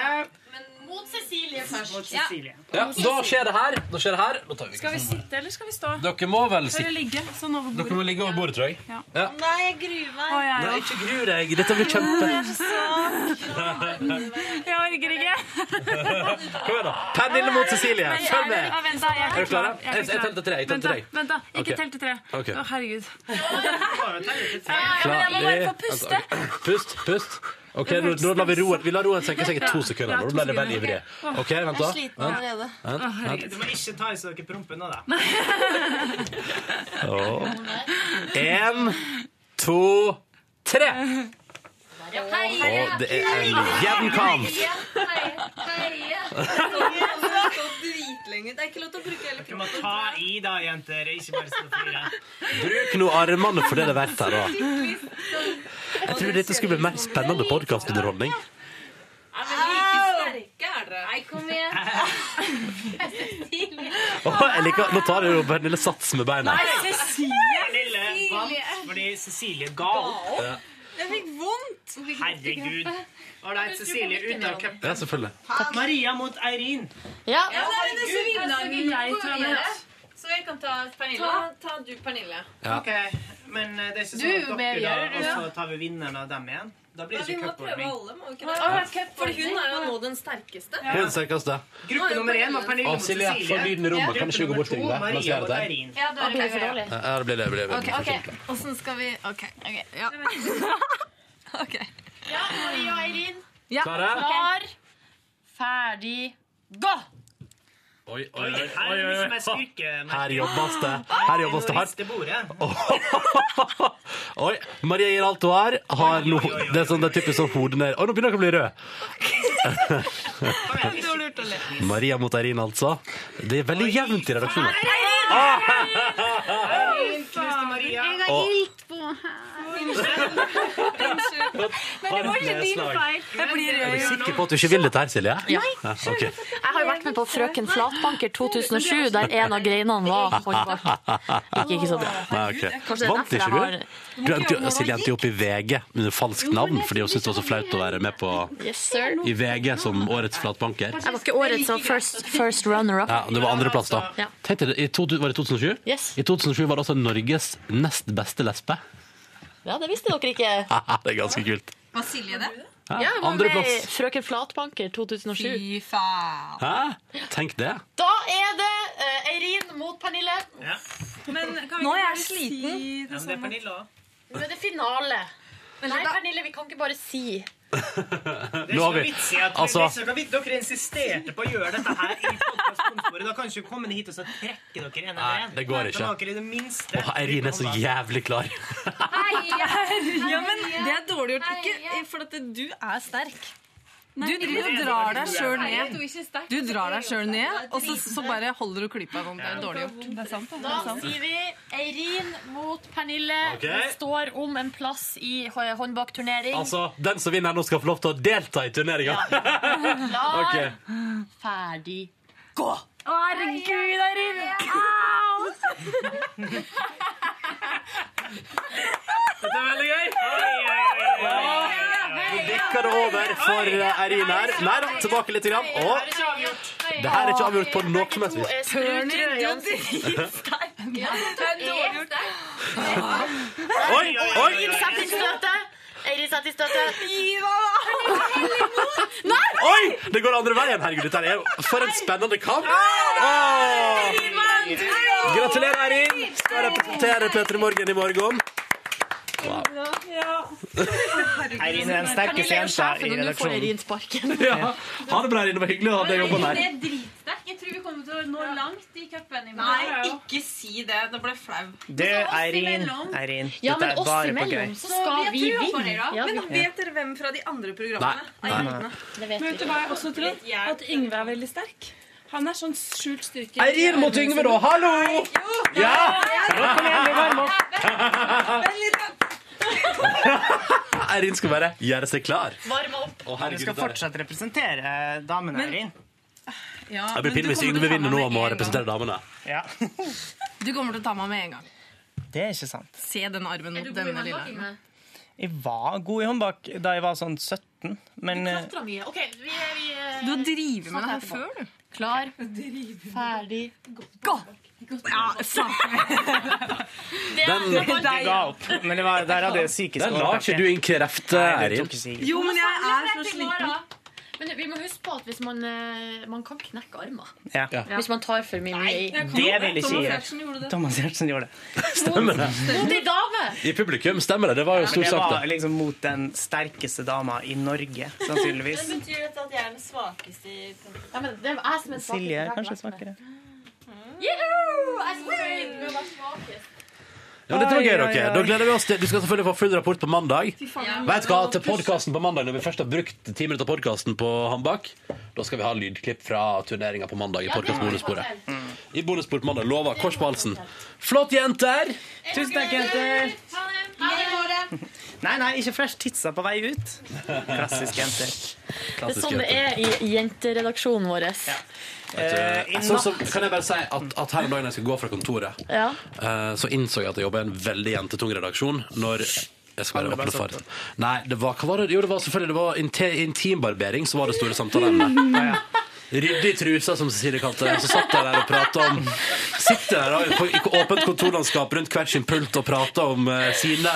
[SPEAKER 4] Men mot Cecilie først.
[SPEAKER 16] Mot
[SPEAKER 4] Ja.
[SPEAKER 16] Cecilie.
[SPEAKER 2] Ja, da skjer det her, da skjer det her. Nå tar vi sånn.
[SPEAKER 16] Skal vi sitte, eller skal vi stå?
[SPEAKER 2] Dere må vel
[SPEAKER 16] Eller
[SPEAKER 2] sitte.
[SPEAKER 16] ligge, sånn over bordet.
[SPEAKER 2] Dere må ligge over bordet, tror jeg.
[SPEAKER 16] Ja.
[SPEAKER 2] Ja.
[SPEAKER 16] Nei, jeg gruer meg. Å, jeg,
[SPEAKER 2] Nei,
[SPEAKER 16] òg.
[SPEAKER 2] ikke gru deg. Dette blir kjempe...
[SPEAKER 16] jeg orker ikke.
[SPEAKER 2] Kom igjen, da. Pernille mot Cecilie.
[SPEAKER 16] Men jeg
[SPEAKER 2] Følg
[SPEAKER 16] er- Ja,
[SPEAKER 2] med.
[SPEAKER 16] vent, da. Jeg er
[SPEAKER 2] Er du klare?
[SPEAKER 16] klar. Jeg
[SPEAKER 2] Jeg-
[SPEAKER 16] er
[SPEAKER 2] jeg
[SPEAKER 16] klar.
[SPEAKER 2] teller til tre, jeg
[SPEAKER 16] Vent,
[SPEAKER 2] teller
[SPEAKER 16] da,
[SPEAKER 2] til tre.
[SPEAKER 16] Vent, da. Ikke
[SPEAKER 2] Ok.
[SPEAKER 16] tell til tre.
[SPEAKER 2] Ok.
[SPEAKER 16] Å, herregud. Ja, men jeg må bare få puste.
[SPEAKER 2] Ferdig. altså, Pust, pust. Ok, nå, nå lar vi roen Vi lar roen senke seg i to sekunder. Nå ble det veldig ivrig. Ok, vent da. Vent, vent, vent.
[SPEAKER 3] Du må ikke ta i så dere promper nå, da.
[SPEAKER 2] Åh. En, to, tre. Å, det er en jevn kamp.
[SPEAKER 4] Det er ikke lov til å bruke hele
[SPEAKER 3] Dere må ta i, da, jenter. Ikke bare stå og flire.
[SPEAKER 2] Bruk nå armene for det det er verdt her, da. Jeg tror dette skulle bli mer spennende podkastunderholdning.
[SPEAKER 4] Nei, kom igjen.
[SPEAKER 2] Åh, jeg liker, nå tar jeg jo bare en lille sats med beina.
[SPEAKER 4] Nei, Cecilie!
[SPEAKER 3] Pernille vant fordi Cecilie ga opp.
[SPEAKER 2] Ja.
[SPEAKER 16] Jeg fikk vondt.
[SPEAKER 3] Herregud. Å nei, Cecilie ute av cupen.
[SPEAKER 2] Ja, selvfølgelig.
[SPEAKER 3] Maria mot Eirin.
[SPEAKER 5] Ja,
[SPEAKER 4] Ja, da er det disse
[SPEAKER 16] herregud.
[SPEAKER 4] vinnerne
[SPEAKER 16] Altså, jeg
[SPEAKER 4] går
[SPEAKER 16] tror jeg
[SPEAKER 4] videre.
[SPEAKER 16] vet.
[SPEAKER 4] Så jeg kan ta Pernille.
[SPEAKER 16] Ta-
[SPEAKER 4] Ta, du, Pernille.
[SPEAKER 2] Ja.
[SPEAKER 3] Ok, men eh, det er ikke
[SPEAKER 4] Du er
[SPEAKER 3] sånn
[SPEAKER 4] jo
[SPEAKER 3] at
[SPEAKER 4] med
[SPEAKER 3] dere da,
[SPEAKER 4] videre,
[SPEAKER 3] og
[SPEAKER 4] du, ja.
[SPEAKER 3] så tar vi vinneren av dem igjen. Da blir
[SPEAKER 4] Ja,
[SPEAKER 3] det
[SPEAKER 4] vi
[SPEAKER 3] ikke
[SPEAKER 4] må prøve
[SPEAKER 3] cupordning.
[SPEAKER 4] alle, må vi ikke det?
[SPEAKER 16] Ja, det er cup-
[SPEAKER 4] For hun er jo nå den sterkeste.
[SPEAKER 2] Hun er den sterkeste.
[SPEAKER 3] Gruppe nummer én var Pernille
[SPEAKER 2] Å,
[SPEAKER 3] mot
[SPEAKER 2] Silje,
[SPEAKER 3] Cecilie.
[SPEAKER 2] få lyden i rommet. Kan du ikke gå bort til Yngve?
[SPEAKER 3] Gruppe
[SPEAKER 2] La
[SPEAKER 3] nummer
[SPEAKER 2] oss
[SPEAKER 3] to, Maria
[SPEAKER 2] gjøre
[SPEAKER 3] mot
[SPEAKER 2] det.
[SPEAKER 3] Eirin.
[SPEAKER 4] Ja, da er det for dårlig.
[SPEAKER 2] Ja, det blir det. blir det.
[SPEAKER 4] Ok, ok. Åssen skal vi OK. ok, Ja. Ok.
[SPEAKER 18] Ja, Marie og Eirin.
[SPEAKER 4] Ja.
[SPEAKER 2] Klare?
[SPEAKER 18] Klar, ferdig, gå!
[SPEAKER 2] Oi, oi,
[SPEAKER 3] Oi,
[SPEAKER 2] oi,
[SPEAKER 3] her er det mye mer styrke.
[SPEAKER 2] Her jobbes det. Her jobbes det hardt.
[SPEAKER 3] Nå rister bordet.
[SPEAKER 2] Oi, Maria gir alt hun har. har no, det er sånn det er typisk sånn hodet ned. Oi, nå begynner dere å bli rød.
[SPEAKER 4] Det var lurt å le.
[SPEAKER 2] Maria mot Eirin, altså. Det er veldig jevnt Ah! i redaksjonen.
[SPEAKER 3] Eirin knuste Maria.
[SPEAKER 2] Og-
[SPEAKER 18] på her.
[SPEAKER 19] Men det var ikke din feil. Jeg blir
[SPEAKER 2] Er du sikker på at du ikke vil dette her, Silje?
[SPEAKER 5] Ja.
[SPEAKER 2] ok.
[SPEAKER 5] Jeg har jo vært med på Frøken Flatbanker 2007, der en av greinene var håndbak. Gikk ikke så bra.
[SPEAKER 2] Nei, ok.
[SPEAKER 5] Kanskje det er
[SPEAKER 2] Vant
[SPEAKER 5] derfor
[SPEAKER 2] ikke
[SPEAKER 5] jeg
[SPEAKER 2] du?
[SPEAKER 5] har-
[SPEAKER 2] du endte, Silje endte jo opp i VG under falskt navn fordi hun syntes det var så flaut å være med på
[SPEAKER 5] Yes, sir.
[SPEAKER 2] i VG som årets flatbanker.
[SPEAKER 5] Jeg var ikke årets som first, first runner-up.
[SPEAKER 2] Ja, det var andreplass, da.
[SPEAKER 5] Ja.
[SPEAKER 2] Tenk deg, i to, var det 2007?
[SPEAKER 5] Yes.
[SPEAKER 2] I 2007 var det altså Norges nest beste lesbe.
[SPEAKER 5] Ja, det visste dere ikke.
[SPEAKER 2] Haha, det er ganske kult.
[SPEAKER 19] Var Silje det?
[SPEAKER 2] Hæ?
[SPEAKER 5] Ja, jeg var med i
[SPEAKER 2] Andreplass.
[SPEAKER 5] Frøken Flatbanker 2007. Fy faen.
[SPEAKER 2] Hæ? Tenk det.
[SPEAKER 5] Da er det eh, Eirin mot Pernille.
[SPEAKER 3] Nå er jeg
[SPEAKER 5] sliten.
[SPEAKER 3] det er Pernille òg.
[SPEAKER 5] Nå er det finale. Nei, Pernille, vi kan ikke bare si.
[SPEAKER 3] Det er
[SPEAKER 2] Nå har
[SPEAKER 3] ikke
[SPEAKER 2] vi-
[SPEAKER 3] noe vits i at
[SPEAKER 2] altså-
[SPEAKER 3] dere, dere, dere insisterte på å gjøre dette her i podcastkontoret. Da kan ikke dere komme ned hit og så trekke dere en etter en.
[SPEAKER 2] det går ikke.
[SPEAKER 3] Da har dere i det minste
[SPEAKER 2] Åh, Eirin er så jævlig klar.
[SPEAKER 3] Ja,
[SPEAKER 20] Ja,
[SPEAKER 3] men
[SPEAKER 20] men det er dårlig gjort, ikke for at du er sterk. Du driver og
[SPEAKER 3] Nei,
[SPEAKER 20] drar
[SPEAKER 3] det er
[SPEAKER 20] deg
[SPEAKER 3] ikke
[SPEAKER 20] sjøl
[SPEAKER 3] du er.
[SPEAKER 20] ned. Du drar deg sjøl ned, og så, så bare holder du klypa om det er dårlig gjort.
[SPEAKER 3] Det er sant,
[SPEAKER 5] Da sier vi Eirin mot Pernille.
[SPEAKER 2] Ok.
[SPEAKER 5] Det står om en plass i hå- håndbakturnering.
[SPEAKER 2] Altså, den som vinner nå, skal få lov til å delta i turneringa.
[SPEAKER 5] Klar,
[SPEAKER 2] Ok.
[SPEAKER 5] ferdig.
[SPEAKER 19] Å, herregud, Eirin! Au!
[SPEAKER 3] Dette er veldig gøy.
[SPEAKER 2] Bikker det over for eh, Eirin her. Nei da, tilbake litt. Grann. Og det her er ikke avgjort på noe som helst vis. Oi, oi!
[SPEAKER 5] Eirin setter inn støtet. Eirin setter inn støtet. Gi Nei!
[SPEAKER 2] Oi! Det går andre veien. Herregud, dette er jo for en spennende kamp. Åh! Gratulerer, Eirin. Skal representere Petter i Morgen i morgen. Wow.
[SPEAKER 3] Eirin er den sterkeste
[SPEAKER 5] Pernille er
[SPEAKER 3] jenta i
[SPEAKER 5] sjefen, og nå får
[SPEAKER 3] redaksjonen.
[SPEAKER 5] Eirin sparken.
[SPEAKER 2] Ja. Ha det bra, Eirin. Det var hyggelig å ha deg jobben her.
[SPEAKER 6] er dritsterk. Jeg tror vi kommer til å nå langt i cupen. i morgen.
[SPEAKER 19] Nei, ikke si det. Da blir jeg flau.
[SPEAKER 3] Det er Eirin. Eirin.
[SPEAKER 19] Ja,
[SPEAKER 3] Dette
[SPEAKER 19] men
[SPEAKER 3] er
[SPEAKER 19] oss
[SPEAKER 3] bare på
[SPEAKER 19] imellom
[SPEAKER 3] gøy.
[SPEAKER 19] så
[SPEAKER 5] skal
[SPEAKER 19] skal
[SPEAKER 5] vi
[SPEAKER 19] vi
[SPEAKER 5] vinne.
[SPEAKER 19] vinne.
[SPEAKER 5] Ja,
[SPEAKER 19] Men
[SPEAKER 5] vi-
[SPEAKER 19] vet dere hvem fra de andre programmene? er
[SPEAKER 2] Nei. Nei.
[SPEAKER 19] jentene?
[SPEAKER 5] Det vet
[SPEAKER 6] Men vet du hva jeg også tror? At Yngve er veldig sterk. Han er sånn skjult styrke.
[SPEAKER 2] Eirin mot Yngve, da. Hallo! Ja!
[SPEAKER 6] Ja, kom igjen, vi varmer
[SPEAKER 2] Eirin skal bare gjøre seg klar.
[SPEAKER 5] Varm opp.
[SPEAKER 2] Å, herregud,
[SPEAKER 3] Du skal
[SPEAKER 2] dette er-
[SPEAKER 3] fortsatt representere damene, Eirin.
[SPEAKER 2] Det
[SPEAKER 20] Ja, men
[SPEAKER 2] blir
[SPEAKER 20] du
[SPEAKER 2] pinlig hvis
[SPEAKER 20] kommer
[SPEAKER 2] Yngve
[SPEAKER 20] til å ta
[SPEAKER 2] vinner nå
[SPEAKER 20] meg
[SPEAKER 2] og må
[SPEAKER 20] med en gang.
[SPEAKER 2] representere damene.
[SPEAKER 3] Ja.
[SPEAKER 20] Du kommer til å ta meg med en gang.
[SPEAKER 3] Det er ikke sant.
[SPEAKER 20] Se den armen mot
[SPEAKER 5] god i
[SPEAKER 20] denne lille
[SPEAKER 5] håndbak,
[SPEAKER 20] armen.
[SPEAKER 3] Jeg var god i håndbak da jeg var sånn 17, men eh,
[SPEAKER 5] Klatra mye. OK, vi, vi eh,
[SPEAKER 20] Du har drevet med det her
[SPEAKER 5] snakker
[SPEAKER 20] før, du.
[SPEAKER 5] Klar, ferdig, gå!
[SPEAKER 20] Ja,
[SPEAKER 5] Det er- det var
[SPEAKER 3] jeg ga opp. Men det var, der hadde jeg psykisk
[SPEAKER 2] Den la ikke du inn kreft, Eirin.
[SPEAKER 20] Jo, men jeg er
[SPEAKER 5] så sliten. Men vi må huske på at hvis man, eh, man kan knekke armer
[SPEAKER 3] Ja.
[SPEAKER 5] Hvis man tar for mye i
[SPEAKER 3] Det vil jeg ikke gjøre. Thomas Giertsen gjorde det.
[SPEAKER 2] Stemmer det.
[SPEAKER 5] Modig dame!
[SPEAKER 2] I publikum stemmer det. Det var jo
[SPEAKER 3] Men
[SPEAKER 2] stor
[SPEAKER 3] jeg
[SPEAKER 2] sak,
[SPEAKER 3] var
[SPEAKER 2] det.
[SPEAKER 3] liksom mot den sterkeste dama i Norge, sannsynligvis.
[SPEAKER 6] betyr dette at jeg er den svakeste i
[SPEAKER 5] Ja, men det er jeg som er svakest.
[SPEAKER 3] Silje
[SPEAKER 5] Jeg
[SPEAKER 3] er
[SPEAKER 5] har
[SPEAKER 3] kanskje
[SPEAKER 5] vært med.
[SPEAKER 3] svakere.
[SPEAKER 5] Juhu! Jeg er så fornøyd med å være svakest.
[SPEAKER 2] Ja, men dette var gøy,
[SPEAKER 3] Oi, oi,
[SPEAKER 2] dere.
[SPEAKER 3] oi.
[SPEAKER 2] Da gleder vi oss til Du skal selvfølgelig få full rapport på mandag.
[SPEAKER 5] Ja.
[SPEAKER 2] Vet du hva, til podkasten på mandag, når vi først har brukt ti minutter av podkasten på Hambak, da skal vi ha lydklipp fra turneringa på mandag i podkast-bonussporet. I bonusspor på mandag. Lover. Kors på halsen. Flott, jenter!
[SPEAKER 3] Tusen takk, jenter! Nei, nei, ikke først. Titsa på vei ut. Klassisk jenter.
[SPEAKER 5] Det er sånn det er i jenteredaksjonen vår.
[SPEAKER 2] Eh, jeg så- så kan jeg bare si at, at her om dagen jeg skal gå fra kontoret,
[SPEAKER 5] Ja.
[SPEAKER 2] eh, så innså jeg at jeg jobber i en veldig jentetung redaksjon når jeg skal være
[SPEAKER 3] Alle bare
[SPEAKER 2] åpne for Nei, det var, hva var det? Jo, det var selvfølgelig det var inte- intimbarbering som var det store samtaleemnet. Rydde i trusa, som Cecilie kalte det. Så satt jeg der og prata om Sitter der da, på i åpent kontorlandskap rundt hver sin pult og prater om eh, sine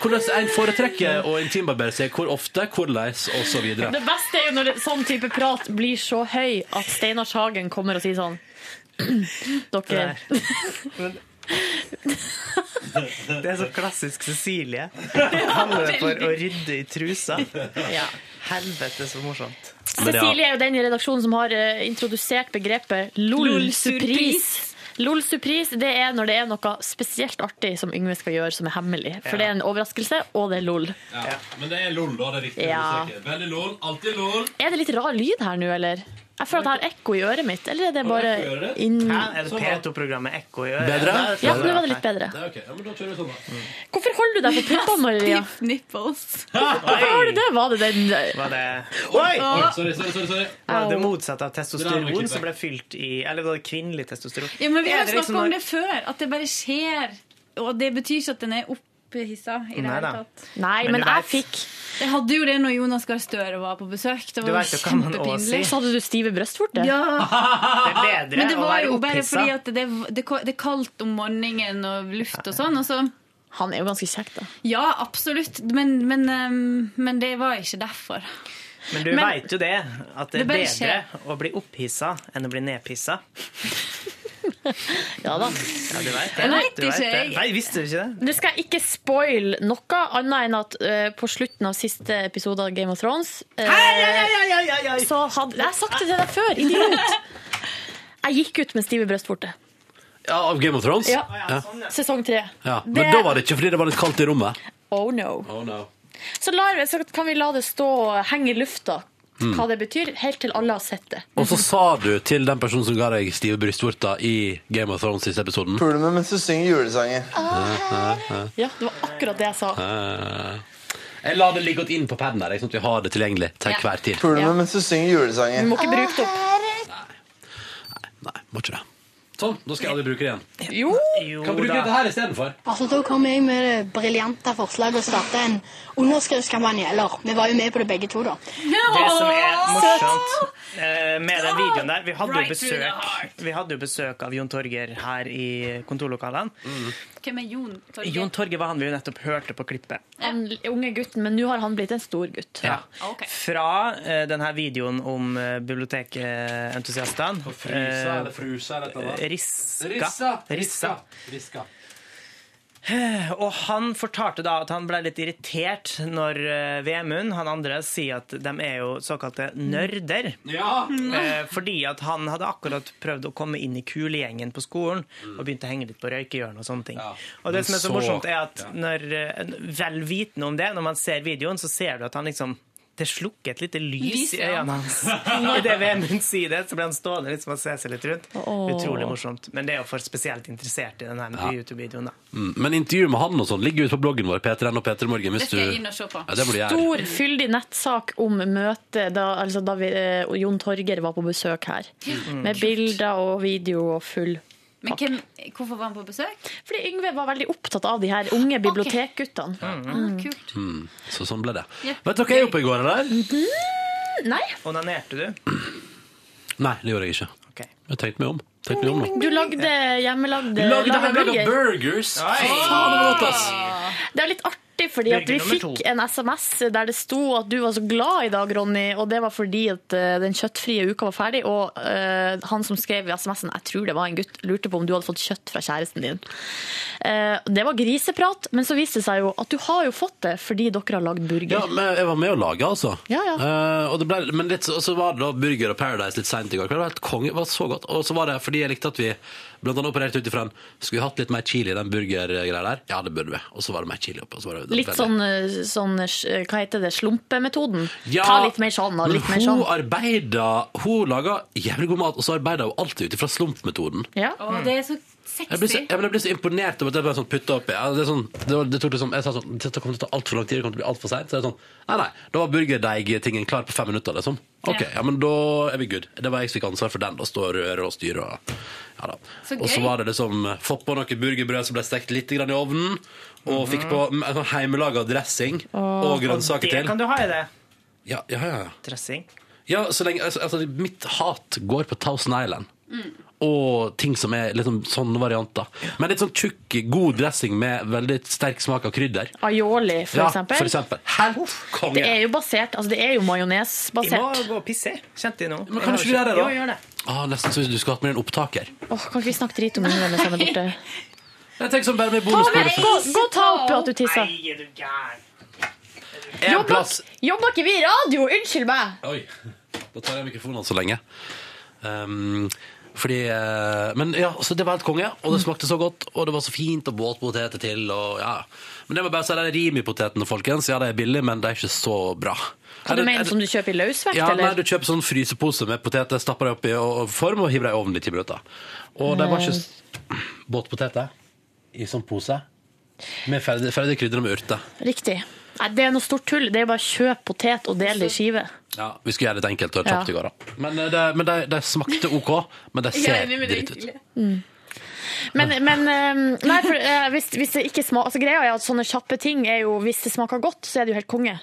[SPEAKER 2] Hvordan en foretrekker å intimbarbere seg, hvor ofte, hvordan, osv.
[SPEAKER 5] Det beste er jo når det, sånn type prat blir så høy at Steinar Sagen kommer og sier sånn Dere
[SPEAKER 3] Det er så klassisk Cecilie. Hun kaller det for å rydde i trusa.
[SPEAKER 5] Ja.
[SPEAKER 3] Helvete, så morsomt.
[SPEAKER 2] Men ja.
[SPEAKER 5] Cecilie er jo den i redaksjonen som har eh, introdusert begrepet LOL-surpris. LOL-surpris det er når det er noe spesielt artig som Yngve skal gjøre som er hemmelig. For det er en overraskelse, og det er LOL.
[SPEAKER 2] Ja. Men det er lol, da. Det er riktig.
[SPEAKER 5] Ja.
[SPEAKER 2] understreker. Veldig lol. Alltid lol.
[SPEAKER 5] Er det litt rar lyd her nå, eller? Jeg føler at jeg har ekko i øret mitt, eller er det bare inn...
[SPEAKER 3] Hæ? Er det P2-programmet Ekko i øret?
[SPEAKER 2] Bedre?
[SPEAKER 5] Ja, nå var det litt bedre.
[SPEAKER 2] Ja, ok. Ja, men da kjører vi sånn, da.
[SPEAKER 5] Hvorfor holder du deg på puppene, Maria? Stiff nipples. Hvorfor har du det? Var det den
[SPEAKER 3] Var det
[SPEAKER 2] Oi!
[SPEAKER 5] Ah.
[SPEAKER 2] Oi, sorry, sorry, sorry, sorry.
[SPEAKER 3] Var det det motsatte av
[SPEAKER 2] Det der må vi
[SPEAKER 3] testosteron
[SPEAKER 2] klippe.
[SPEAKER 3] som ble fylt i Eller var det kvinnelig testosteron?
[SPEAKER 20] Ja, men vi
[SPEAKER 3] Er
[SPEAKER 20] har
[SPEAKER 3] det
[SPEAKER 20] snakket
[SPEAKER 3] liksom
[SPEAKER 20] om
[SPEAKER 3] når-
[SPEAKER 20] det før, at det bare skjer. Og det betyr ikke at den er opphissa i det
[SPEAKER 3] Nei
[SPEAKER 20] hele
[SPEAKER 3] da.
[SPEAKER 20] tatt.
[SPEAKER 5] Nei,
[SPEAKER 3] Men men du jeg vet-
[SPEAKER 5] fikk
[SPEAKER 20] Jeg hadde jo det når Jonas Gahr Støre var på besøk. Det
[SPEAKER 3] Du
[SPEAKER 20] var
[SPEAKER 3] vet jo
[SPEAKER 20] jo
[SPEAKER 3] hva man også
[SPEAKER 20] kjempepinlig.
[SPEAKER 3] sier.
[SPEAKER 5] Så hadde du stive brystvorter?
[SPEAKER 3] Det er bedre
[SPEAKER 20] Men det
[SPEAKER 3] å
[SPEAKER 20] var
[SPEAKER 3] være
[SPEAKER 20] jo bare
[SPEAKER 3] opphissa.
[SPEAKER 20] fordi at det, det, det er kaldt om morgenen og luft og sånn. Og så,
[SPEAKER 5] Han er jo ganske kjekk, da.
[SPEAKER 20] ja, absolutt. Men, men, ehm, men det var ikke derfor.
[SPEAKER 3] Men du
[SPEAKER 20] Men-
[SPEAKER 3] vet jo det, at det er
[SPEAKER 20] Det bare
[SPEAKER 3] bedre
[SPEAKER 20] skjer.
[SPEAKER 3] å bli opphissa enn å bli nedpissa.
[SPEAKER 5] ja da.
[SPEAKER 3] Ja, du vet det. du
[SPEAKER 5] Jeg vet
[SPEAKER 3] vet
[SPEAKER 5] ikke,
[SPEAKER 3] det.
[SPEAKER 5] jeg-
[SPEAKER 3] Nei, visste du ikke det?
[SPEAKER 5] Det skal jeg ikke spoil noe, annet enn at eh, på slutten av siste episode av Game of Thrones eh, Så hadde Jeg har sagt det til deg før, idiot! Jeg ggikk ut med stive brystvorter.
[SPEAKER 2] Ja, av Game of Thrones?
[SPEAKER 5] Ja.
[SPEAKER 2] ja.
[SPEAKER 5] Sesong tre.
[SPEAKER 2] Ja, Men
[SPEAKER 5] Det-
[SPEAKER 2] da var det ikke fordi det var litt kaldt i rommet?
[SPEAKER 5] Oh no.
[SPEAKER 2] Oh, no.
[SPEAKER 5] Så, lar, så kan vi la det stå og henge i lufta
[SPEAKER 2] Mm.
[SPEAKER 5] hva det betyr, helt til alle har sett det.
[SPEAKER 2] Og så sa du til den personen som ga deg stive brystvorter i Game of Thrones siste episoden
[SPEAKER 15] Puler meg mens du synger julesanger.
[SPEAKER 5] Ja, det var akkurat det jeg sa.
[SPEAKER 2] eh, Jeg la det ligge godt inn på paden her, jeg, sånn at vi har det tilgjengelig til
[SPEAKER 5] Ja.
[SPEAKER 2] hver tid.
[SPEAKER 15] Puler meg mens du synger
[SPEAKER 5] Vi
[SPEAKER 15] julesanger.
[SPEAKER 5] må ikke bruke det opp.
[SPEAKER 2] Må ikke det. Sånn, da skal jeg aldri bruke det igjen.
[SPEAKER 5] Jo!
[SPEAKER 2] Kan bruke dette her istedenfor.
[SPEAKER 21] Altså, da kom jeg med det briljante forslaget å starte en underskriftskampanje. Eller, vi var jo med på det begge to, da.
[SPEAKER 3] Det som er morsomt eh, med den videoen der Vi hadde jo
[SPEAKER 21] Right through the
[SPEAKER 3] besøk, vi hadde jo besøk av Jon Torger her i kontorlokalene.
[SPEAKER 20] Hvem er Jon Torgeir?
[SPEAKER 3] Jon Torger var han vi jo nettopp hørte på klippet.
[SPEAKER 5] Han unge gutten, men nå har han blitt en stor gutt.
[SPEAKER 3] Ja.
[SPEAKER 20] Ah,
[SPEAKER 3] Fra eh, denne videoen om eh, bibliotekentusiastene. eh, Riska. Rissa.
[SPEAKER 2] Riska.
[SPEAKER 3] Eh, Og han fortalte da at han ble litt irritert når eh, Vemund, han andre, sier at de er jo såkalte nerder.
[SPEAKER 2] Ja.
[SPEAKER 3] Eh, Fordi at han hadde akkurat prøvd å komme inn i kulegjengen på skolen og begynte å henge litt på røykehjørnet og sånne ting. Og det som er så
[SPEAKER 2] Men Mm. så-
[SPEAKER 3] morsomt, er at når, eh, vel vitende om det, når man ser videoen, så ser du at han liksom det slukker et lite lys
[SPEAKER 2] Lys,
[SPEAKER 3] i
[SPEAKER 2] ja.
[SPEAKER 3] øynene hans. Idet Vemund sier det, så blir han stående liksom og se seg litt rundt.
[SPEAKER 2] Åh.
[SPEAKER 3] Utrolig morsomt. Men det er jo for spesielt interessert i den her
[SPEAKER 2] Ja.
[SPEAKER 3] YouTube-videoen, da.
[SPEAKER 2] Mm. Men intervju med han og sånn ligger ute på bloggen vår, P3N og P3 Morgen.
[SPEAKER 5] Det
[SPEAKER 2] Hvis du...
[SPEAKER 5] skal jeg inn og se
[SPEAKER 2] Ja, det må du gjøre.
[SPEAKER 5] Stor, fyldig nettsak om møtet da, altså da vi, eh, Jon Torger var på besøk her.
[SPEAKER 20] Mm.
[SPEAKER 5] Med bilder og video og full
[SPEAKER 20] Men hvem, hvorfor var han på besøk?
[SPEAKER 5] Fordi Yngve var veldig opptatt av de her unge bibliotekguttene.
[SPEAKER 20] Ah, kult.
[SPEAKER 2] Mm. Så sånn ble det.
[SPEAKER 5] Ja.
[SPEAKER 2] Vet dere hva jeg gjorde på i går, eller?
[SPEAKER 5] Nei.
[SPEAKER 3] Onanerte du?
[SPEAKER 2] Nei, det gjorde jeg ikke. Jeg tenkte meg om. Tenkte meg om nå.
[SPEAKER 5] Du lagde hjemmelagde
[SPEAKER 2] Lagde
[SPEAKER 5] lagerburger.
[SPEAKER 2] hjemmelaga burgers!
[SPEAKER 5] Oi.
[SPEAKER 2] Faen, det var godt, ass!
[SPEAKER 5] Det er litt artig, fordi at vi
[SPEAKER 2] Burger nummer
[SPEAKER 5] fikk
[SPEAKER 2] to.
[SPEAKER 5] en SMS der det sto at du var så glad i dag, Ronny, og det var fordi at eh, den kjøttfrie uka var ferdig, og eh, han som skrev i SMS-en, jeg tror det var en gutt, lurte på om du hadde fått kjøtt fra kjæresten din. Eh, det var griseprat, men så viste det seg jo at du har jo fått det fordi dere har lagd burger.
[SPEAKER 2] Ja, men jeg var med å lage, altså.
[SPEAKER 5] Ja, ja.
[SPEAKER 2] Eh, og det ble, men litt, så- så var det da Burger og Paradise litt seint i går. kveld. Det var helt konge, det var så godt. Og så var det fordi jeg likte at vi blant annet opererte ut ifra en Skulle vi hatt litt mer chili i den burgergreia der? Ja, det burde vi. Og så var det mer chili oppi. og så var det-
[SPEAKER 5] Litt
[SPEAKER 2] veldig-
[SPEAKER 5] sånn, eh, sånn eh, hva heter det, slumpemetoden.
[SPEAKER 2] Ja,
[SPEAKER 5] Ta litt mer sånn og litt
[SPEAKER 2] men
[SPEAKER 5] mer sånn.
[SPEAKER 2] hun arbeider Hun lager jævlig god mat, og så arbeider hun alltid ut ifra slumpmetoden.
[SPEAKER 5] Ja.
[SPEAKER 20] Å, det er så sexy.
[SPEAKER 2] Mm. Jeg ble, så, jeg ble- ble så imponert over at jeg bare sånn putta oppi. Ja, det er sånn, det var, det tok liksom, jeg sa sånn Dette kommer til å ta altfor lang tid, det kommer til å bli altfor seint. Så er det sånn Nei, nei. Da var burgerdeigtingen klar på fem minutter, liksom. OK,
[SPEAKER 20] Ja.
[SPEAKER 2] ja. men da er vi good. Det var jeg som fikk ansvar for den. Da står røre og styre og Ja da.
[SPEAKER 20] Så
[SPEAKER 2] og så
[SPEAKER 20] gøy.
[SPEAKER 2] var det liksom eh, Fått på noe burgerbrød som ble stekt litt grann i ovnen. Og fikk på mm, sånn heimelaga dressing og grønnsaker
[SPEAKER 3] det
[SPEAKER 2] til.
[SPEAKER 3] kan du ha i det.
[SPEAKER 2] Ja, ja, ja, ja.
[SPEAKER 3] Dressing.
[SPEAKER 2] Ja, så lenge altså, altså, Mitt hat går på Thousand Island. Og ting som er liksom sånne varianter. Men litt sånn tjukk, god dressing med veldig sterk smak av krydder.
[SPEAKER 5] Aioli, for
[SPEAKER 2] ja,
[SPEAKER 5] eksempel.
[SPEAKER 2] For eksempel. Helt konge!
[SPEAKER 5] Det er jo basert, altså det er jo
[SPEAKER 3] Jeg må
[SPEAKER 5] majonesbasert.
[SPEAKER 3] gå og pisse. Kjente jeg nå.
[SPEAKER 2] Men kan du ikke gjøre det, da?
[SPEAKER 3] Jo, gjør det.
[SPEAKER 2] ah, nesten så du skulle hatt med en opptaker.
[SPEAKER 5] Åh, kan ikke vi snakke drit om Yngve mens han er borte?
[SPEAKER 2] Jeg tenker sånn bare med
[SPEAKER 5] Ta med,
[SPEAKER 2] bonusbordet
[SPEAKER 5] gå, gå og ta opp at du tisser.
[SPEAKER 3] Nei, er du gæren?
[SPEAKER 2] En plass.
[SPEAKER 5] Jobber ikke vi i radio? Unnskyld meg!
[SPEAKER 2] Oi. Da tar jeg mikrofonen så lenge. Um, Fordi, eh, men ja, så det var helt konge, og det smakte så godt, og det var så fint, og båtpoteter til, og ja. Men det må jeg bare si, det er Rimi-potetene, folkens. Ja, de er billige, men de er ikke så bra.
[SPEAKER 5] Hva
[SPEAKER 2] Er det-
[SPEAKER 5] du mener
[SPEAKER 2] er det-
[SPEAKER 5] som du kjøper i løsvekt,
[SPEAKER 2] ja,
[SPEAKER 5] eller?
[SPEAKER 2] Nei, du kjøper sånn frysepose med poteter, stapper det opp i og- og form og hiver det i ovnen i ti minutter. Og det var
[SPEAKER 5] Eh.
[SPEAKER 2] ikke s- båtpoteter i sånn pose med ferdig, ferdig krydder og med urter.
[SPEAKER 5] Riktig. Nei, det er noe stort tull. Det er bare kjøp potet og del det i skive.
[SPEAKER 2] Ja, vi skulle gjøre det litt enkelt og kjapt i
[SPEAKER 5] Ja.
[SPEAKER 2] går, da. Men, eh, det, men de, de smakte OK, men de
[SPEAKER 5] Jeg er
[SPEAKER 2] ser
[SPEAKER 5] enig med deg,
[SPEAKER 2] dritt ut.
[SPEAKER 5] Mm. Men, men eh, nei, for, eh, hvis, hvis det ikke smaker altså, Greia er at sånne kjappe ting er jo Hvis det smaker godt, så er det jo helt konge.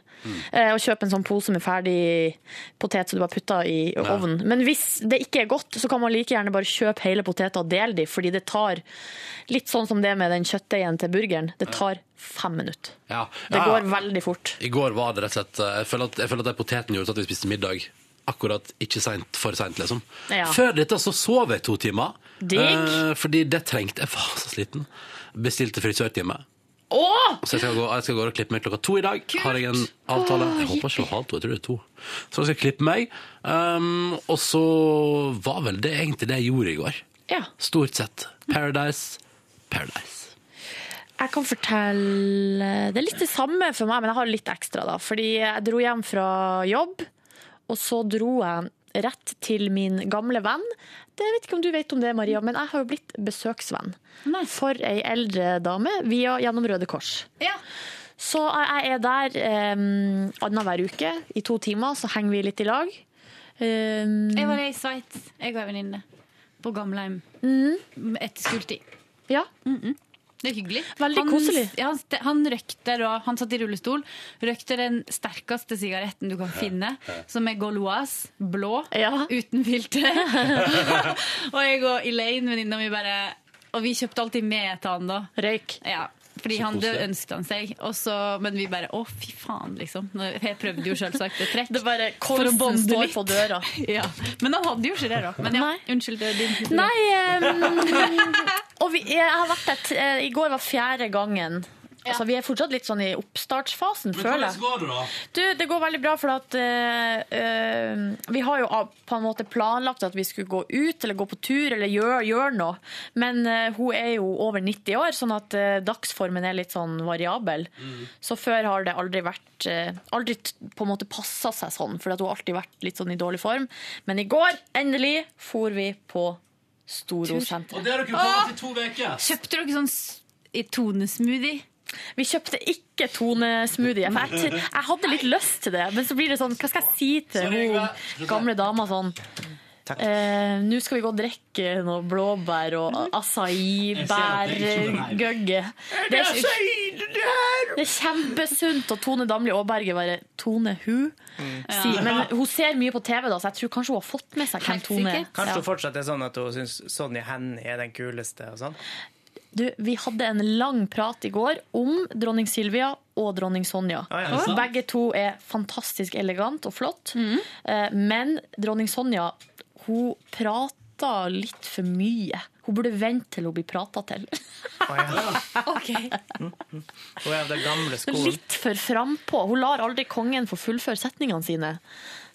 [SPEAKER 5] Eh, å kjøpe en sånn pose med ferdig potet som du bare putter i ovnen. Men hvis det ikke er godt, så kan man like gjerne bare kjøpe hele poteta og dele de, fordi det tar Litt sånn som det med den kjøttdeigen til burgeren. Det tar fem minutter.
[SPEAKER 2] Ja.
[SPEAKER 5] Det
[SPEAKER 2] Ja, ja.
[SPEAKER 5] går veldig fort.
[SPEAKER 2] I går var det rett og slett eh, Jeg føler at, jeg føler at den poteten gjorde at vi spiste middag akkurat ikke sent, for seint, liksom.
[SPEAKER 5] Ja.
[SPEAKER 2] Før dette så sov jeg to timer.
[SPEAKER 5] Digg.
[SPEAKER 2] eh, fordi det trengte Jeg var så sliten. Bestilte frisørtime.
[SPEAKER 5] Åh!
[SPEAKER 2] Så jeg skal, gå, jeg skal gå og klippe meg klokka to i dag. Har jeg en avtale Jeg håper ikke det var halv to, jeg tror det er to. Så jeg skal klippe meg. Um, og så var vel det egentlig det jeg gjorde i går.
[SPEAKER 5] Ja.
[SPEAKER 2] Stort sett. Paradise, Paradise.
[SPEAKER 5] Jeg kan fortelle Det er litt det samme for meg, men jeg har litt ekstra, da. Fordi jeg dro hjem fra jobb, og så dro jeg rett til min gamle venn. Det jeg vet ikke om du vet om det, Maria, men jeg har jo blitt besøksvenn for ei eldre dame via gjennom Røde Kors. Så jeg er der um, annenhver uke i to timer, så henger vi litt i lag. Ehm, Em,
[SPEAKER 20] Jeg var i Sveits. Jeg og en venninne. På gamlehjem. Etter skoletid.
[SPEAKER 5] Ja.
[SPEAKER 20] Det er hyggelig.
[SPEAKER 5] Veldig
[SPEAKER 20] han,
[SPEAKER 5] koselig.
[SPEAKER 20] Ja, han, st- han røkte da, han satt i rullestol, røkte den sterkeste sigaretten du kan finne, som er Gauloise, blå, uten filter. og jeg og Elaine, venninna mi, bare Og vi kjøpte alltid med til han da.
[SPEAKER 5] Røyk.
[SPEAKER 20] Ja. Fordi
[SPEAKER 5] Så
[SPEAKER 20] han, det
[SPEAKER 5] koselig.
[SPEAKER 20] ønsket han seg. Og så- men vi bare Å, fy faen, liksom. Nå- Jeg prøvde jo selvsagt et trekk.
[SPEAKER 5] Det bare
[SPEAKER 20] for å
[SPEAKER 5] kolsen
[SPEAKER 20] bonde
[SPEAKER 5] står
[SPEAKER 20] litt.
[SPEAKER 5] på døra.
[SPEAKER 20] ja. Men han hadde jo ikke det, da. Men ja, unnskyld. Det er din
[SPEAKER 5] Nei em, Og vi, jeg har vært der t- eh, I går var fjerde gangen. Altså, vi er fortsatt litt sånn i oppstartsfasen, føler jeg.
[SPEAKER 2] går det, da?
[SPEAKER 5] Du, det går veldig bra, for at eh, eh, vi har jo av- på en måte planlagt at vi skulle gå ut eller gå på tur eller gjøre gjør noe. Men eh, hun er jo over 90 år, sånn at eh, dagsformen er litt sånn variabel. Så før har det aldri vært eh, Aldri t- på en måte passa seg sånn, for at hun har alltid vært litt sånn i dårlig form. Men i går, endelig, for vi på Storosenteret.
[SPEAKER 2] i to uker.
[SPEAKER 20] Kjøpte dere sånn s- i Tone-smoothie?
[SPEAKER 5] Vi kjøpte ikke Tone-smoothie. For jeg, jeg hadde litt lyst til det, men så blir det sånn Hva skal jeg si til hun gamle dama sånn? Eh, Nå skal vi gå og drikke noe blåbær og
[SPEAKER 16] Jeg ser at det er ikke Mm. noe
[SPEAKER 5] acai-bærgøgge.
[SPEAKER 16] Det er så ille, det her!
[SPEAKER 5] Det er kjempesunt, og Tone Damli Aaberge bare Tone who? Si.
[SPEAKER 3] Ja.
[SPEAKER 5] Men hun ser mye på TV, da, så jeg tror kanskje hun har fått med seg hvem Tone er.
[SPEAKER 3] Kanskje
[SPEAKER 5] Ja.
[SPEAKER 3] hun fortsatt er sånn at hun syns Sonny Hennie er den kuleste og sånn.
[SPEAKER 5] Du, vi hadde en lang prat i går om dronning Silvia og dronning Sonja.
[SPEAKER 3] Ja, ja, det er sant.
[SPEAKER 5] Begge to er fantastisk elegant og flott, Eh, men dronning Sonja hun prater litt for mye. Hun burde vente til hun blir prata til.
[SPEAKER 3] Hun er av den gamle skolen.
[SPEAKER 5] Litt for frampå. Hun lar aldri kongen få fullføre setningene sine.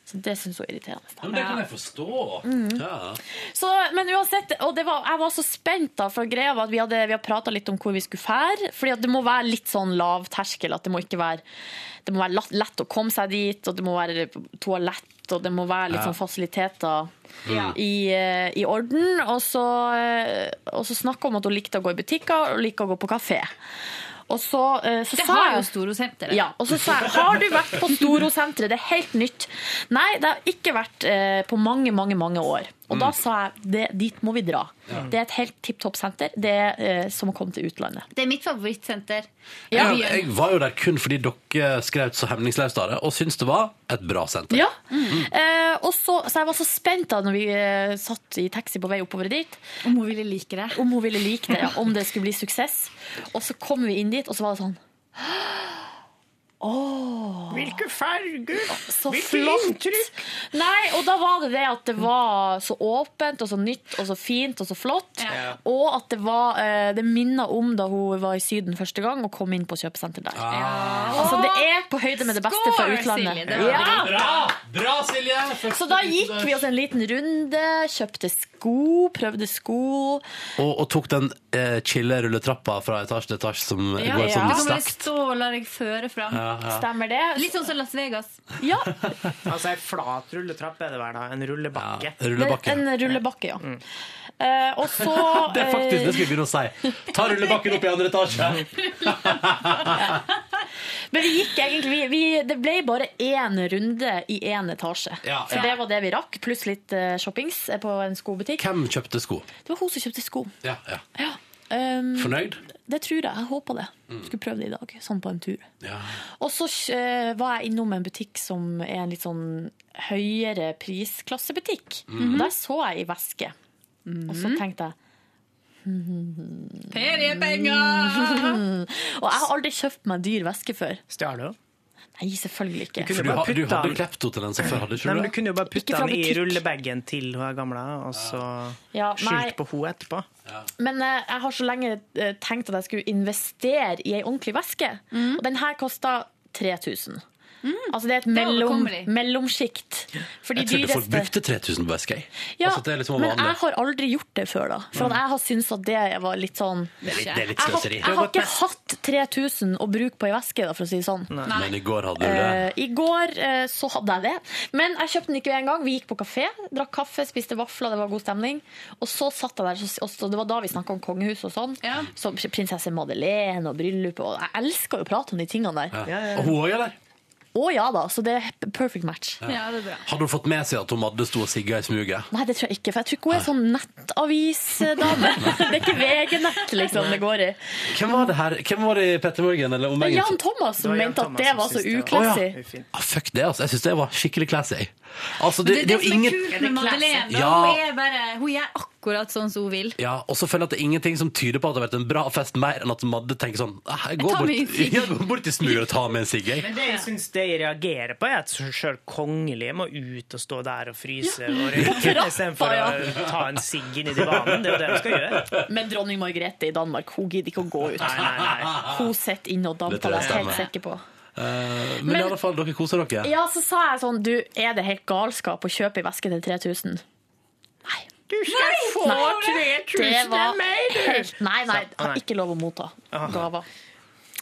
[SPEAKER 5] Så Det syns hun er irriterende.
[SPEAKER 2] Ja, men det kan jeg forstå.
[SPEAKER 5] Mm.
[SPEAKER 2] Ja.
[SPEAKER 5] Så, men uansett, og det var, jeg var så spent da, for greia var at vi hadde, vi hadde pratet litt om hvor vi skulle fære, fordi at det må være litt sånn lav terskel, at det må ikke være, det må være lett, lett å komme seg dit, og det må være toalett, og det må være litt
[SPEAKER 20] Ja.
[SPEAKER 5] sånn fasiliteter
[SPEAKER 20] Ja.
[SPEAKER 5] i, eh, i orden, og så, eh, og så snakket hun om at hun likte å gå i butikker, og likte å gå på kafé. Og så, eh, så
[SPEAKER 20] Det
[SPEAKER 5] sa
[SPEAKER 20] har
[SPEAKER 5] jeg-
[SPEAKER 20] jo Storosenteret.
[SPEAKER 5] Ja, og så sa jeg, har du vært på Storosenteret? Det er helt nytt. Nei, det har ikke vært eh, på mange, mange, mange år. Og da sa jeg, det, dit må vi dra.
[SPEAKER 20] Ja.
[SPEAKER 5] Det er et helt tipp topp senter. Det er eh, som å komme til utlandet.
[SPEAKER 20] Det er mitt favorittsenter.
[SPEAKER 2] Jeg, jeg var jo der kun fordi dere skrev så hemningsløst av det, og syntes det var et bra senter.
[SPEAKER 5] Ja. Eh, og så, så jeg var så spent da når vi eh, satt i taxi på vei oppover dit.
[SPEAKER 20] Om hun ville like det.
[SPEAKER 5] Om hun ville like det, ja. Om det skulle bli suksess. Og så kom vi inn dit, og så var det sånn Åh
[SPEAKER 16] Hvilke farger?
[SPEAKER 5] Så flott! Nei, og da var det det at det var så åpent og så nytt og så fint og så flott.
[SPEAKER 16] Ja.
[SPEAKER 5] Og at det var eh, Det minner om da hun var i Syden første gang og
[SPEAKER 2] Ah.
[SPEAKER 5] kom inn på kjøpesenter der. Altså, det er på høyde med det beste fra
[SPEAKER 16] Skål,
[SPEAKER 5] utlandet.
[SPEAKER 16] Silje, det var
[SPEAKER 5] Ja!
[SPEAKER 16] bra.
[SPEAKER 2] Bra, Silje!
[SPEAKER 5] Så da gikk vi oss en liten runde, kjøpte sko, prøvde sko.
[SPEAKER 2] Og, og tok den eh, chille rulletrappa fra etasje til etasje som går sånn
[SPEAKER 20] Du kan bare
[SPEAKER 2] strakt.
[SPEAKER 20] stå og la deg føre fram.
[SPEAKER 2] Ja, ja.
[SPEAKER 5] Stemmer det?
[SPEAKER 20] Litt sånn som Las Vegas.
[SPEAKER 3] Altså, ei flat rulletrapp er det vel, da. En rullebakke.
[SPEAKER 5] En rullebakke, ja.
[SPEAKER 16] Mm.
[SPEAKER 5] Eh, og så
[SPEAKER 2] det er faktisk det
[SPEAKER 5] eh,
[SPEAKER 2] skal vi begynne å si. Ta rullebakken opp i andre etasje.
[SPEAKER 5] Men vi gikk egentlig vi, vi, Det ble bare én runde i én etasje.
[SPEAKER 2] Ja,
[SPEAKER 5] Så
[SPEAKER 2] ja.
[SPEAKER 5] det var det vi rakk, pluss litt eh, shoppings eh, på en skobutikk.
[SPEAKER 2] Hvem kjøpte sko?
[SPEAKER 5] Det var hun som kjøpte sko.
[SPEAKER 2] Ja, ja.
[SPEAKER 5] Um,
[SPEAKER 2] Fornøyd?
[SPEAKER 5] Det tror jeg. Jeg håper det.
[SPEAKER 2] Mm.
[SPEAKER 5] Skulle prøve det i dag, sånn på en tur.
[SPEAKER 2] Ja.
[SPEAKER 5] Og så eh, var jeg innom en butikk som er en litt sånn høyere prisklassebutikk.
[SPEAKER 2] Mm.
[SPEAKER 20] Mhm.
[SPEAKER 5] Der så jeg ei veske, og så tenkte jeg
[SPEAKER 20] Feriepenger!
[SPEAKER 5] Og jeg har aldri kjøpt meg dyr veske før.
[SPEAKER 3] Stjal du?
[SPEAKER 5] Nei, selvfølgelig ikke.
[SPEAKER 2] For du, ha- du hadde klepto til den som før, hadde
[SPEAKER 3] Nei,
[SPEAKER 2] ikke
[SPEAKER 3] men
[SPEAKER 2] du
[SPEAKER 3] du kunne jo bare
[SPEAKER 5] Ikke
[SPEAKER 3] putte
[SPEAKER 5] fra
[SPEAKER 3] den i
[SPEAKER 5] butikk.
[SPEAKER 3] rullebagen til hun er gamle, og så
[SPEAKER 5] Ja, nei.
[SPEAKER 3] skyldt på henne etterpå.
[SPEAKER 5] Men eh, jeg har så lenge eh, tenkt at jeg skulle investere i ei ordentlig veske. Og den her kosta 3000. Altså det er et
[SPEAKER 20] Det er
[SPEAKER 5] mellom,
[SPEAKER 20] overkommelig.
[SPEAKER 5] mellomsjikt. For de
[SPEAKER 2] Jeg trodde folk
[SPEAKER 5] dyreste-
[SPEAKER 2] brukte 3000 på veske. jeg.
[SPEAKER 5] ja,
[SPEAKER 2] altså, det er liksom
[SPEAKER 5] men
[SPEAKER 2] vanlig.
[SPEAKER 5] jeg har aldri gjort det før, da. For at
[SPEAKER 2] Mm.
[SPEAKER 5] jeg har syntes at det var litt sånn
[SPEAKER 2] Det er litt- det er litt
[SPEAKER 5] Jeg har-
[SPEAKER 2] sløseri.
[SPEAKER 5] Jeg har ikke hatt 3000 å bruke på ei veske, da, for å si det sånn.
[SPEAKER 2] Men i går hadde du det.
[SPEAKER 5] Eh, I går eh, så hadde jeg det, men jeg kjøpte den ikke en gang. Vi gikk på kafé, drakk kaffe, spiste vafler, det var god stemning. Og så satt jeg der, så- og så- det var da vi snakka om kongehus og sånn. Så prinsesse Madeleine og bryllup og Jeg elsker jo å prate om de tingene der.
[SPEAKER 2] Ja. Og hun òg, eller?
[SPEAKER 5] Å ja da, så det er perfect match.
[SPEAKER 2] Ja, Hadde hun fått med seg at hun Madde sto og sigga i smuget?
[SPEAKER 5] Nei, det tror jeg ikke, for jeg tror ikke hun er sånn nettavisdame. det er ikke VG-nett liksom det går i.
[SPEAKER 2] Hvem var det her? Hvem var det i Petter Morgen? Eller
[SPEAKER 5] Det er
[SPEAKER 2] omegnen?
[SPEAKER 5] Jan Thomas
[SPEAKER 2] Det
[SPEAKER 5] som
[SPEAKER 2] var Jan
[SPEAKER 5] mente at
[SPEAKER 2] Thomas
[SPEAKER 5] det
[SPEAKER 2] som
[SPEAKER 5] var så
[SPEAKER 2] syntes det var- Å,
[SPEAKER 5] uklassig.
[SPEAKER 2] Ah, fuck det, altså. Jeg syns det var skikkelig classy. Altså,
[SPEAKER 20] Det,
[SPEAKER 2] det, det
[SPEAKER 20] er det
[SPEAKER 2] er jo
[SPEAKER 20] som er
[SPEAKER 2] ingen
[SPEAKER 20] kult med Madeleine. da.
[SPEAKER 2] Ja.
[SPEAKER 20] Hun, er bare, hun gjør akkurat sånn som hun vil.
[SPEAKER 2] Ja, og så føler jeg at det er ingenting som tyder på at det har vært en bra fest, mer enn at Madde tenker sånn «Ah, Jeg
[SPEAKER 20] Jeg
[SPEAKER 2] går
[SPEAKER 20] tar
[SPEAKER 2] bort,
[SPEAKER 20] meg en sigg.»
[SPEAKER 2] jeg går bort til smuget og tar med en sigg, jeg.
[SPEAKER 3] Men det jeg syns de reagerer på, er at sjøl kongelige må ut og stå der og fryse og røyke
[SPEAKER 5] trappa,
[SPEAKER 3] istedenfor
[SPEAKER 5] ja.
[SPEAKER 3] å ta en sigg inn i divanen. Det er jo det de skal gjøre.
[SPEAKER 5] Men dronning Margrethe i Danmark, hun gidder ikke å gå ut.
[SPEAKER 3] Nei, nei, nei.
[SPEAKER 5] Hun sitter inne og
[SPEAKER 2] Det tror
[SPEAKER 5] damper, det
[SPEAKER 2] jeg
[SPEAKER 5] er jeg helt
[SPEAKER 2] stemmer.
[SPEAKER 5] sikker på.
[SPEAKER 2] Eh, men,
[SPEAKER 5] Men-
[SPEAKER 2] i alle fall, dere koser dere.
[SPEAKER 5] Ja, så sa jeg sånn, du, er det helt galskap å kjøpe i veske til 3000?
[SPEAKER 16] Du skal få
[SPEAKER 5] Nei,
[SPEAKER 16] 3000 av meg, du!
[SPEAKER 5] helt, Nei, nei,
[SPEAKER 16] Så- nei.
[SPEAKER 5] har ikke lov å motta gaver.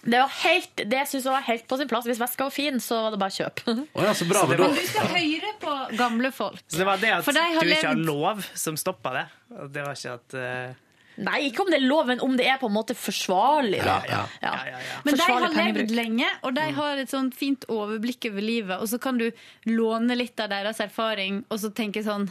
[SPEAKER 5] Det, var helt, det synes jeg var helt på sin plass. Hvis veska var fin, så var det bare kjøp.
[SPEAKER 2] Å ja, så bra, men
[SPEAKER 20] Men du skal høyere på gamle folk.
[SPEAKER 3] Så det var det at
[SPEAKER 20] For de har
[SPEAKER 3] du ikke har
[SPEAKER 20] levd-
[SPEAKER 3] lov, som stoppa det. Og Det var ikke at eh,
[SPEAKER 5] Nei, ikke om det er lov, men om det er på en måte forsvarlig. Da.
[SPEAKER 3] Ja,
[SPEAKER 20] Men de
[SPEAKER 5] Forsvarlig
[SPEAKER 20] har levd
[SPEAKER 5] pengebruk.
[SPEAKER 20] lenge, og
[SPEAKER 3] Mm.
[SPEAKER 20] de har et sånt fint overblikk over livet. Og så kan du låne litt av deres erfaring, og så tenke sånn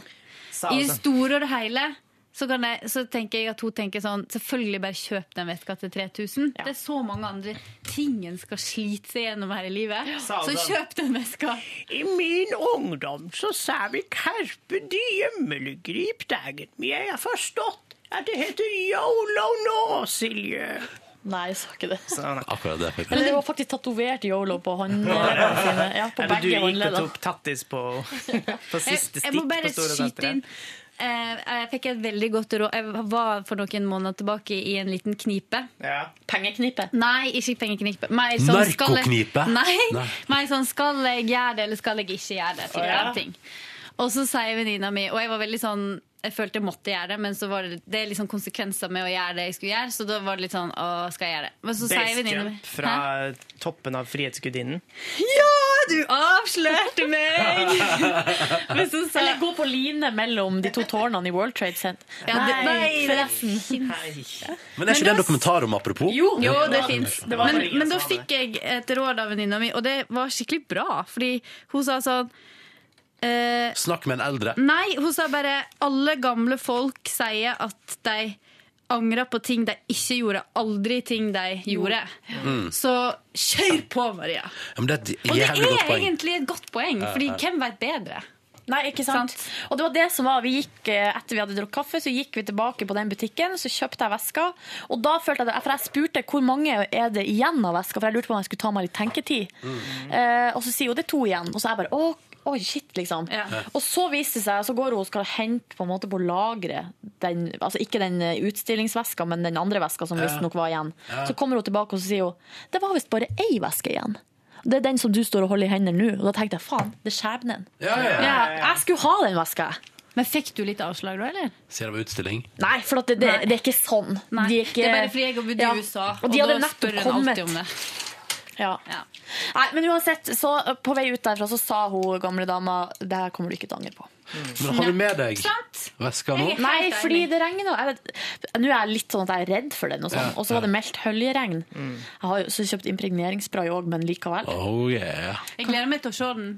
[SPEAKER 3] Sa
[SPEAKER 20] I
[SPEAKER 3] altså.
[SPEAKER 20] det store og det hele så, kan jeg, så tenker jeg at hun tenker sånn Selvfølgelig, bare kjøp den veska til 3000. Det er så mange andre ting en skal slite seg gjennom her i livet.
[SPEAKER 16] Sa
[SPEAKER 20] Så
[SPEAKER 3] sånn?
[SPEAKER 16] hun.
[SPEAKER 20] kjøp den veska.
[SPEAKER 16] I min ungdom så sa vi Carpe Diem eller Grip dagen, men jeg har forstått at det heter yolo nå, Silje.
[SPEAKER 5] Nei, jeg sa ikke det.
[SPEAKER 2] Akkurat det. faktisk.
[SPEAKER 5] Eller det var faktisk tatovert yolo på håndleddene sine. Ja, på
[SPEAKER 3] Eller du
[SPEAKER 5] begge
[SPEAKER 3] gikk og
[SPEAKER 5] håndleddene.
[SPEAKER 3] tok tattis på, på siste
[SPEAKER 20] Jeg, jeg
[SPEAKER 3] stikk
[SPEAKER 20] må bare
[SPEAKER 3] på Store
[SPEAKER 20] skyte
[SPEAKER 3] Senteret.
[SPEAKER 20] inn. Eh, jeg fikk et veldig godt råd. Jeg var for noen måneder tilbake i en liten knipe.
[SPEAKER 3] Ja.
[SPEAKER 5] Pengeknipe?
[SPEAKER 20] Nei, ikke pengeknipe. Mer sånn, skal jeg-
[SPEAKER 2] Narkoknipe?
[SPEAKER 20] Nei,
[SPEAKER 2] Nei.
[SPEAKER 20] mer sånn skal jeg gjøre det, eller skal jeg ikke gjøre det? Type
[SPEAKER 5] Å, ja.
[SPEAKER 20] av ting. Og så sier venninna mi, og jeg var veldig sånn jeg følte jeg måtte gjøre det, men så var det, det er liksom konsekvenser med å gjøre det jeg skulle gjøre. Så da var det litt sånn Å, skal jeg gjøre det? Men så sier
[SPEAKER 3] Base
[SPEAKER 20] venninna mi
[SPEAKER 3] jump fra toppen av Frihetsgudinnen.
[SPEAKER 20] Ja, du avslørte meg! Men så sa-
[SPEAKER 5] Eller gå på line mellom de to tårnene i World Trade Center.
[SPEAKER 20] Ja, det- nei, det
[SPEAKER 5] forresten.
[SPEAKER 2] Men er ikke det en dokumentar om apropos?
[SPEAKER 20] Jo, jo
[SPEAKER 2] Ja.
[SPEAKER 20] det fins. Men, men da fikk jeg et råd av venninna mi, og det var skikkelig bra. Fordi hun sa sånn eh,
[SPEAKER 2] Snakk med en eldre.
[SPEAKER 20] Nei, hun sa bare alle gamle folk sier at de angrer på ting de ikke gjorde. Aldri ting de gjorde.
[SPEAKER 2] Mm.
[SPEAKER 20] Så kjør på, Maria!
[SPEAKER 2] Ja, men det er et
[SPEAKER 20] Og det
[SPEAKER 2] jævlig godt
[SPEAKER 20] er
[SPEAKER 2] poeng.
[SPEAKER 20] egentlig et godt poeng,
[SPEAKER 2] Ja,
[SPEAKER 20] fordi
[SPEAKER 2] ja.
[SPEAKER 20] hvem veit bedre?
[SPEAKER 5] Nei, ikke sant? Og det var det som var, vi gikk eh, Etter vi hadde drukket kaffe, så gikk vi tilbake på den butikken, så kjøpte jeg veska. Og da følte jeg det, for jeg spurte hvor mange er det igjen av veska, for jeg lurte på om jeg skulle ta meg litt tenketid. Eh, og så sier hun det er to igjen, og så er jeg bare åh, Oi, shit, liksom. Og så viser det seg, så går hun og skal hente på en måte på lagret den, altså ikke den eh, utstillingsveska, men den andre veska som
[SPEAKER 20] Ja.
[SPEAKER 5] visstnok var igjen.
[SPEAKER 20] Ja.
[SPEAKER 5] Så kommer hun tilbake og så sier hun det var visst bare ei veske igjen. det er den som du står og holder i hendene nå. Og da tenkte jeg faen, det er skjebnen.
[SPEAKER 2] Ja, ja, ja.
[SPEAKER 5] jeg skulle ha den veska. Men fikk du litt avslag da, eller?
[SPEAKER 2] Ser det var utstilling.
[SPEAKER 5] Nei, for at det, det, det er ikke sånn.
[SPEAKER 20] Nei,
[SPEAKER 5] De er ikke,
[SPEAKER 20] det er bare fordi jeg har bodd i USA,
[SPEAKER 5] Og de
[SPEAKER 20] og
[SPEAKER 5] hadde
[SPEAKER 20] da spør
[SPEAKER 5] nettopp
[SPEAKER 20] en
[SPEAKER 5] kommet.
[SPEAKER 20] alltid om det.
[SPEAKER 5] Ja. Nei, men uansett, så ø, på vei ut derfra så sa hun gamle dama det her kommer du ikke til å angre på.
[SPEAKER 2] Men har du med deg veska nå?
[SPEAKER 5] Nei, fordi det regner. og Jeg vet, nå er jeg litt sånn at jeg er redd for den, og sånn.
[SPEAKER 2] Ja,
[SPEAKER 5] Og så var det meldt høljeregn.
[SPEAKER 2] Mm.
[SPEAKER 5] Jeg har jo også kjøpt impregneringsspray òg, men likevel.
[SPEAKER 2] Oh yeah.
[SPEAKER 20] Jeg gleder meg til å se den.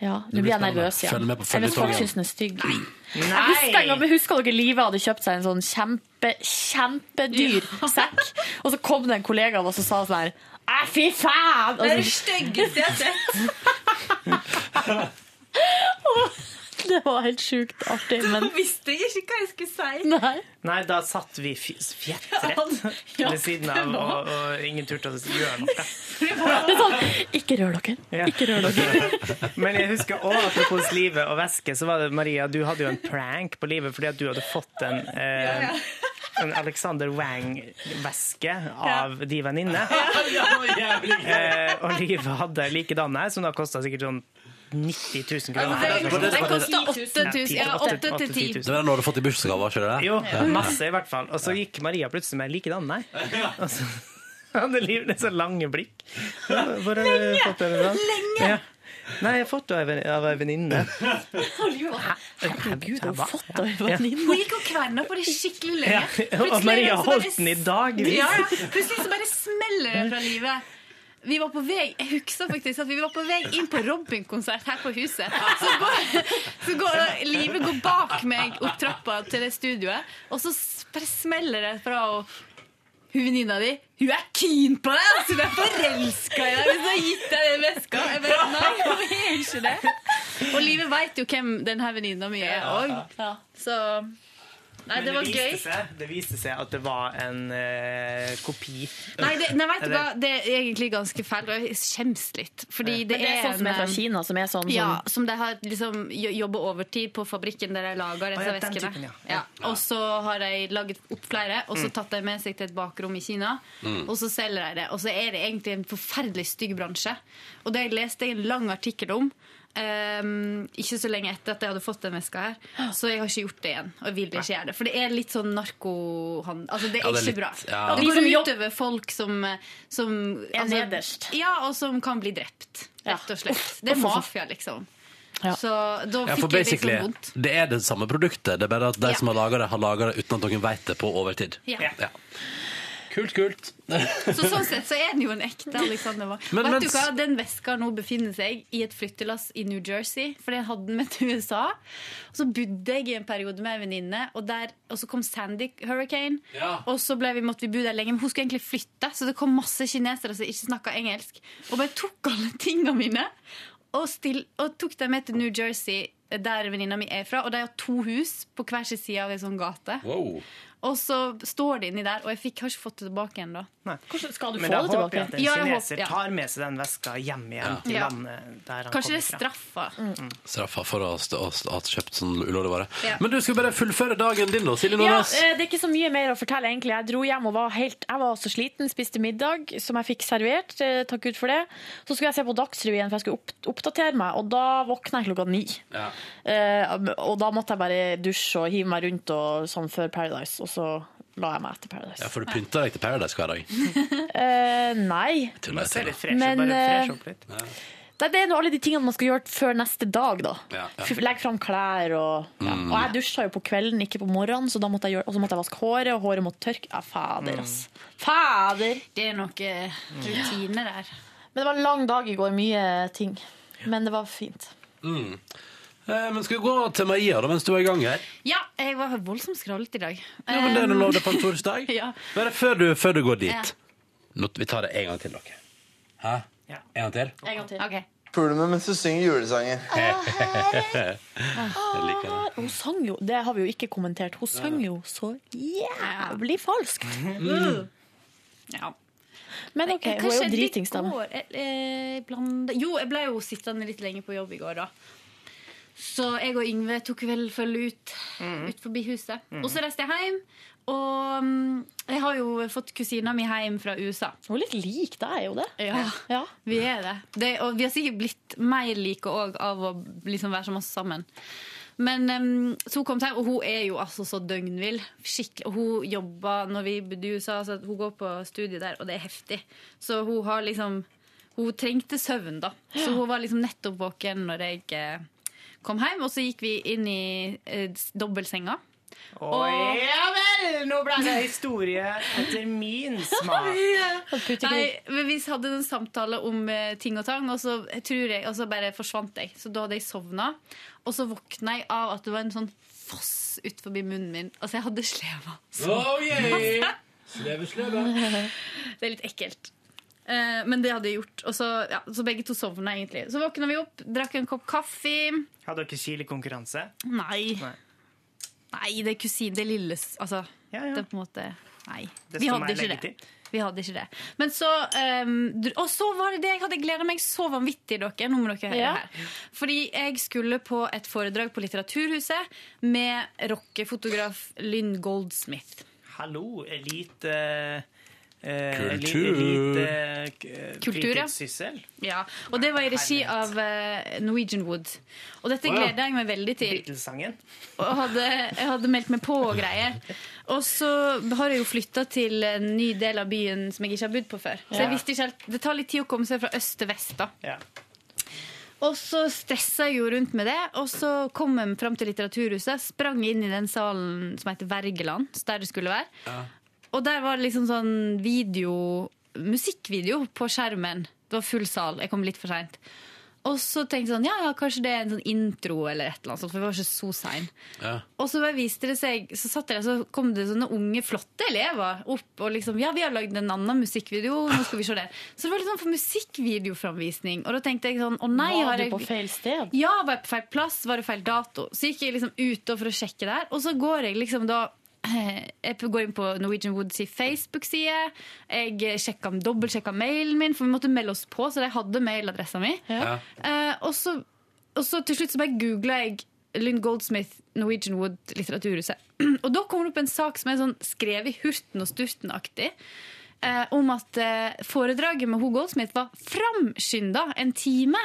[SPEAKER 5] Ja,
[SPEAKER 2] Det
[SPEAKER 5] Nå blir jeg
[SPEAKER 2] blir
[SPEAKER 5] nervøs
[SPEAKER 2] spennende. Følg
[SPEAKER 5] igjen.
[SPEAKER 2] med på
[SPEAKER 5] Jeg vet folk
[SPEAKER 2] følgetongen.
[SPEAKER 5] syns den er stygg. Jeg husker, en gang- husker dere Live hadde kjøpt seg en sånn kjempe, kjempedyr sekk, og så kom det en kollega av oss og sa sånn her Æ, fy
[SPEAKER 4] Det
[SPEAKER 5] faen!
[SPEAKER 4] er det
[SPEAKER 5] Og så-
[SPEAKER 4] styggeste jeg har sett.
[SPEAKER 5] det var helt sjukt artig, men
[SPEAKER 4] Du visste ikke hva jeg skulle si.
[SPEAKER 5] Nei.
[SPEAKER 3] Nei, da satt vi fj- fjettrett
[SPEAKER 4] Ja,
[SPEAKER 3] ved siden
[SPEAKER 4] det
[SPEAKER 3] av,
[SPEAKER 4] var.
[SPEAKER 3] og, og ingen turte å gjøre noe.
[SPEAKER 5] Det er sånn, ikke rør dere. Ikke rør dere.
[SPEAKER 3] Men jeg husker også apropos livet og væske, så var det Maria, du hadde jo en prank på livet fordi at du hadde fått en, eh,
[SPEAKER 4] Ja, ja.
[SPEAKER 3] en Alexander Wang-væske av de venninne. Eh, og livet hadde likedan her, som da kosta sikkert sånn 90 000 kroner.
[SPEAKER 20] Den koster 8000. Ja, 8 til 10.
[SPEAKER 2] Det var den du hadde fått i bursdagsgave, ikke det?
[SPEAKER 3] Jo,
[SPEAKER 2] Ja.
[SPEAKER 3] masse i hvert fall. Og så gikk Maria plutselig med likedan, nei. Og så hadde livet så lange blikk. Hvor har du
[SPEAKER 4] Lenge!
[SPEAKER 3] fått det fra?
[SPEAKER 4] Lenge!
[SPEAKER 3] Ja. Nei, jeg har fått det av en- av ei venninne.
[SPEAKER 5] Herregud,
[SPEAKER 3] har fått det av
[SPEAKER 20] Hun gikk og kverna på det skikkelig lenge.
[SPEAKER 3] Ja, og Maria
[SPEAKER 20] sånn
[SPEAKER 3] holdt den i dagevis.
[SPEAKER 20] Ja, ja. Plutselig så bare smeller det fra livet. Vi var på vei jeg husker faktisk at vi var på vei inn på Robin-konsert her på huset. Så går, så går Live går bak meg opp trappa til det studioet, og så s- bare smeller det fra henne. Hun venninna di hun er keen på deg! Altså, hun er forelska i deg! Hvis hun har gitt deg den veska. Jeg bare, nei, hun er ikke det. Og Live veit jo hvem denne venninna mi er òg. Så Nei, det
[SPEAKER 3] Men
[SPEAKER 20] var gøy.
[SPEAKER 3] viste Seg, det viste seg at det var en eh, kopi.
[SPEAKER 20] Nei, det, nei, vet du hva?
[SPEAKER 3] Eller-
[SPEAKER 20] det er egentlig ganske feil, og jeg skjems litt. Fordi det,
[SPEAKER 5] Men det er sånn som er fra
[SPEAKER 20] en-
[SPEAKER 5] Kina, som er sånn som-
[SPEAKER 20] Ja, som de har liksom jo- jobba overtid på fabrikken der de lager
[SPEAKER 5] Å,
[SPEAKER 20] disse
[SPEAKER 5] ja, den
[SPEAKER 20] veskene.
[SPEAKER 5] typen, ja.
[SPEAKER 20] Ja, Og så har de laget opp flere, og så
[SPEAKER 5] Mm.
[SPEAKER 20] tatt de med seg til et bakrom i Kina.
[SPEAKER 5] Mm.
[SPEAKER 20] Og så selger de det. Og så er det egentlig en forferdelig stygg bransje. Og det leste jeg en lang artikkel om. ehm, ikke så lenge etter at jeg hadde fått den veska her. Så jeg har ikke gjort det igjen. Og jeg vil ikke gjøre det For det er litt sånn narkohandel. Altså, det er
[SPEAKER 5] Ja, det er
[SPEAKER 20] ikke
[SPEAKER 5] litt-
[SPEAKER 20] bra.
[SPEAKER 5] ja.
[SPEAKER 20] Det
[SPEAKER 5] De som
[SPEAKER 20] går
[SPEAKER 5] jobb-
[SPEAKER 20] ut over folk som, eh, som altså,
[SPEAKER 5] Er nederst.
[SPEAKER 20] Ja, og som kan bli drept, rett og slett. Det er
[SPEAKER 5] uff, uff, uff.
[SPEAKER 20] mafia, liksom. Så da
[SPEAKER 2] Ja, for
[SPEAKER 20] fikk jeg litt
[SPEAKER 2] basically,
[SPEAKER 20] sånn vondt.
[SPEAKER 2] det er det samme produktet, det er bare at de
[SPEAKER 20] Ja.
[SPEAKER 2] som har laga det, har laga det uten at noen veit det på overtid.
[SPEAKER 20] Ja.
[SPEAKER 2] Kult, kult.
[SPEAKER 20] Så sånn sett så er den jo en ekte Alexander Wang.
[SPEAKER 2] Men-
[SPEAKER 20] Vet
[SPEAKER 2] men-
[SPEAKER 20] du hva, Den veska nå befinner seg i et flyttelass i New Jersey, for jeg hadde den med til USA. Og så bodde jeg i en periode med ei venninne, og, der- og så kom Sandy Hurricane. Og så ble vi, måtte vi bo der lenge, men hun skulle egentlig flytte, så det kom masse kinesere som ikke snakka engelsk, og bare tok alle tingene mine. Og, still, og tok dem med til New Jersey, der venninna mi er fra. Og de har to hus på hver sin side av ei sånn gate.
[SPEAKER 2] Wow.
[SPEAKER 20] Og så står det inni der, og jeg fikk, har ikke fått det tilbake ennå. Skal
[SPEAKER 3] Men da håper jeg at en
[SPEAKER 20] Ja, jeg
[SPEAKER 3] kineser
[SPEAKER 20] håper- ja.
[SPEAKER 3] tar med seg den veska hjem igjen til
[SPEAKER 20] Ja.
[SPEAKER 3] landet der han
[SPEAKER 20] Kanskje det
[SPEAKER 3] kommer
[SPEAKER 20] er
[SPEAKER 3] fra.
[SPEAKER 20] straffa.
[SPEAKER 2] Straffa for å st- å st- ha kjøpt sånn ulovlig vare.
[SPEAKER 5] Ja.
[SPEAKER 2] Men du skal bare fullføre dagen din, da, Silje
[SPEAKER 5] Ja,
[SPEAKER 2] Nordnes.
[SPEAKER 5] eh, det er ikke så mye mer å fortelle, egentlig. Jeg dro hjem og var helt Jeg var så sliten, spiste middag som jeg fikk servert. eh, Takk Gud for det. Så skulle jeg se på Dagsrevyen, for jeg skulle opp, oppdatere meg, og da våkna jeg klokka ni. Eh, og da måtte jeg bare dusje og hive meg rundt og sånn før Paradise, og så la jeg meg etter Paradise.
[SPEAKER 2] Ja, for du pynter deg til Paradise hver dag.
[SPEAKER 20] Mm.
[SPEAKER 5] Eh, nei.
[SPEAKER 2] Tuller, jeg tuller.
[SPEAKER 5] Men eh,
[SPEAKER 2] Ja.
[SPEAKER 5] nei, det er nå alle de tingene man skal gjøre før neste dag, da.
[SPEAKER 2] Ja, ja.
[SPEAKER 5] F- Legge fram klær og ja.
[SPEAKER 2] Mm.
[SPEAKER 5] Og jeg dusja jo på kvelden, ikke på morgenen, så da måtte jeg, gjøre, og så måtte jeg vaske håret, og håret måtte tørke. Ja, fader,
[SPEAKER 2] Mm.
[SPEAKER 5] ass. Fader!
[SPEAKER 20] Det er noen rutiner der.
[SPEAKER 5] Men det var en lang dag i går, mye ting. Men det var fint.
[SPEAKER 2] Mm. Eh, Men skal vi gå til Maria da, mens du er i gang her?
[SPEAKER 20] Ja, jeg var voldsomt skravlete i dag.
[SPEAKER 2] Ja, men det er nå lov det på en torsdag.
[SPEAKER 20] Ja.
[SPEAKER 2] Bare før du, før du går
[SPEAKER 20] Ja.
[SPEAKER 2] dit. Nå, vi tar det en gang til, dere. Hæ? En gang til?
[SPEAKER 5] En gang
[SPEAKER 20] Eh,
[SPEAKER 5] til.
[SPEAKER 15] Puler med mens du synger julesanger.
[SPEAKER 2] Jeg liker det.
[SPEAKER 5] Hun sang jo, det har vi jo ikke kommentert, hun sang jo så jævlig falskt.
[SPEAKER 20] Mm. Ja. Eh,
[SPEAKER 5] Men OK, hun er jo dritings, da.
[SPEAKER 20] Jo, jeg ble jo sittende litt lenge på jobb i går, da. Så jeg og Yngve tok vel følge ut, ut forbi huset.
[SPEAKER 17] Mhm.
[SPEAKER 20] Og så reiste jeg hjem. Og mm, jeg har jo fått kusina mi hjem fra USA.
[SPEAKER 5] Hun er litt lik deg, er hun det?
[SPEAKER 20] Ja, vi er det. det. Og vi har sikkert blitt mer like òg av å liksom være så masse sammen. Men em, så hun kom til, og hun er jo altså så døgnvill. Skikkelig. Og Hun jobber når vi bodde i USA, så hun går på studie der, og det er heftig. Så hun har liksom Hun trengte søvn, da. Så hun var liksom nettopp våken når jeg eh, kom hjem, og så gikk vi inn i eh, s- dobbeltsenga.
[SPEAKER 3] Å, ja vel! Nå ble det historie etter min smak.
[SPEAKER 20] Nei, men vi hadde en samtale om eh, ting og tang, og så, tror jeg, og så bare forsvant jeg. Så da hadde jeg sovna. Og så våkna jeg av at det var en sånn foss ut forbi munnen min. Altså, jeg hadde sleva. Så-
[SPEAKER 2] Oh, yeah. Sleve, sleve.
[SPEAKER 20] Det er litt ekkelt. Eh, men det hadde jeg gjort. Og så, ja, så begge to sovna, egentlig. Så våkna vi opp, drakk en kopp kaffe.
[SPEAKER 3] Hadde dere kilekonkurranse?
[SPEAKER 20] Nei.
[SPEAKER 3] Nei.
[SPEAKER 20] Nei, det er kusin, det er lilles. Altså, det er på en måte Nei.
[SPEAKER 3] Desto
[SPEAKER 20] Vi hadde
[SPEAKER 3] mer
[SPEAKER 20] ikke det.
[SPEAKER 3] legitid.
[SPEAKER 20] Vi hadde ikke det. Men så ehm, dr- Og så var det det jeg hadde gleda meg så vanvittig dere. Nå må dere høre
[SPEAKER 5] Ja.
[SPEAKER 20] her. Fordi jeg skulle på et foredrag på Litteraturhuset med rockefotograf Lynn Goldsmith.
[SPEAKER 3] Hallo, elite eh,
[SPEAKER 2] Kultur.
[SPEAKER 3] Elite, elite k- eh,
[SPEAKER 20] Kultur, ja.
[SPEAKER 3] fritidssyssel.
[SPEAKER 20] Ja, Og det var i regi av eh, Norwegian Wood. Og dette
[SPEAKER 3] Å, ja.
[SPEAKER 20] gleda jeg meg veldig til.
[SPEAKER 3] Beatles-sangen.
[SPEAKER 20] og hadde, jeg hadde meldt meg på og greier. Og så har jeg jo flytta til en ny del av byen som jeg ikke har bodd på før. Så jeg
[SPEAKER 5] Ja.
[SPEAKER 20] visste ikke helt, Det tar litt tid å komme seg fra øst til vest. da.
[SPEAKER 3] Ja.
[SPEAKER 20] Og så stressa jeg jo rundt med det, og så kom jeg fram til Litteraturhuset. Sprang inn i den salen som heter Wergeland, der det skulle være. Og der var det liksom sånn video musikkvideo på skjermen. Det var full sal. Jeg kom litt for seint. Og så tenkte jeg sånn, ja, ja, kanskje det er en sånn intro eller et eller annet sånt, for vi var ikke så sein.
[SPEAKER 2] Ja.
[SPEAKER 20] Og så bare viste det seg, så satt jeg der, så kom det sånne unge, flotte elever opp og liksom Ja, vi har lagd en annen musikkvideo, nå skal vi se det. Så det var litt sånn for musikkvideoframvisning. Og da tenkte jeg sånn, å nei,
[SPEAKER 5] Var
[SPEAKER 20] har
[SPEAKER 5] du
[SPEAKER 20] jeg
[SPEAKER 5] på feil sted?
[SPEAKER 20] Ja, var jeg på feil plass? Var det feil dato? Så gikk jeg liksom ut da for å sjekke der, og så går jeg liksom da jeg går inn på Norwegian Woods i Facebook-side. Jeg sjekka, dobbeltsjekka mailen min, for vi måtte melde oss på, så de hadde mailadressa mi.
[SPEAKER 2] Ja.
[SPEAKER 20] Eh, og, så, og så til slutt så bare googla jeg Lynn Goldsmith, Norwegian Wood, Litteraturhuset. Og da kom det opp en sak som er sånn skrevet i hurten og sturten-aktig. eh, om at eh, foredraget med Ho Goldsmith var framskynda en time.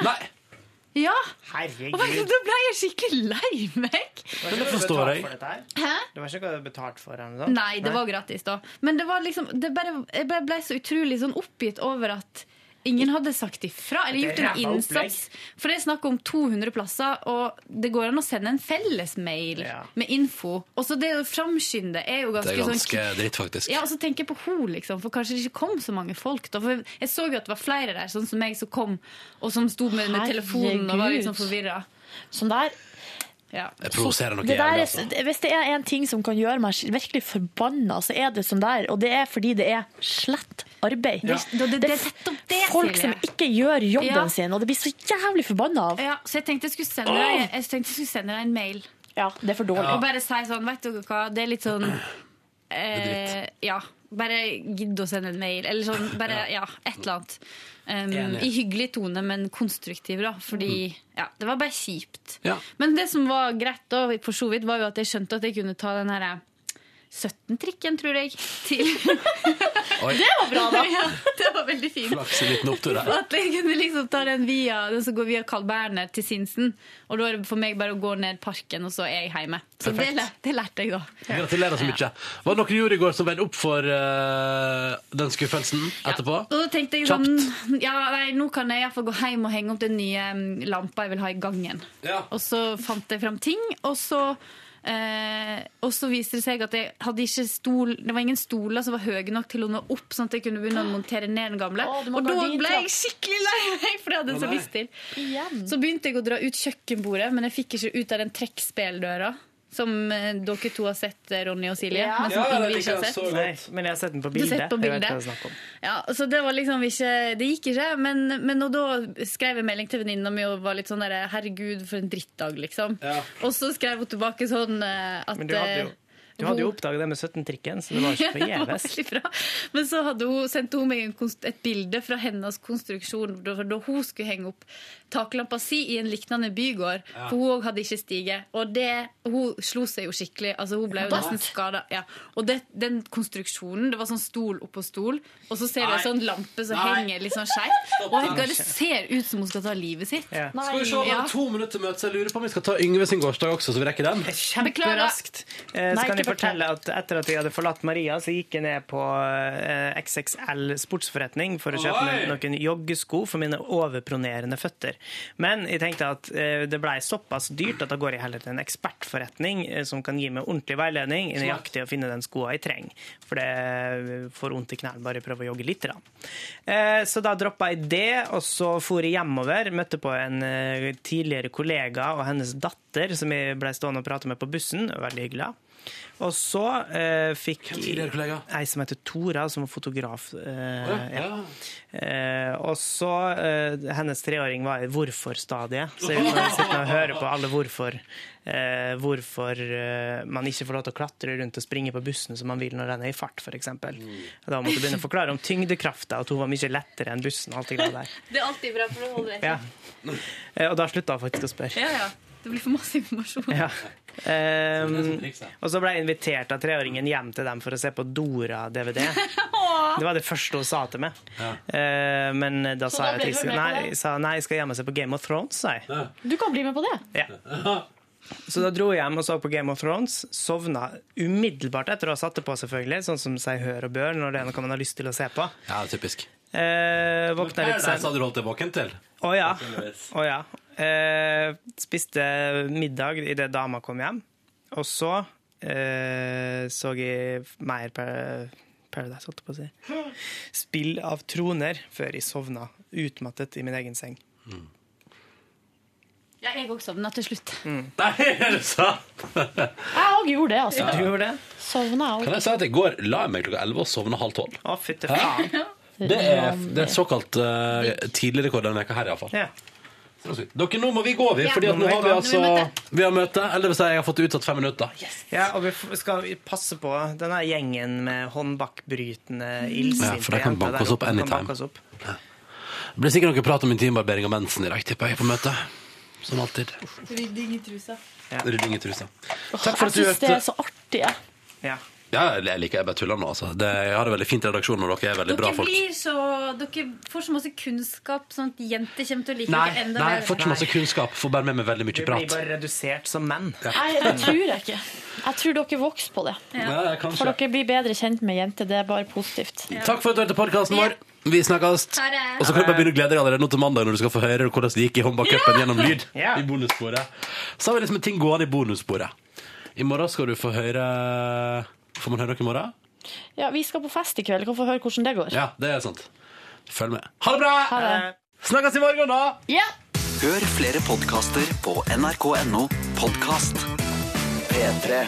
[SPEAKER 20] Ja! Og vet du,
[SPEAKER 3] Herregud.
[SPEAKER 20] da ble jeg skikkelig lei meg.
[SPEAKER 3] Det var ikke
[SPEAKER 2] det
[SPEAKER 3] noe
[SPEAKER 2] forstår
[SPEAKER 3] betalt
[SPEAKER 2] jeg.
[SPEAKER 3] for dette her.
[SPEAKER 20] Hæ?
[SPEAKER 3] Det var ikke noe betalt for henne? da?
[SPEAKER 20] Nei, det var gratis, da. Men det var liksom, det bare, jeg bare ble så utrolig sånn oppgitt over at ingen hadde sagt ifra eller
[SPEAKER 5] Det
[SPEAKER 20] gjort
[SPEAKER 5] er
[SPEAKER 20] en
[SPEAKER 5] ræva
[SPEAKER 20] innsats. For det er snakk om 200 plasser, og det går an å sende en fellesmail med info. Og så det å framskynde er jo
[SPEAKER 2] Det
[SPEAKER 20] ganske,
[SPEAKER 2] er ganske
[SPEAKER 20] sånn
[SPEAKER 2] dritt, faktisk.
[SPEAKER 20] ja, og så tenker jeg på henne, liksom, for kanskje det ikke kom så mange folk. Da. For jeg så jo at det var flere der, sånn som meg, som kom, og som sto med, med telefonen og var
[SPEAKER 5] Herregud.
[SPEAKER 20] liksom forvirra.
[SPEAKER 5] Sånn der
[SPEAKER 20] Ja.
[SPEAKER 2] Jeg provoserer noe
[SPEAKER 5] det der
[SPEAKER 2] jævlig.
[SPEAKER 5] er,
[SPEAKER 2] Altså.
[SPEAKER 5] Hvis det er en ting som kan gjøre meg virkelig forbanna, så er det sånn der. Og det er fordi det er slett arbeid.
[SPEAKER 20] Ja. Det- det- det-
[SPEAKER 5] er folk som
[SPEAKER 20] Silje.
[SPEAKER 5] ikke gjør jobben
[SPEAKER 20] Ja.
[SPEAKER 5] sin, og det blir så jævlig forbanna av.
[SPEAKER 20] Ja, så jeg tenkte jeg skulle sende deg, jeg tenkte jeg skulle sende deg en mail.
[SPEAKER 5] Ja, det er for dårlig.
[SPEAKER 20] Og bare si sånn, vet dere hva, det er litt sånn eh, Ja, bare gidd å sende en mail. Eller sånn, bare ja, et eller annet. Um,
[SPEAKER 5] Enig.
[SPEAKER 20] I hyggelig tone, men konstruktiv, da. Fordi ja, det var bare kjipt.
[SPEAKER 2] Ja.
[SPEAKER 20] Men det som var greit, da, for så vidt, var jo at jeg skjønte at jeg kunne ta den herre 17-trikken, tror jeg, til
[SPEAKER 2] Oi.
[SPEAKER 20] Det var bra, da! Ja, det var veldig fint.
[SPEAKER 2] Flaks en liten opptur
[SPEAKER 20] Og
[SPEAKER 2] der.
[SPEAKER 20] At jeg kunne liksom ta den via Den som går via Carl Berner til Sinsen. Og da er det for meg bare å gå ned parken, og så er jeg hjemme. Så det,
[SPEAKER 2] Perfekt.
[SPEAKER 20] lær- det lærte jeg, da.
[SPEAKER 2] Gratulerer så mye. Hva er det dere gjorde i går som veide opp for eh, den skuffelsen etterpå?
[SPEAKER 20] Og da tenkte jeg sånn ja, nei, Nå kan jeg i hvert fall gå hjem og henge opp den nye mm, lampa jeg vil ha i gangen. Og så fant jeg fram ting, og så eh, og så viste det seg at jeg hadde ikke stol Det var ingen stoler som var høye nok til å nå opp, sånn at jeg kunne begynne å montere ned den gamle.
[SPEAKER 5] Å, du må
[SPEAKER 20] og da
[SPEAKER 5] gardin
[SPEAKER 20] ble
[SPEAKER 5] til.
[SPEAKER 20] jeg skikkelig lei meg, for det hadde jeg
[SPEAKER 5] Å,
[SPEAKER 20] så
[SPEAKER 5] nei.
[SPEAKER 20] lyst til.
[SPEAKER 5] Mm.
[SPEAKER 20] Så begynte jeg å dra ut kjøkkenbordet, men jeg fikk ikke ut av den trekkspilldøra. Som eh, dere to har sett, eh, Ronny og Silje. Men som Ingvild ikke har sett.
[SPEAKER 3] Nei, men jeg har sett den på
[SPEAKER 20] Du har
[SPEAKER 3] bildet.
[SPEAKER 20] sett på
[SPEAKER 3] Jeg vet
[SPEAKER 20] bildet.
[SPEAKER 3] hva det er snakk om.
[SPEAKER 20] Ja, så det var liksom ikke Det gikk ikke, men, men og da skrev jeg melding til venninna mi og var litt sånn der Herregud, for en drittdag, liksom. Og så skrev hun tilbake sånn eh, at
[SPEAKER 3] Men du hadde jo-
[SPEAKER 20] eh,
[SPEAKER 3] Du hadde jo oppdaget det med 17-trikken, så det var ikke
[SPEAKER 20] Det var
[SPEAKER 3] forgjeves.
[SPEAKER 20] veldig bra. Men så hadde hun, sendte hun meg en konst- et bilde fra hennes konstruksjon da, da hun skulle henge opp taklampa si i en lignende bygård.
[SPEAKER 17] Ja.
[SPEAKER 20] For hun òg hadde ikke stige. Og det, hun slo seg jo skikkelig. Altså, hun ble jo
[SPEAKER 17] Bart.
[SPEAKER 20] nesten skada. Ja. Og det, den konstruksjonen, det var sånn stol oppå stol, og så ser du
[SPEAKER 17] Nei.
[SPEAKER 20] en sånn lampe som
[SPEAKER 2] Nei.
[SPEAKER 20] henger litt sånn skeivt. Og
[SPEAKER 2] Stopp den.
[SPEAKER 20] det ser ut som hun skal ta livet sitt.
[SPEAKER 2] Skal vi se, bare
[SPEAKER 20] Ja.
[SPEAKER 2] to minutter til møtet. så Jeg lurer på om vi skal ta Yngve sin gårsdag også, så vi rekker den.
[SPEAKER 3] Kjemperaskt. Eh,
[SPEAKER 20] Nei,
[SPEAKER 3] Så kan
[SPEAKER 20] ikke
[SPEAKER 3] jeg fortelle at etter at vi hadde forlatt Maria, så gikk jeg ned på eh, XXL sportsforretning for å kjøpe
[SPEAKER 16] Oi!
[SPEAKER 3] meg noen joggesko for mine overpronerende føtter. Men jeg tenkte at eh, det blei såpass dyrt at da går jeg heller til en ekspertforretning eh, som kan gi meg ordentlig veiledning i nøyaktig å finne den skoa jeg trenger. For det eh, får vondt i knærne bare jeg prøver å jogge litt. Da. Eh, Så da droppa jeg det, og så for jeg hjemover. Møtte på en eh, tidligere kollega og hennes datter, som jeg ble stående og prate med på bussen. Veldig hyggelig. Og så eh, fikk Ei som heter Tora, som var fotograf. Eh,
[SPEAKER 2] Å ja,
[SPEAKER 3] ja. Eh, og så eh, Hennes treåring var i hvorfor-stadiet, så jeg får sitte og høre på alle hvorfor. Eh, hvorfor eh, man ikke får lov til å klatre rundt og springe på bussen som man vil når den er i fart, f.eks. Da måtte jeg begynne å forklare om tyngdekrafta, at hun var mye lettere enn bussen. og alt det greia der.
[SPEAKER 20] Det er alltid bra for å holde rett.
[SPEAKER 3] Ja. Eh, og da slutta hun faktisk å spørre.
[SPEAKER 20] Ja, ja. Det blir for masse informasjon.
[SPEAKER 3] Ja. Ehm, og så ble jeg invitert av treåringen hjem til dem for å se på Dora-DVD. Det var det første hun sa til meg. Eh, men da
[SPEAKER 5] Så
[SPEAKER 3] sa jeg
[SPEAKER 5] da ble
[SPEAKER 3] at jeg,
[SPEAKER 5] du
[SPEAKER 3] skulle-
[SPEAKER 5] med på
[SPEAKER 3] nei,
[SPEAKER 5] det?
[SPEAKER 3] jeg sa, nei, jeg skal hjem og se på Game of Thrones, sa jeg.
[SPEAKER 5] Du kan bli med på det.
[SPEAKER 3] Ja. Så da dro jeg hjem og så på Game of Thrones, sovna umiddelbart etter å ha satt det på, selvfølgelig, sånn som seg hør og bør når det er noe man har lyst til å se på.
[SPEAKER 2] Ja, typisk.
[SPEAKER 3] Eh,
[SPEAKER 2] Det
[SPEAKER 3] våkna
[SPEAKER 2] er
[SPEAKER 3] litt
[SPEAKER 2] det
[SPEAKER 3] sent.
[SPEAKER 2] sa du holdt deg våken til.
[SPEAKER 3] Å ja. Å ja. Eh, spiste middag idet dama kom hjem. Og så eh, så jeg mer par Paradise, holdt jeg på å si. Spill av troner før jeg sovna utmattet i min egen seng.
[SPEAKER 20] Ja, jeg òg sovna til slutt.
[SPEAKER 2] Nei, er det sant?
[SPEAKER 5] Jeg òg gjorde det, altså.
[SPEAKER 2] Ja, du gjorde det.
[SPEAKER 5] Sovna
[SPEAKER 2] Kan
[SPEAKER 5] òg.
[SPEAKER 2] jeg si at i går la jeg meg klokka 11 og sovna halv tolv.
[SPEAKER 3] Å, fytte faen.
[SPEAKER 2] Det er, det er såkalt uh, tidlig rekord denne uka her, iallfall.
[SPEAKER 3] Ja.
[SPEAKER 2] Dere, nå må vi gå, vi.
[SPEAKER 3] Ja.
[SPEAKER 2] Fordi at nå
[SPEAKER 3] Nå må vi
[SPEAKER 2] har vi
[SPEAKER 3] gå.
[SPEAKER 2] altså
[SPEAKER 3] Nå må vi
[SPEAKER 2] Vi har møte. Eller det vil si, jeg har fått utsatt fem minutter.
[SPEAKER 3] Ja, og vi f- skal vi passe på denne gjengen med håndbakkbrytende,
[SPEAKER 2] Mm.
[SPEAKER 3] illsinte
[SPEAKER 2] Ja, for de kan banke oss opp
[SPEAKER 3] De kan
[SPEAKER 2] anytime.
[SPEAKER 3] banke oss opp.
[SPEAKER 2] Det blir sikkert noe prat om intimbarbering og mensen i dag, tipper jeg, på møtet. Som alltid.
[SPEAKER 20] Rydding i trusa.
[SPEAKER 2] Rydding i trusa.
[SPEAKER 5] Takk
[SPEAKER 2] for at du
[SPEAKER 5] Jeg syns det
[SPEAKER 2] hørte.
[SPEAKER 5] er så artig. jeg.
[SPEAKER 2] Ja, jeg liker jeg bare tuller nå, altså. Det, jeg har det veldig fint i redaksjonen, og dere er veldig
[SPEAKER 20] Dere,
[SPEAKER 2] bra folk.
[SPEAKER 20] blir så, dere får så masse kunnskap, sånn at jenter kommer til å like
[SPEAKER 2] Nei,
[SPEAKER 20] dere enda
[SPEAKER 2] nei,
[SPEAKER 20] bedre.
[SPEAKER 2] får ikke masse kunnskap. Får bare med meg veldig
[SPEAKER 3] Vi
[SPEAKER 2] mye
[SPEAKER 3] blir
[SPEAKER 2] prat.
[SPEAKER 3] bare redusert som menn.
[SPEAKER 5] Nei, det tror jeg ikke. Jeg tror dere vokser på det.
[SPEAKER 2] Ja. Ja, kanskje.
[SPEAKER 5] For dere blir bedre kjent med jenter. Det er bare positivt.
[SPEAKER 2] Takk for at du hørte podkasten vår. Vi snakkes.
[SPEAKER 5] Ha det.
[SPEAKER 2] Og så kan du bare begynne å glede deg allerede nå til mandag når du skal få høre hvordan det gikk i håndbakcupen gjennom lyd. I bonussporet. Så har vi liksom en ting gående i bonussporet. I morgen skal du få høre Får man høre noe i morgen?
[SPEAKER 5] Ja, Vi skal på fest i kveld. Kan få høre hvordan det går.
[SPEAKER 2] Ja, det er sant. Følg med. Ha det bra!
[SPEAKER 5] Ha det.
[SPEAKER 2] Snakkes i morgen, da!
[SPEAKER 5] Ja!
[SPEAKER 10] Hør flere podkaster på nrk.no podkast. P3.